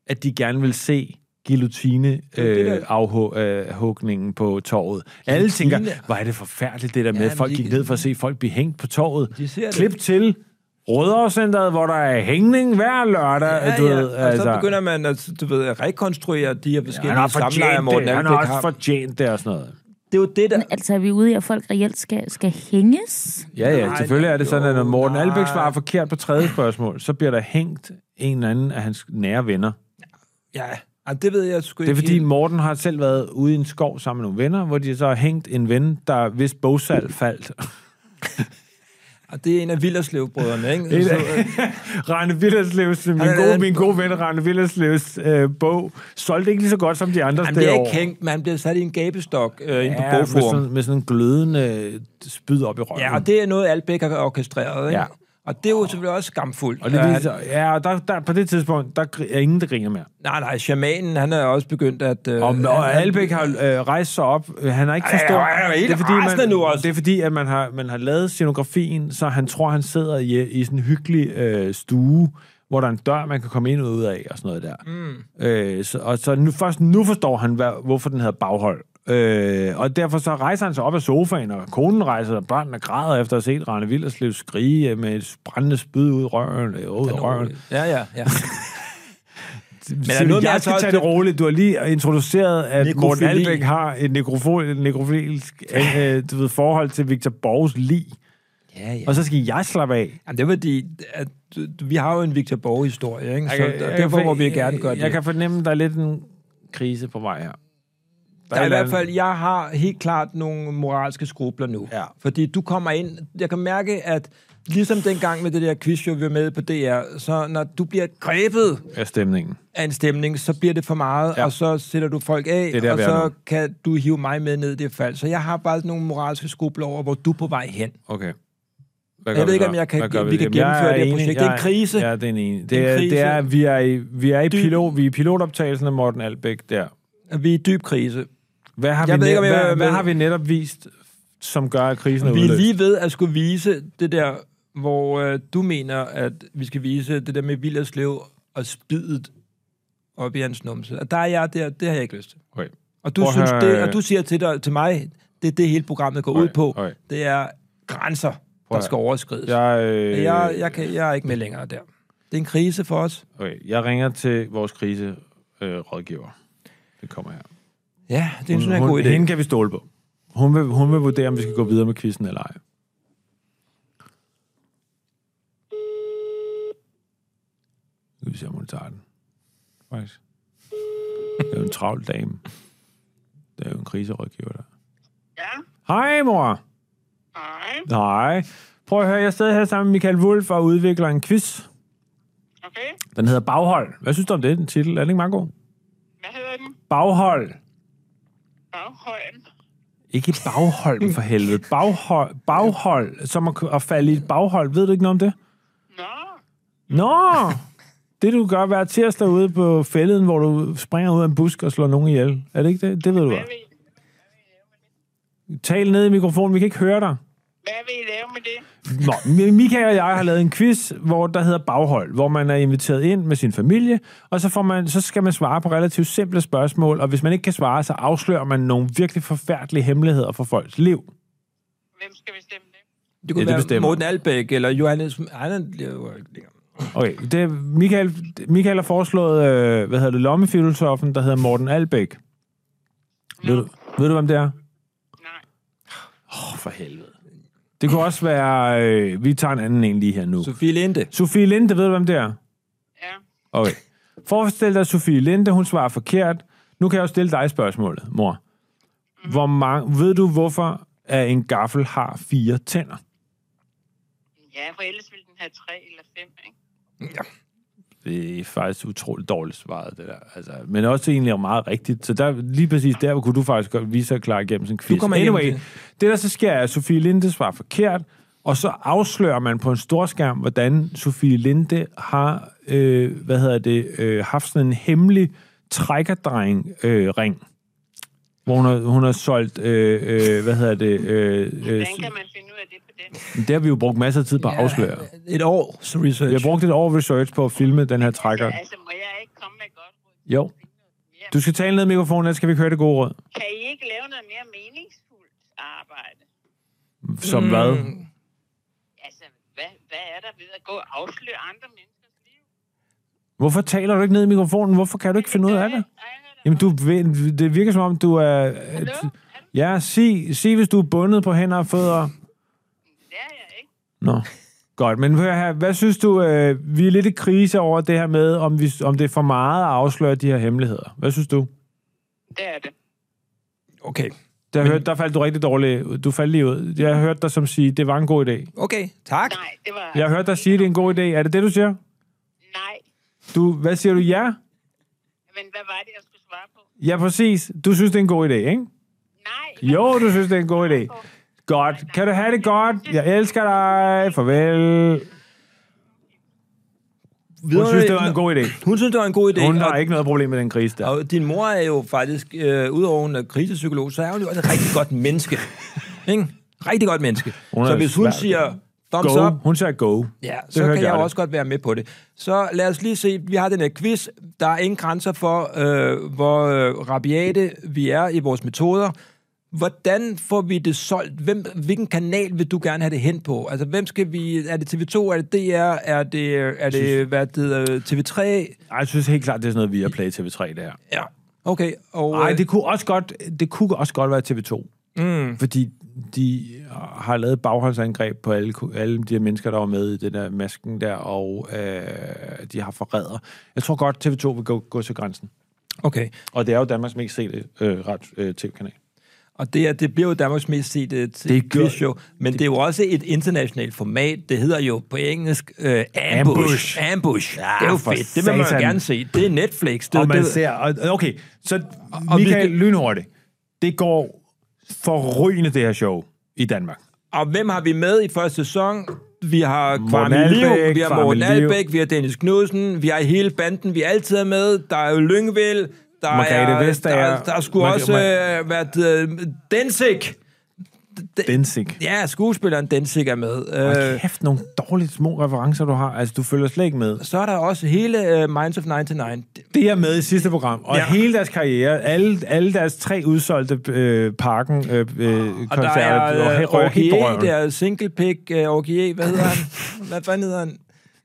[SPEAKER 2] at de gerne vil se guillotine
[SPEAKER 1] det
[SPEAKER 2] øh,
[SPEAKER 1] der-
[SPEAKER 2] afhugningen på torvet. Alle tænker, hvor er det forfærdeligt, det der med,
[SPEAKER 1] Ja,
[SPEAKER 2] at folk
[SPEAKER 1] men de-
[SPEAKER 2] gik ned for at se folk blive hængt på torvet.
[SPEAKER 1] De ser det.
[SPEAKER 2] Klip til Rødovrecenteret, hvor der er hængning hver lørdag.
[SPEAKER 1] Ja,
[SPEAKER 2] du
[SPEAKER 1] ja.
[SPEAKER 2] ved, altså-
[SPEAKER 1] Og så begynder man at, du ved, at rekonstruere de her
[SPEAKER 2] han
[SPEAKER 1] forskellige
[SPEAKER 2] har
[SPEAKER 1] ja, samlejer,
[SPEAKER 2] fortjent
[SPEAKER 1] Morten
[SPEAKER 2] det. Han har
[SPEAKER 1] Albæk
[SPEAKER 2] også
[SPEAKER 1] har.
[SPEAKER 2] fortjent det og sådan noget.
[SPEAKER 1] Det er jo det, der...
[SPEAKER 4] Altså, er vi ude i, at folk reelt skal, skal hænges?
[SPEAKER 2] Ja, ja,
[SPEAKER 1] Nej,
[SPEAKER 2] selvfølgelig er det sådan, at når
[SPEAKER 1] jo,
[SPEAKER 2] Morten
[SPEAKER 1] nej.
[SPEAKER 2] Albæk svarer forkert på tredje spørgsmål, så bliver der hængt en eller anden af hans nære venner.
[SPEAKER 1] Ja, Ej, det ved jeg sgu
[SPEAKER 2] Det
[SPEAKER 1] ikke.
[SPEAKER 2] er fordi,
[SPEAKER 1] helt.
[SPEAKER 2] Morten har selv været ude i en skov sammen med nogle venner, hvor de så har hængt en ven, der hvis bogsal faldt.
[SPEAKER 1] Og det er en af Villerslev-brødrene, ikke?
[SPEAKER 2] En
[SPEAKER 1] Så,
[SPEAKER 2] af-
[SPEAKER 1] øh,
[SPEAKER 2] Rane Villerslevs, min,
[SPEAKER 1] Han er
[SPEAKER 2] gode,
[SPEAKER 1] en-
[SPEAKER 2] min gode ven Rane Villerslevs øh, bog, solgte ikke lige så godt som de andre
[SPEAKER 1] han bliver ikke hængt, men han bliver sat i en gabestok øh, inde på
[SPEAKER 2] Ja, med
[SPEAKER 1] bogforum.
[SPEAKER 2] sådan, med sådan en glødende øh, spyd op i røven.
[SPEAKER 1] Ja, og det er noget, Albæk har orkestreret, ikke?
[SPEAKER 2] Ja.
[SPEAKER 1] Ja. Og det er jo selvfølgelig også skamfuldt.
[SPEAKER 2] og det
[SPEAKER 1] Ja,
[SPEAKER 2] viser, ja, og der, der, på det tidspunkt, der gr- er ingen, der griner mere.
[SPEAKER 1] Nej, nej, shamanen, han er også begyndt at... Øh,
[SPEAKER 2] Og,
[SPEAKER 1] han-
[SPEAKER 2] og Albæk har øh, rejst sig op. Øh, Han har ikke
[SPEAKER 1] Ej,
[SPEAKER 2] forstået...
[SPEAKER 1] han er helt rasende
[SPEAKER 2] man,
[SPEAKER 1] nu også.
[SPEAKER 2] Det er fordi, at man har, man har lavet scenografien, så han tror, han sidder i, i sådan en hyggelig øh, stue, hvor der er en dør, man kan komme ind og ud af, og sådan noget der. Mm. Øh, så, og så nu, først nu forstår han, hvad, hvorfor den hedder baghold. Øh, og derfor så rejser han sig op af sofaen, og konen rejser, sig, og børnene græder efter at have set Rane Villerslev skrige øh, med et brændende spyd ud i røven. Øh, ud i røven.
[SPEAKER 1] Ja, ja, ja.
[SPEAKER 2] Men
[SPEAKER 1] er noget med,
[SPEAKER 2] jeg
[SPEAKER 1] at
[SPEAKER 2] skal
[SPEAKER 1] så-
[SPEAKER 2] tage det roligt. Du har lige øh, introduceret, at
[SPEAKER 1] Nekrofili.
[SPEAKER 2] Morten Albæk øh, har et nekrofil, nekrofilisk øh, du ved, forhold til Victor Borgs lig.
[SPEAKER 1] Ja, ja.
[SPEAKER 2] Og så skal jeg slappe af.
[SPEAKER 1] Jamen, det er fordi, at du- du- vi har jo en Victor Borg-historie, ikke? Så
[SPEAKER 2] Jeg kan-
[SPEAKER 1] der-
[SPEAKER 2] øh, jeg
[SPEAKER 1] derfor
[SPEAKER 2] kan-
[SPEAKER 1] må vi gerne gøre det.
[SPEAKER 2] Jeg kan fornemme, der er lidt en krise på vej her.
[SPEAKER 1] Der er i
[SPEAKER 2] et
[SPEAKER 1] hvert
[SPEAKER 2] eller
[SPEAKER 1] fald, jeg har helt klart nogle moralske skrubler nu.
[SPEAKER 2] Ja.
[SPEAKER 1] Fordi du kommer ind, jeg kan mærke, at ligesom dengang med det der quizshow, vi var med på DR, så når du bliver grebet
[SPEAKER 2] andet Af stemningen.
[SPEAKER 1] af en stemning, så bliver det for meget,
[SPEAKER 2] Ja.
[SPEAKER 1] ja. og så sætter du folk af,
[SPEAKER 2] er der,
[SPEAKER 1] og
[SPEAKER 2] vi er
[SPEAKER 1] så
[SPEAKER 2] nu.
[SPEAKER 1] kan du hive mig med ned i det fald. Så jeg har bare nogle moralske skrubler over, hvor du er på vej hen.
[SPEAKER 2] Okay. Hvad
[SPEAKER 1] Jeg
[SPEAKER 2] gør
[SPEAKER 1] ved ikke,
[SPEAKER 2] så?
[SPEAKER 1] om jeg kan-
[SPEAKER 2] Hvad gør
[SPEAKER 1] vi kan
[SPEAKER 2] Jamen, jeg
[SPEAKER 1] gennemføre
[SPEAKER 2] er
[SPEAKER 1] det her projekt. Det er en
[SPEAKER 2] jeg
[SPEAKER 1] krise.
[SPEAKER 2] Ja, det er en enig.
[SPEAKER 1] er en
[SPEAKER 2] Det er, det
[SPEAKER 1] krise.
[SPEAKER 2] er, vi er i, vi er i,
[SPEAKER 1] Dyb.
[SPEAKER 2] pilot, vi er i pilotoptagelsen af Morten Albæk der.
[SPEAKER 1] Vi er i dyb krise.
[SPEAKER 2] Hvad har,
[SPEAKER 1] Jeg
[SPEAKER 2] vi,
[SPEAKER 1] ved
[SPEAKER 2] net,
[SPEAKER 1] ikke, om jeg-
[SPEAKER 2] hvad, hvad
[SPEAKER 1] men-
[SPEAKER 2] har vi netop vist, som gør, at krisen er
[SPEAKER 1] Vi er
[SPEAKER 2] udløst?
[SPEAKER 1] lige ved at skulle vise det der, hvor øh, du mener, at vi skal vise det der med Villerslev og spiddet op i hans numse. Og der er jeg der, det har jeg ikke lyst til.
[SPEAKER 2] Okay.
[SPEAKER 1] Og du,
[SPEAKER 2] Prøv at
[SPEAKER 1] synes
[SPEAKER 2] høre,
[SPEAKER 1] det,
[SPEAKER 2] øh,
[SPEAKER 1] og du siger til, dig, til mig, det er det hele programmet går ud
[SPEAKER 2] Øj,
[SPEAKER 1] på.
[SPEAKER 2] øj.
[SPEAKER 1] Det er grænser, der
[SPEAKER 2] høre.
[SPEAKER 1] skal overskrides. Ja.
[SPEAKER 2] Jeg, øh,
[SPEAKER 1] Jeg, jeg, kan, jeg er ikke med længere der. Det er en krise for os.
[SPEAKER 2] okay, jeg ringer til vores kriserådgiver. Det kommer her.
[SPEAKER 1] Ja, det synes jeg er en
[SPEAKER 2] hun,
[SPEAKER 1] god idé.
[SPEAKER 2] Hende kan vi stole på. Hun vil, hun vil vurdere, om vi skal gå videre med quizzen eller ej. Nu vi se, om hun tager den. Faktisk. Det er jo en travl dame. Det er jo en kriserådgiver der.
[SPEAKER 5] Ja,
[SPEAKER 2] Hej, mor.
[SPEAKER 5] nej,
[SPEAKER 2] Nej. Prøv at høre, jeg sidder her sammen med Michael Wulff og udvikler en quiz.
[SPEAKER 5] okay.
[SPEAKER 2] Den hedder Baghold. Hvad synes du om det, den titel? Er den ikke meget god?
[SPEAKER 5] Hvad hedder den?
[SPEAKER 2] Baghold.
[SPEAKER 5] Baghøjen.
[SPEAKER 2] Ikke baghold, for helvede. Baghold, baghold som at, at falde i et baghold. Ved du ikke noget om det?
[SPEAKER 5] Nå,
[SPEAKER 2] Nå! Det, du gør hver tirsdag ude på fælleden, hvor du springer ud af en busk og slår nogen ihjel. Er det ikke det? Det ved du
[SPEAKER 5] hvad
[SPEAKER 2] godt.
[SPEAKER 5] vil,
[SPEAKER 2] Tal ned i mikrofonen, vi kan ikke høre dig.
[SPEAKER 5] hvad vil I lave med det?
[SPEAKER 2] Nå, Mi- Michael og jeg har lavet en quiz, hvor der hedder baghold, hvor man er inviteret ind med sin familie, og så, får man, så skal man svare på relativt simple spørgsmål, og hvis man ikke kan svare, så afslører man nogle virkelig forfærdelige hemmeligheder for folks liv.
[SPEAKER 5] Hvem skal bestemme det?
[SPEAKER 1] Det kunne
[SPEAKER 2] Ja, det
[SPEAKER 1] ja, det være
[SPEAKER 2] bestemmer.
[SPEAKER 1] Morten Albæk eller Johannes... Nej, den lever jo ikke længere.
[SPEAKER 2] Okay, det er Michael, Michael har foreslået, øh, hvad hedder det, lommefilosofen, der hedder Morten Albæk. Ved du, ved du hvem det er?
[SPEAKER 5] Nej.
[SPEAKER 2] Åh, oh, for helvede. Det kunne også være, øh, vi tager en anden en lige her nu.
[SPEAKER 1] Sofie Linde.
[SPEAKER 2] Sofie Linde, ved du hvem det er?
[SPEAKER 5] Ja,
[SPEAKER 2] Okay. Forestil dig, at Sofie Linde, hun svarer forkert. Nu kan jeg jo stille dig spørgsmålet, mor. Hvor mange, ved du, hvorfor at en gaffel har fire tænder?
[SPEAKER 5] ja for ellers ville den have tre eller fem, ikke?
[SPEAKER 2] Det er faktisk utroligt dårligt svaret, det der. Altså, men også egentlig meget rigtigt. Så der, lige præcis der kunne du faktisk godt vise sig klar igennem sådan en quiz.
[SPEAKER 1] kommer igennem
[SPEAKER 2] anyway, det. det der så sker er, at Sofie Linde svarer forkert, og så afslører man på en stor skærm, hvordan Sofie Linde har, øh, hvad hedder det, øh, haft sådan en hemmelig trækkerdreng-ring. Øh, ring. hvor hun har, hun har solgt, øh, øh, hvad hedder det, øh, øh,
[SPEAKER 5] Hvordan kan man finde ud af det på den?
[SPEAKER 2] det har vi jo brugt masser af tid på at afsløre.
[SPEAKER 1] Et års research.
[SPEAKER 2] Vi har brugt et år research på at filme den her trækker.
[SPEAKER 5] Altså, må jeg ikke komme med et godt råd?
[SPEAKER 2] Jo. Du skal tale ned i mikrofonen, ellers skal vi ikke høre det gode råd.
[SPEAKER 5] Kan I ikke lave noget mere meningsfuldt arbejde?
[SPEAKER 2] Som mm. hvad?
[SPEAKER 5] Altså, hvad, hvad er der ved at gå og afsløre andre menneskers liv?
[SPEAKER 2] Hvorfor taler du ikke ned i mikrofonen? Hvorfor kan du ikke finde ud af det? Jamen, du, ved- det virker som om, du er... at- Ja, sig, sig, hvis du er bundet på hænder og fødder.
[SPEAKER 5] Det er jeg ikke.
[SPEAKER 2] Nå, godt. Men hør her, hvad synes du... Øh, vi er lidt i krise over det her med, om, vi, om det er for meget at afsløre de her hemmeligheder. Hvad synes du?
[SPEAKER 5] Det er det.
[SPEAKER 1] Okay.
[SPEAKER 2] Der, Men... hørte, der faldt du rigtig dårligt. ud. Du faldt lige ud. Jeg hørte dig som sige, det var en god idé.
[SPEAKER 1] Okay, tak.
[SPEAKER 5] Nej, det var...
[SPEAKER 2] Jeg hørte dig sige, det er en god idé. Er det det, du siger?
[SPEAKER 5] Nej,
[SPEAKER 2] Du, hvad siger du? Ja?
[SPEAKER 5] men hvad var det, jeg skulle svare på?
[SPEAKER 2] Ja, præcis. Du synes, det er en god idé, ikke?
[SPEAKER 5] Nej.
[SPEAKER 2] Jo, du synes, det er en god idé. Godt. Kan du have det godt? Jeg elsker dig. Farvel. Hun synes, det var en god idé.
[SPEAKER 1] Hun synes, det var en god idé.
[SPEAKER 2] Hun har
[SPEAKER 1] og-
[SPEAKER 2] ikke noget problem med den krise der.
[SPEAKER 1] Og din mor er jo faktisk, øh, udover hun er krisepsykolog, så er hun jo også et rigtig godt menneske. Ikke? Rigtig godt menneske.
[SPEAKER 2] Hun er
[SPEAKER 1] så hvis hun
[SPEAKER 2] svært-
[SPEAKER 1] siger thumbs
[SPEAKER 2] Go.
[SPEAKER 1] up,
[SPEAKER 2] Hun sagde go.
[SPEAKER 1] ja,
[SPEAKER 2] Det
[SPEAKER 1] så
[SPEAKER 2] hørte
[SPEAKER 1] kan jeg,
[SPEAKER 2] jeg
[SPEAKER 1] jo
[SPEAKER 2] det.
[SPEAKER 1] også godt være med på det. Så lad os lige se, vi har den her quiz. Der er ingen grænser for, øh, hvor øh, rabiate vi er i vores metoder. Hvordan får vi det solgt? Hvem, hvilken kanal vil du gerne have det hen på? Altså, hvem skal vi... Er det TV2? Er det DR? Er det, er det hvad det hedder, TV3?
[SPEAKER 2] Ej, jeg synes helt klart, det er sådan noget via Play TV3, det her.
[SPEAKER 1] Ja. Okay, og...
[SPEAKER 2] Nej,
[SPEAKER 1] øh,
[SPEAKER 2] det kunne også godt, det kunne også godt være TV2. Mm. Fordi de har lavet bagholdsangreb på alle, alle de her mennesker, der var med i den der masken der, og øh, de har forræder. Jeg tror godt, TV2 vil gå, gå til grænsen.
[SPEAKER 1] Okay.
[SPEAKER 2] Og det er jo Danmarks mest sete øh, ret, øh, tv-kanal.
[SPEAKER 1] Og det, er, det bliver jo Danmarks mest sete
[SPEAKER 2] er
[SPEAKER 1] det
[SPEAKER 2] gjort-
[SPEAKER 1] quizshow, men det, det er jo også et internationalt format. Det hedder jo på engelsk uh, Ambush.
[SPEAKER 2] Ambush.
[SPEAKER 1] Ambush. Ja, det er jo
[SPEAKER 2] for
[SPEAKER 1] fedt. Det vil man jo
[SPEAKER 2] satan.
[SPEAKER 1] gerne se. Det er Netflix. Det, er
[SPEAKER 2] og
[SPEAKER 1] jo-
[SPEAKER 2] man
[SPEAKER 1] det,
[SPEAKER 2] ser... Og, okay, så
[SPEAKER 1] og vi
[SPEAKER 2] Michael,
[SPEAKER 1] skal-
[SPEAKER 2] lynhurtigt. Det går forrygende, det her show i Danmark.
[SPEAKER 1] Og hvem har vi med i første sæson? Vi har Kwame
[SPEAKER 2] Albæk,
[SPEAKER 1] Liv, vi har
[SPEAKER 2] Kwame
[SPEAKER 1] Morten
[SPEAKER 2] Liv.
[SPEAKER 1] Albæk, vi har Dennis Knudsen, vi har hele banden, vi altid er med. Der er jo Lyngvild, der
[SPEAKER 2] Margrethe
[SPEAKER 1] er...
[SPEAKER 2] Vestager.
[SPEAKER 1] Der, der skulle
[SPEAKER 2] Mar-
[SPEAKER 1] også
[SPEAKER 2] Mar-
[SPEAKER 1] øh, været... Øh, Densik!
[SPEAKER 2] Densing.
[SPEAKER 1] Ja, skuespilleren Densik er med.
[SPEAKER 2] Øh.
[SPEAKER 1] Øh,
[SPEAKER 2] Kæft, nogle dårligt små referencer, du har. Altså, du følger slet ikke med.
[SPEAKER 1] så er der også hele øh, Minds of 99.
[SPEAKER 2] Det er med i sidste program, og
[SPEAKER 1] Ja.
[SPEAKER 2] ja. hele deres karriere, alle, alle deres tre udsolgte øh, parken øh, øh,
[SPEAKER 1] Og der er
[SPEAKER 2] koncerter,
[SPEAKER 1] øh,
[SPEAKER 2] og røg helt
[SPEAKER 1] Orgier,
[SPEAKER 2] drøven.
[SPEAKER 1] der er single pick, øh, Orgier, hvad hedder han? hvad fanden hedder han?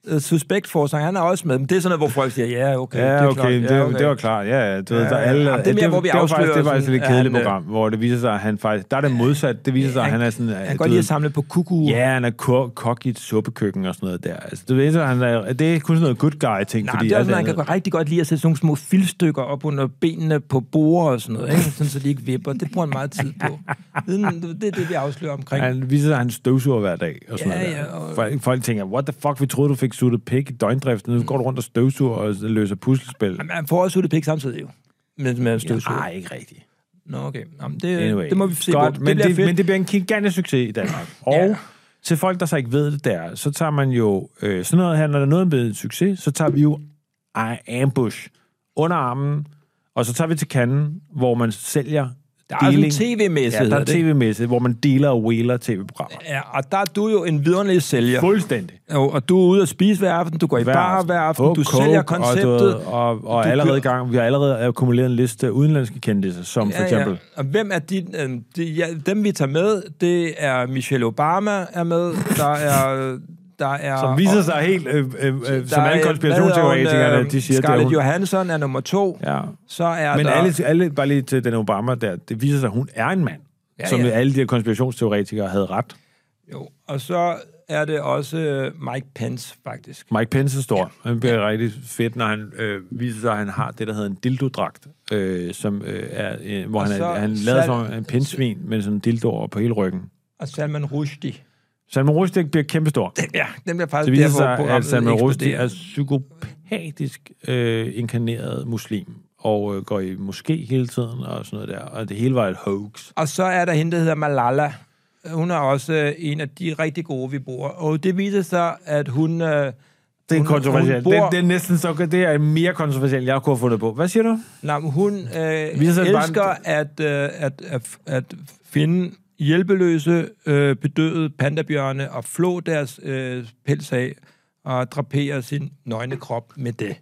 [SPEAKER 1] Øh, Suspekt forsang, han er også med. Men det er sådan noget, hvor folk siger, ja, okay. det
[SPEAKER 2] Ja,
[SPEAKER 1] er
[SPEAKER 2] okay,
[SPEAKER 1] klart,
[SPEAKER 2] det, det var klart. Ja, ja, du ved, der er alle,
[SPEAKER 1] ja. Jamen, det er mere, hvor vi
[SPEAKER 2] det var faktisk,
[SPEAKER 1] afslører
[SPEAKER 2] det var faktisk
[SPEAKER 1] sådan,
[SPEAKER 2] et lidt
[SPEAKER 1] at
[SPEAKER 2] kedeligt
[SPEAKER 1] han, øh,
[SPEAKER 2] program, hvor det viser sig, at han faktisk... Der er det modsat. Det viser sig, at han er sådan... øh,
[SPEAKER 1] Han kan godt lide at samle på kuku.
[SPEAKER 2] Ja, han er ko- kok i et suppekøkken og sådan noget der. Altså, du ved, så han er, det er kun sådan noget good guy-ting.
[SPEAKER 1] Nej,
[SPEAKER 2] fordi altså,
[SPEAKER 1] det er
[SPEAKER 2] alt
[SPEAKER 1] også, man
[SPEAKER 2] andet-
[SPEAKER 1] kan godt- rigtig godt lide at sætte sådan nogle små filstykker op under benene på borer og sådan noget, ikke? Sådan, så de ikke vipper. Det bruger han meget tid på. Viden- Det er det, vi afslører omkring.
[SPEAKER 2] Han viser sig, at han støvsuger hver dag. Og sådan
[SPEAKER 1] Ja,
[SPEAKER 2] noget der.
[SPEAKER 1] ja, og-
[SPEAKER 2] Folk, folk tænker, what the fuck, vi troede, du fik suttet pik i døgndrift. Nu går du rundt og støvsuger og løser puslespil.
[SPEAKER 1] Jamen, han får også suttet pik samtidig jo. Men med støvsug.
[SPEAKER 2] Nej, ikke rigtigt.
[SPEAKER 1] Nå, okay. Jamen, det,
[SPEAKER 2] Anyway.
[SPEAKER 1] det må vi se
[SPEAKER 2] Godt,
[SPEAKER 1] på.
[SPEAKER 2] Men,
[SPEAKER 1] det
[SPEAKER 2] det,
[SPEAKER 1] bliver
[SPEAKER 2] men
[SPEAKER 1] fedt.
[SPEAKER 2] det bliver en gigantisk succes i Danmark. Og
[SPEAKER 1] Ja.
[SPEAKER 2] ja. til folk, der så ikke ved det der, så tager man jo øh, sådan noget her, når der er noget med en succes, så tager vi jo I ambush under armen, og så tager vi til kanden, hvor man sælger
[SPEAKER 1] Der er sådan en tv-messe,
[SPEAKER 2] Ja, der
[SPEAKER 1] hedder
[SPEAKER 2] er
[SPEAKER 1] Altså, det.
[SPEAKER 2] tv-messe, hvor man deler og wheeler tv-programmer.
[SPEAKER 1] Ja, og der er du jo en vidunderlig sælger.
[SPEAKER 2] Fuldstændig.
[SPEAKER 1] Og, og du er ude at spise hver aften, du går i bar hver aften,
[SPEAKER 2] På
[SPEAKER 1] du
[SPEAKER 2] coke,
[SPEAKER 1] sælger
[SPEAKER 2] Og,
[SPEAKER 1] konceptet.
[SPEAKER 2] du ved, og, og
[SPEAKER 1] Du
[SPEAKER 2] allerede i
[SPEAKER 1] kører-
[SPEAKER 2] gang, vi har allerede akkumuleret en liste af udenlandske kendte, som ja, for eksempel... Ja.
[SPEAKER 1] Og hvem er din, øh, de, ja, dem, vi tager med, det er Michelle Obama er med, der er... Der er
[SPEAKER 2] Som viser sig helt, øh, øh, øh, som
[SPEAKER 1] Der er,
[SPEAKER 2] alle
[SPEAKER 1] øh, hvad hedder
[SPEAKER 2] konspirationsteoretikerne,
[SPEAKER 1] hun,
[SPEAKER 2] de siger, det er
[SPEAKER 1] Scarlett Altså-
[SPEAKER 2] hun.
[SPEAKER 1] Johansson er nummer to.
[SPEAKER 2] Ja.
[SPEAKER 1] Så er
[SPEAKER 2] Men
[SPEAKER 1] der...
[SPEAKER 2] alle, alle, bare lige til den Obama der, det viser sig, at hun er en mand, ja, som
[SPEAKER 1] ja.
[SPEAKER 2] ja. alle de her konspirationsteoretikere havde ret.
[SPEAKER 1] Jo, og så er det også øh, Mike Pence, faktisk.
[SPEAKER 2] Mike Pence er stor. Han bliver rigtig fedt, når han øh, viser sig, at han har det, der hedder en dildodragt, øh, som øh, er, øh, hvor han,
[SPEAKER 1] så
[SPEAKER 2] er, han lader som
[SPEAKER 1] sal-
[SPEAKER 2] om en pindsvin med sådan en dildo over på hele ryggen.
[SPEAKER 1] Og Salman Rushdie.
[SPEAKER 2] Salman Rushdie bliver kæmpestor.
[SPEAKER 1] Ja, den bliver faktisk
[SPEAKER 2] Det viser
[SPEAKER 1] der, hvor
[SPEAKER 2] sig, at
[SPEAKER 1] programmet
[SPEAKER 2] Salman Rushdie
[SPEAKER 1] eksploderer.
[SPEAKER 2] er psykopatisk øh, inkarneret muslim, og øh, går i moské hele tiden og sådan noget der, og det hele var et hoax.
[SPEAKER 1] Og så er der hende, der hedder Malala. Hun er også øh, en af de rigtig gode, vi bruger. Og det viser sig, at hun... Øh,
[SPEAKER 2] Det er
[SPEAKER 1] Hun-
[SPEAKER 2] kontroversielt.
[SPEAKER 1] hun bor-
[SPEAKER 2] det, det, er næsten så, det er mere kontroversielt, jeg kunne have fundet på. Hvad siger du?
[SPEAKER 1] nej, men hun øh,
[SPEAKER 2] Viser sig bare-
[SPEAKER 1] elsker at, øh, at, at, at finde hjælpeløse, øh, bedøde pandabjørne og flå deres øh, pels af og drapere sin nøgne krop med det.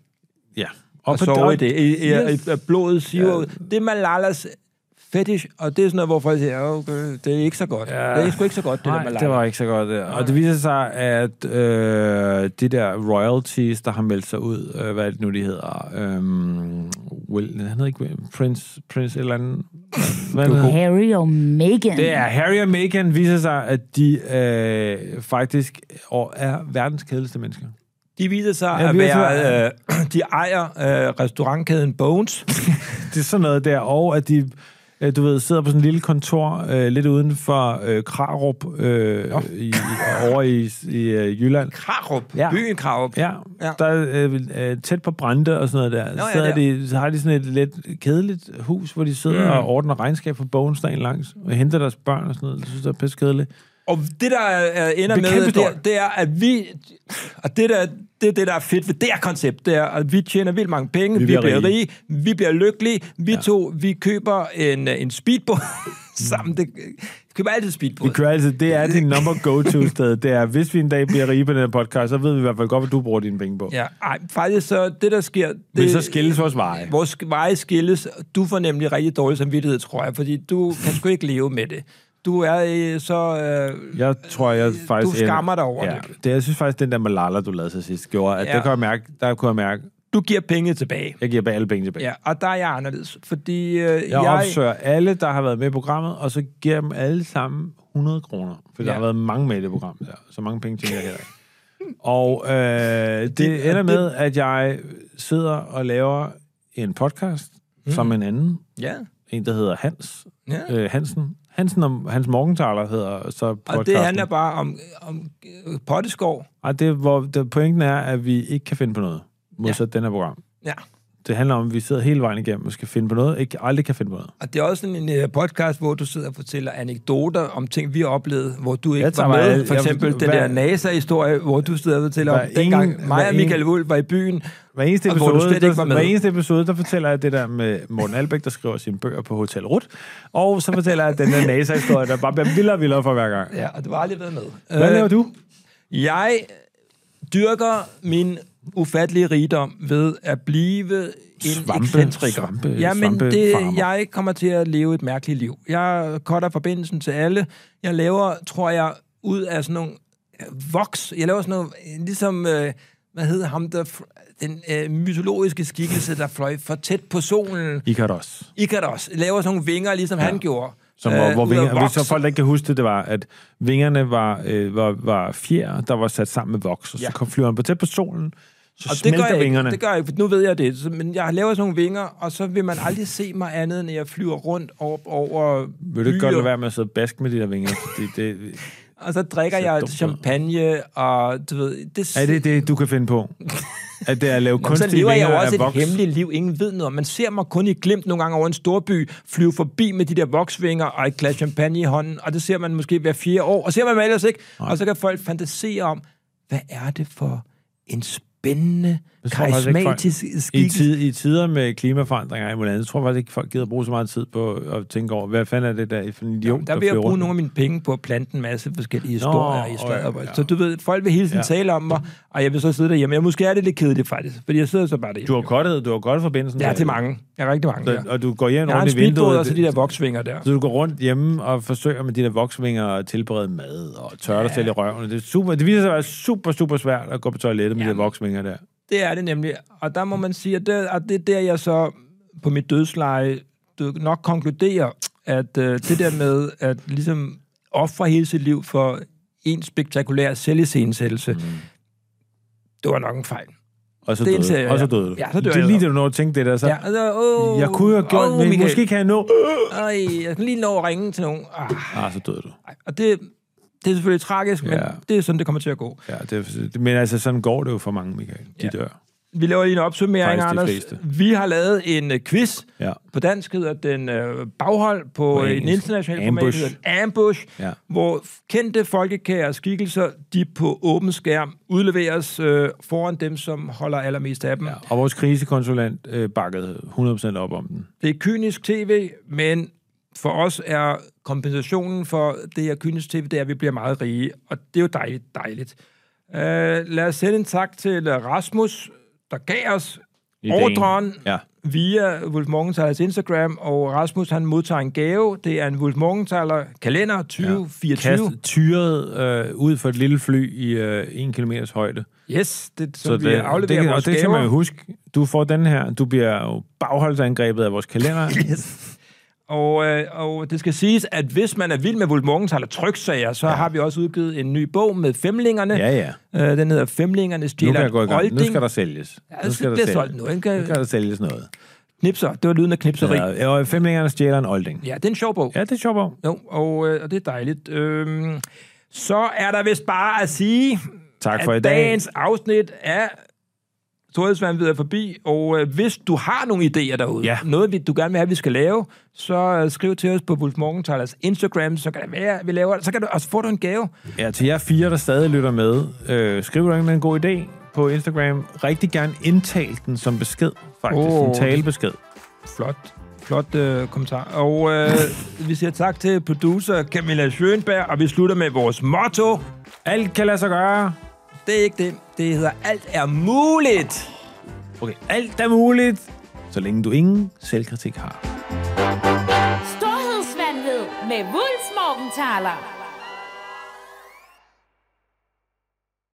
[SPEAKER 2] Ja.
[SPEAKER 1] Og, og sove i det. I, i,
[SPEAKER 2] Yes.
[SPEAKER 1] i, i blodet siver ud. Det er Malalas fetish, og det er sådan noget, hvor folk siger, "Ja, okay, det er ikke så godt. Ja. Det er sgu ikke så godt, det der
[SPEAKER 2] Nej,
[SPEAKER 1] Malala.
[SPEAKER 2] det var ikke så godt der. Og det viser sig, at øh, de der royalties, der har meldt sig ud, øh, hvad er det nu, de hedder? Øhm, Will, han hedder ikke Will, Prince, Prince et eller andet. Hvad er det, han
[SPEAKER 4] Harry og Meghan.
[SPEAKER 2] Det er Harry og Meghan viser sig, at de øh, faktisk og er verdens kedeligste mennesker.
[SPEAKER 1] De viser sig
[SPEAKER 2] Ja,
[SPEAKER 1] at
[SPEAKER 2] vi er
[SPEAKER 1] være... Øh, de ejer øh, restaurantkæden Bones.
[SPEAKER 2] Det er sådan noget der, og at de øh, du ved, sidder på sådan en lille kontor øh, lidt uden for øh, Krarup øh, i, i, over i, i øh, Jylland.
[SPEAKER 1] Krarup. Ja.
[SPEAKER 2] Ja.
[SPEAKER 1] Byen Krarup.
[SPEAKER 2] Ja,
[SPEAKER 1] Ja.
[SPEAKER 2] ja. der øh, øh, tæt på Brande og sådan noget der. Nå,
[SPEAKER 1] ja,
[SPEAKER 2] ja, sidder
[SPEAKER 1] der.
[SPEAKER 2] de, så har de sådan et lidt kedeligt hus, hvor de sidder
[SPEAKER 1] Mm.
[SPEAKER 2] og ordner regnskab på Bones dagen langs, og henter deres børn og sådan noget. Det synes jeg er pisse kedeligt.
[SPEAKER 1] Og det, der øh, ender
[SPEAKER 2] Det er
[SPEAKER 1] med, det,
[SPEAKER 2] kæmpestort.
[SPEAKER 1] er- det er, at vi... Og det, der, det er det, der er fedt ved det her koncept, det er, at vi tjener vildt mange penge, vi, vi
[SPEAKER 2] bliver
[SPEAKER 1] bliver rige.
[SPEAKER 2] rige.
[SPEAKER 1] rige, vi bliver lykkelige, vi ja. to, vi køber en, øh, en speedbåd sammen. Det, Mm. vi køber altid speedbåd.
[SPEAKER 2] Vi kører altid. Det er din number go-to sted. Det er, hvis vi en dag bliver rige på den her podcast, så ved vi i hvert fald godt, hvad du bruger dine penge på. Ja,
[SPEAKER 1] Ja, ej, faktisk så, det der sker... Det,
[SPEAKER 2] Men så skilles vores veje.
[SPEAKER 1] Vores sk- veje skilles. Du får nemlig rigtig dårlig samvittighed, tror jeg, fordi du kan sgu ikke leve med det. Du er øh, så... Øh,
[SPEAKER 2] Jeg tror, jeg faktisk...
[SPEAKER 1] skammer dig over
[SPEAKER 2] ja.
[SPEAKER 1] det.
[SPEAKER 2] det. Jeg synes faktisk, den der Malala, du lavede til sidst, gjorde, at
[SPEAKER 1] Ja.
[SPEAKER 2] ja. der, kunne jeg mærke, der kunne jeg mærke,
[SPEAKER 1] Du giver penge tilbage.
[SPEAKER 2] Jeg giver bare alle penge tilbage.
[SPEAKER 1] Ja, og der er jeg anderledes, fordi øh, jeg,
[SPEAKER 2] Jeg, jeg opsøger alle, der har været med i programmet, og så giver jeg dem alle sammen 100 kroner. For
[SPEAKER 1] Ja.
[SPEAKER 2] ja. der har været mange med i det program der. Så mange penge tjener jeg heller ikke. Og øh, det ender med, at jeg sidder og laver en podcast mm. sammen med en anden.
[SPEAKER 1] ja,
[SPEAKER 2] En, der hedder Hans.
[SPEAKER 1] Ja.
[SPEAKER 2] Øh, Hansen. Hansen om, Hans Morgenthaler hedder så podcasten.
[SPEAKER 1] og det handler bare om, om øh, potteskov.
[SPEAKER 2] Ej, det, er, hvor, det, pointen er, at vi ikke kan finde på noget. Modsat ja. den her program.
[SPEAKER 1] Ja.
[SPEAKER 2] Det handler om, at vi sidder hele vejen igennem og skal finde på noget. Ikke, aldrig kan finde på noget.
[SPEAKER 1] Og det er også sådan en øh, podcast, hvor du sidder og fortæller anekdoter om ting, vi har oplevet, hvor du ikke
[SPEAKER 2] Jeg tager
[SPEAKER 1] var med.
[SPEAKER 2] mig alle-
[SPEAKER 1] For
[SPEAKER 2] jeg-
[SPEAKER 1] eksempel den
[SPEAKER 2] hver-
[SPEAKER 1] der NASA-historie, hvor du sidder og fortæller om,
[SPEAKER 2] Hver ingen-
[SPEAKER 1] dengang mig
[SPEAKER 2] hver
[SPEAKER 1] og Michael
[SPEAKER 2] ingen-
[SPEAKER 1] Wulff var i byen,
[SPEAKER 2] Hver eneste,
[SPEAKER 1] Og hvor
[SPEAKER 2] episode,
[SPEAKER 1] du slet ikke
[SPEAKER 2] der,
[SPEAKER 1] var med.
[SPEAKER 2] hver eneste episode, der fortæller jeg det der med Morten Albæk, der skriver sine bøger på Hotel Rut. Og så fortæller jeg den der NASA-historie, der bare bliver vildere og vildere for hver gang.
[SPEAKER 1] ja, og det var aldrig været med.
[SPEAKER 2] Hvad
[SPEAKER 1] Øh,
[SPEAKER 2] laver du?
[SPEAKER 1] Jeg dyrker min ufattelige rigdom ved at blive en
[SPEAKER 2] Svampe-
[SPEAKER 1] ekscentriker.
[SPEAKER 2] svampe-
[SPEAKER 1] Jamen, det,
[SPEAKER 2] svampefarmer.
[SPEAKER 1] jeg kommer til at leve et mærkeligt liv. Jeg cutter forbindelsen til alle. Jeg laver, tror jeg, ud af sådan nogle øh, voks. Jeg laver sådan noget, øh, ligesom, øh, hvad hedder ham der, fr- den øh, mytologiske skikkelse, der fløj for tæt på solen.
[SPEAKER 2] I kan det også.
[SPEAKER 1] Ikaros laver sådan nogle vinger, ligesom ja. han gjorde.
[SPEAKER 2] Som, øh, hvor, hvor
[SPEAKER 1] ud af
[SPEAKER 2] vinger, hvis
[SPEAKER 1] voks.
[SPEAKER 2] så folk, der ikke kan huske det, det var, at vingerne var, øh, var, var fjer, der var sat sammen med voks, og ja.
[SPEAKER 1] Ja.
[SPEAKER 2] så kom flyveren på tæt på solen, så
[SPEAKER 1] Og
[SPEAKER 2] og
[SPEAKER 1] det
[SPEAKER 2] smelter
[SPEAKER 1] gør, jeg ikke,
[SPEAKER 2] vingerne.
[SPEAKER 1] det gør jeg ikke, for nu ved jeg det. Så- Men jeg laver sådan nogle vinger, og så vil man aldrig se mig andet, end at jeg flyver rundt op over
[SPEAKER 2] Vil du ikke
[SPEAKER 1] byer.
[SPEAKER 2] godt lade være med at sidde og baske med de der vinger? Fordi det,
[SPEAKER 1] Og så drikker
[SPEAKER 2] Så
[SPEAKER 1] jeg
[SPEAKER 2] dumt ud.
[SPEAKER 1] champagne, og du ved... Det,
[SPEAKER 2] er det det, du kan finde på? At det er at lave
[SPEAKER 1] Nå, men så
[SPEAKER 2] kunstige
[SPEAKER 1] lever jeg
[SPEAKER 2] vinger
[SPEAKER 1] jo også et
[SPEAKER 2] af voks?
[SPEAKER 1] hemmeligt liv, ingen ved noget om. Man ser mig kun i glimt nogle gange over en storby, flyve forbi med de der voksvinger og et glas champagne i hånden, og det ser man måske hver fjerde år, og ser man mig ellers ikke. Og så kan folk fantasere om, hvad er det for en spændende,
[SPEAKER 2] Jeg tror faktisk ikke, folk-
[SPEAKER 1] karismatisk
[SPEAKER 2] I,
[SPEAKER 1] skikkelse.
[SPEAKER 2] tid, I tider med klimaforandringer og alt muligt andet, tror jeg faktisk ikke, folk gider bruge så meget tid på at tænke over, hvad fanden er det der for en idiot,
[SPEAKER 1] Der
[SPEAKER 2] der
[SPEAKER 1] vil jeg
[SPEAKER 2] flyver
[SPEAKER 1] bruge
[SPEAKER 2] rundt?
[SPEAKER 1] nogle af mine penge på at plante en masse forskellige historier i sladder.
[SPEAKER 2] ja, ja.
[SPEAKER 1] Så du ved, folk vil hele tiden
[SPEAKER 2] Ja.
[SPEAKER 1] ja. tale om mig, og jeg vil så sidde derhjemme. Jeg måske er det lidt kedeligt faktisk, fordi jeg sidder så bare
[SPEAKER 2] Du
[SPEAKER 1] derhjemme.
[SPEAKER 2] har kottet, du har godt forbindelsen.
[SPEAKER 1] Jeg er
[SPEAKER 2] der.
[SPEAKER 1] til mange. Jeg er rigtig mange. Ja.
[SPEAKER 2] Så- Og du går hjem
[SPEAKER 1] Jeg har en
[SPEAKER 2] rundt i
[SPEAKER 1] speedbåd og så de der
[SPEAKER 2] vinduet.
[SPEAKER 1] voksvinger der.
[SPEAKER 2] Så du går rundt hjemme og forsøger med de der voksvinger at tilberede mad og tørre dig selv i røven. Det, er super, det viser sig at være super, super svært at gå på toilettet med de der voksvinger der.
[SPEAKER 1] Det er det nemlig. Og der må man sige, at det, at det er der, jeg så på mit dødsleje du nok konkluderer, at øh, det der med at ligesom ofre hele sit liv for en spektakulær selvisensættelse, mm. det var nok en fejl.
[SPEAKER 2] Og så
[SPEAKER 1] Det er en
[SPEAKER 2] døde,
[SPEAKER 1] serie,
[SPEAKER 2] og så
[SPEAKER 1] ja.
[SPEAKER 2] døde du.
[SPEAKER 1] Ja, så dør
[SPEAKER 2] det er
[SPEAKER 1] jeg
[SPEAKER 2] lige
[SPEAKER 1] så.
[SPEAKER 2] det, du når at tænke det der. Så,
[SPEAKER 1] Ja, altså, åh,
[SPEAKER 2] Jeg kunne jo have gjort,
[SPEAKER 1] åh,
[SPEAKER 2] men
[SPEAKER 1] Michael.
[SPEAKER 2] måske kan jeg nå...
[SPEAKER 1] Ej, jeg skal lige nå at ringe til nogen. Ah,
[SPEAKER 2] Ah, så døde du.
[SPEAKER 1] ej. og det, det er selvfølgelig tragisk, men
[SPEAKER 2] Ja.
[SPEAKER 1] det er sådan, det kommer til at gå.
[SPEAKER 2] Ja, det, men altså, sådan går det jo for mange, Michael. De ja.
[SPEAKER 1] Ja.
[SPEAKER 2] dør.
[SPEAKER 1] Vi laver lige en opsummering,
[SPEAKER 2] Faktisk de
[SPEAKER 1] Anders.
[SPEAKER 2] fleste.
[SPEAKER 1] Vi har lavet en uh, quiz.
[SPEAKER 2] Ja.
[SPEAKER 1] På dansk hedder den uh, baghold, på,
[SPEAKER 2] På
[SPEAKER 1] på en
[SPEAKER 2] engelsk.
[SPEAKER 1] international format
[SPEAKER 2] Ambush.
[SPEAKER 1] hedder den ambush,
[SPEAKER 2] Ja.
[SPEAKER 1] hvor kendte folkekære skikkelser, de på åben skærm udleveres uh, foran dem, som holder allermest af dem. Ja.
[SPEAKER 2] Og vores krisekonsulent øh, bakkede 100% op om den.
[SPEAKER 1] Det er kynisk tv, men for os er kompensationen for det her kynisk tv, det er, at vi bliver meget rige, og det er jo dejligt, dejligt. Uh, lad os sende en tak til øh, Rasmus, der gav os
[SPEAKER 2] Ideen.
[SPEAKER 1] ordren
[SPEAKER 2] Ja.
[SPEAKER 1] via Wolf Morgenthalers Instagram, og Rasmus han modtager en gave. Det er en Wolf Morgenthaler kalender 2024.
[SPEAKER 2] Kast tyret øh, ud for et lille fly i øh, en kilometers højde.
[SPEAKER 1] Yes, det, som
[SPEAKER 2] Så
[SPEAKER 1] så vi
[SPEAKER 2] det, det,
[SPEAKER 1] afleverer
[SPEAKER 2] kan- og
[SPEAKER 1] vores
[SPEAKER 2] det skal
[SPEAKER 1] gaver.
[SPEAKER 2] man jo huske. Du får den her. Du bliver jo bagholdsangrebet af vores kalender.
[SPEAKER 1] Yes. Og, øh, og det skal siges, at hvis man er vild med Wolf Morgenthal og tryksager, så ja. har vi også udgivet en ny bog med femlingerne.
[SPEAKER 2] Ja, ja.
[SPEAKER 1] Øh, den hedder Femlingerne
[SPEAKER 2] Nu
[SPEAKER 1] stjæler
[SPEAKER 2] kan jeg
[SPEAKER 1] en
[SPEAKER 2] gå i gang. Nu
[SPEAKER 1] olding.
[SPEAKER 2] skal der sælges.
[SPEAKER 1] Ja,
[SPEAKER 2] Nu
[SPEAKER 1] det
[SPEAKER 2] skal der
[SPEAKER 1] bliver
[SPEAKER 2] sælges.
[SPEAKER 1] solgt nu, ikke?
[SPEAKER 2] Nu skal der sælges noget.
[SPEAKER 1] Knipser, det var lyden af knipseri. Ja.
[SPEAKER 2] Ja, og femlingerne stjæler en olding.
[SPEAKER 1] ja, det er en sjov bog.
[SPEAKER 2] Ja, det er sjovt. Bo.
[SPEAKER 1] Jo, og, øh, og det er dejligt. Øhm, så er der vist bare at sige,
[SPEAKER 2] Tak
[SPEAKER 1] at
[SPEAKER 2] for i dag.
[SPEAKER 1] dagens afsnit af Storhedsvandvid er forbi, og øh, hvis du har nogle idéer derude,
[SPEAKER 2] Ja.
[SPEAKER 1] noget vi- du gerne vil have, vi skal lave, så øh, skriv til os på Wolf Morgenthalers Instagram, så kan det være, vi laver det. Så kan du, og så får du en gave.
[SPEAKER 2] Ja, til jer fire, der stadig lytter med, øh, skriv du en god idé på Instagram. Rigtig gerne indtal den som besked, faktisk. Oh.
[SPEAKER 1] Åh.
[SPEAKER 2] En talebesked.
[SPEAKER 1] Flot. Flot øh, kommentar. Og øh, vi siger tak til producer Camilla Schönberg, og vi slutter med vores motto.
[SPEAKER 2] Alt kan lade sig gøre.
[SPEAKER 1] Det er ikke det. Det hedder, alt er muligt.
[SPEAKER 2] Okay, alt er muligt, så længe du ingen selvkritik har.
[SPEAKER 3] Storhedsvandved med Wulfs Morgenthaler.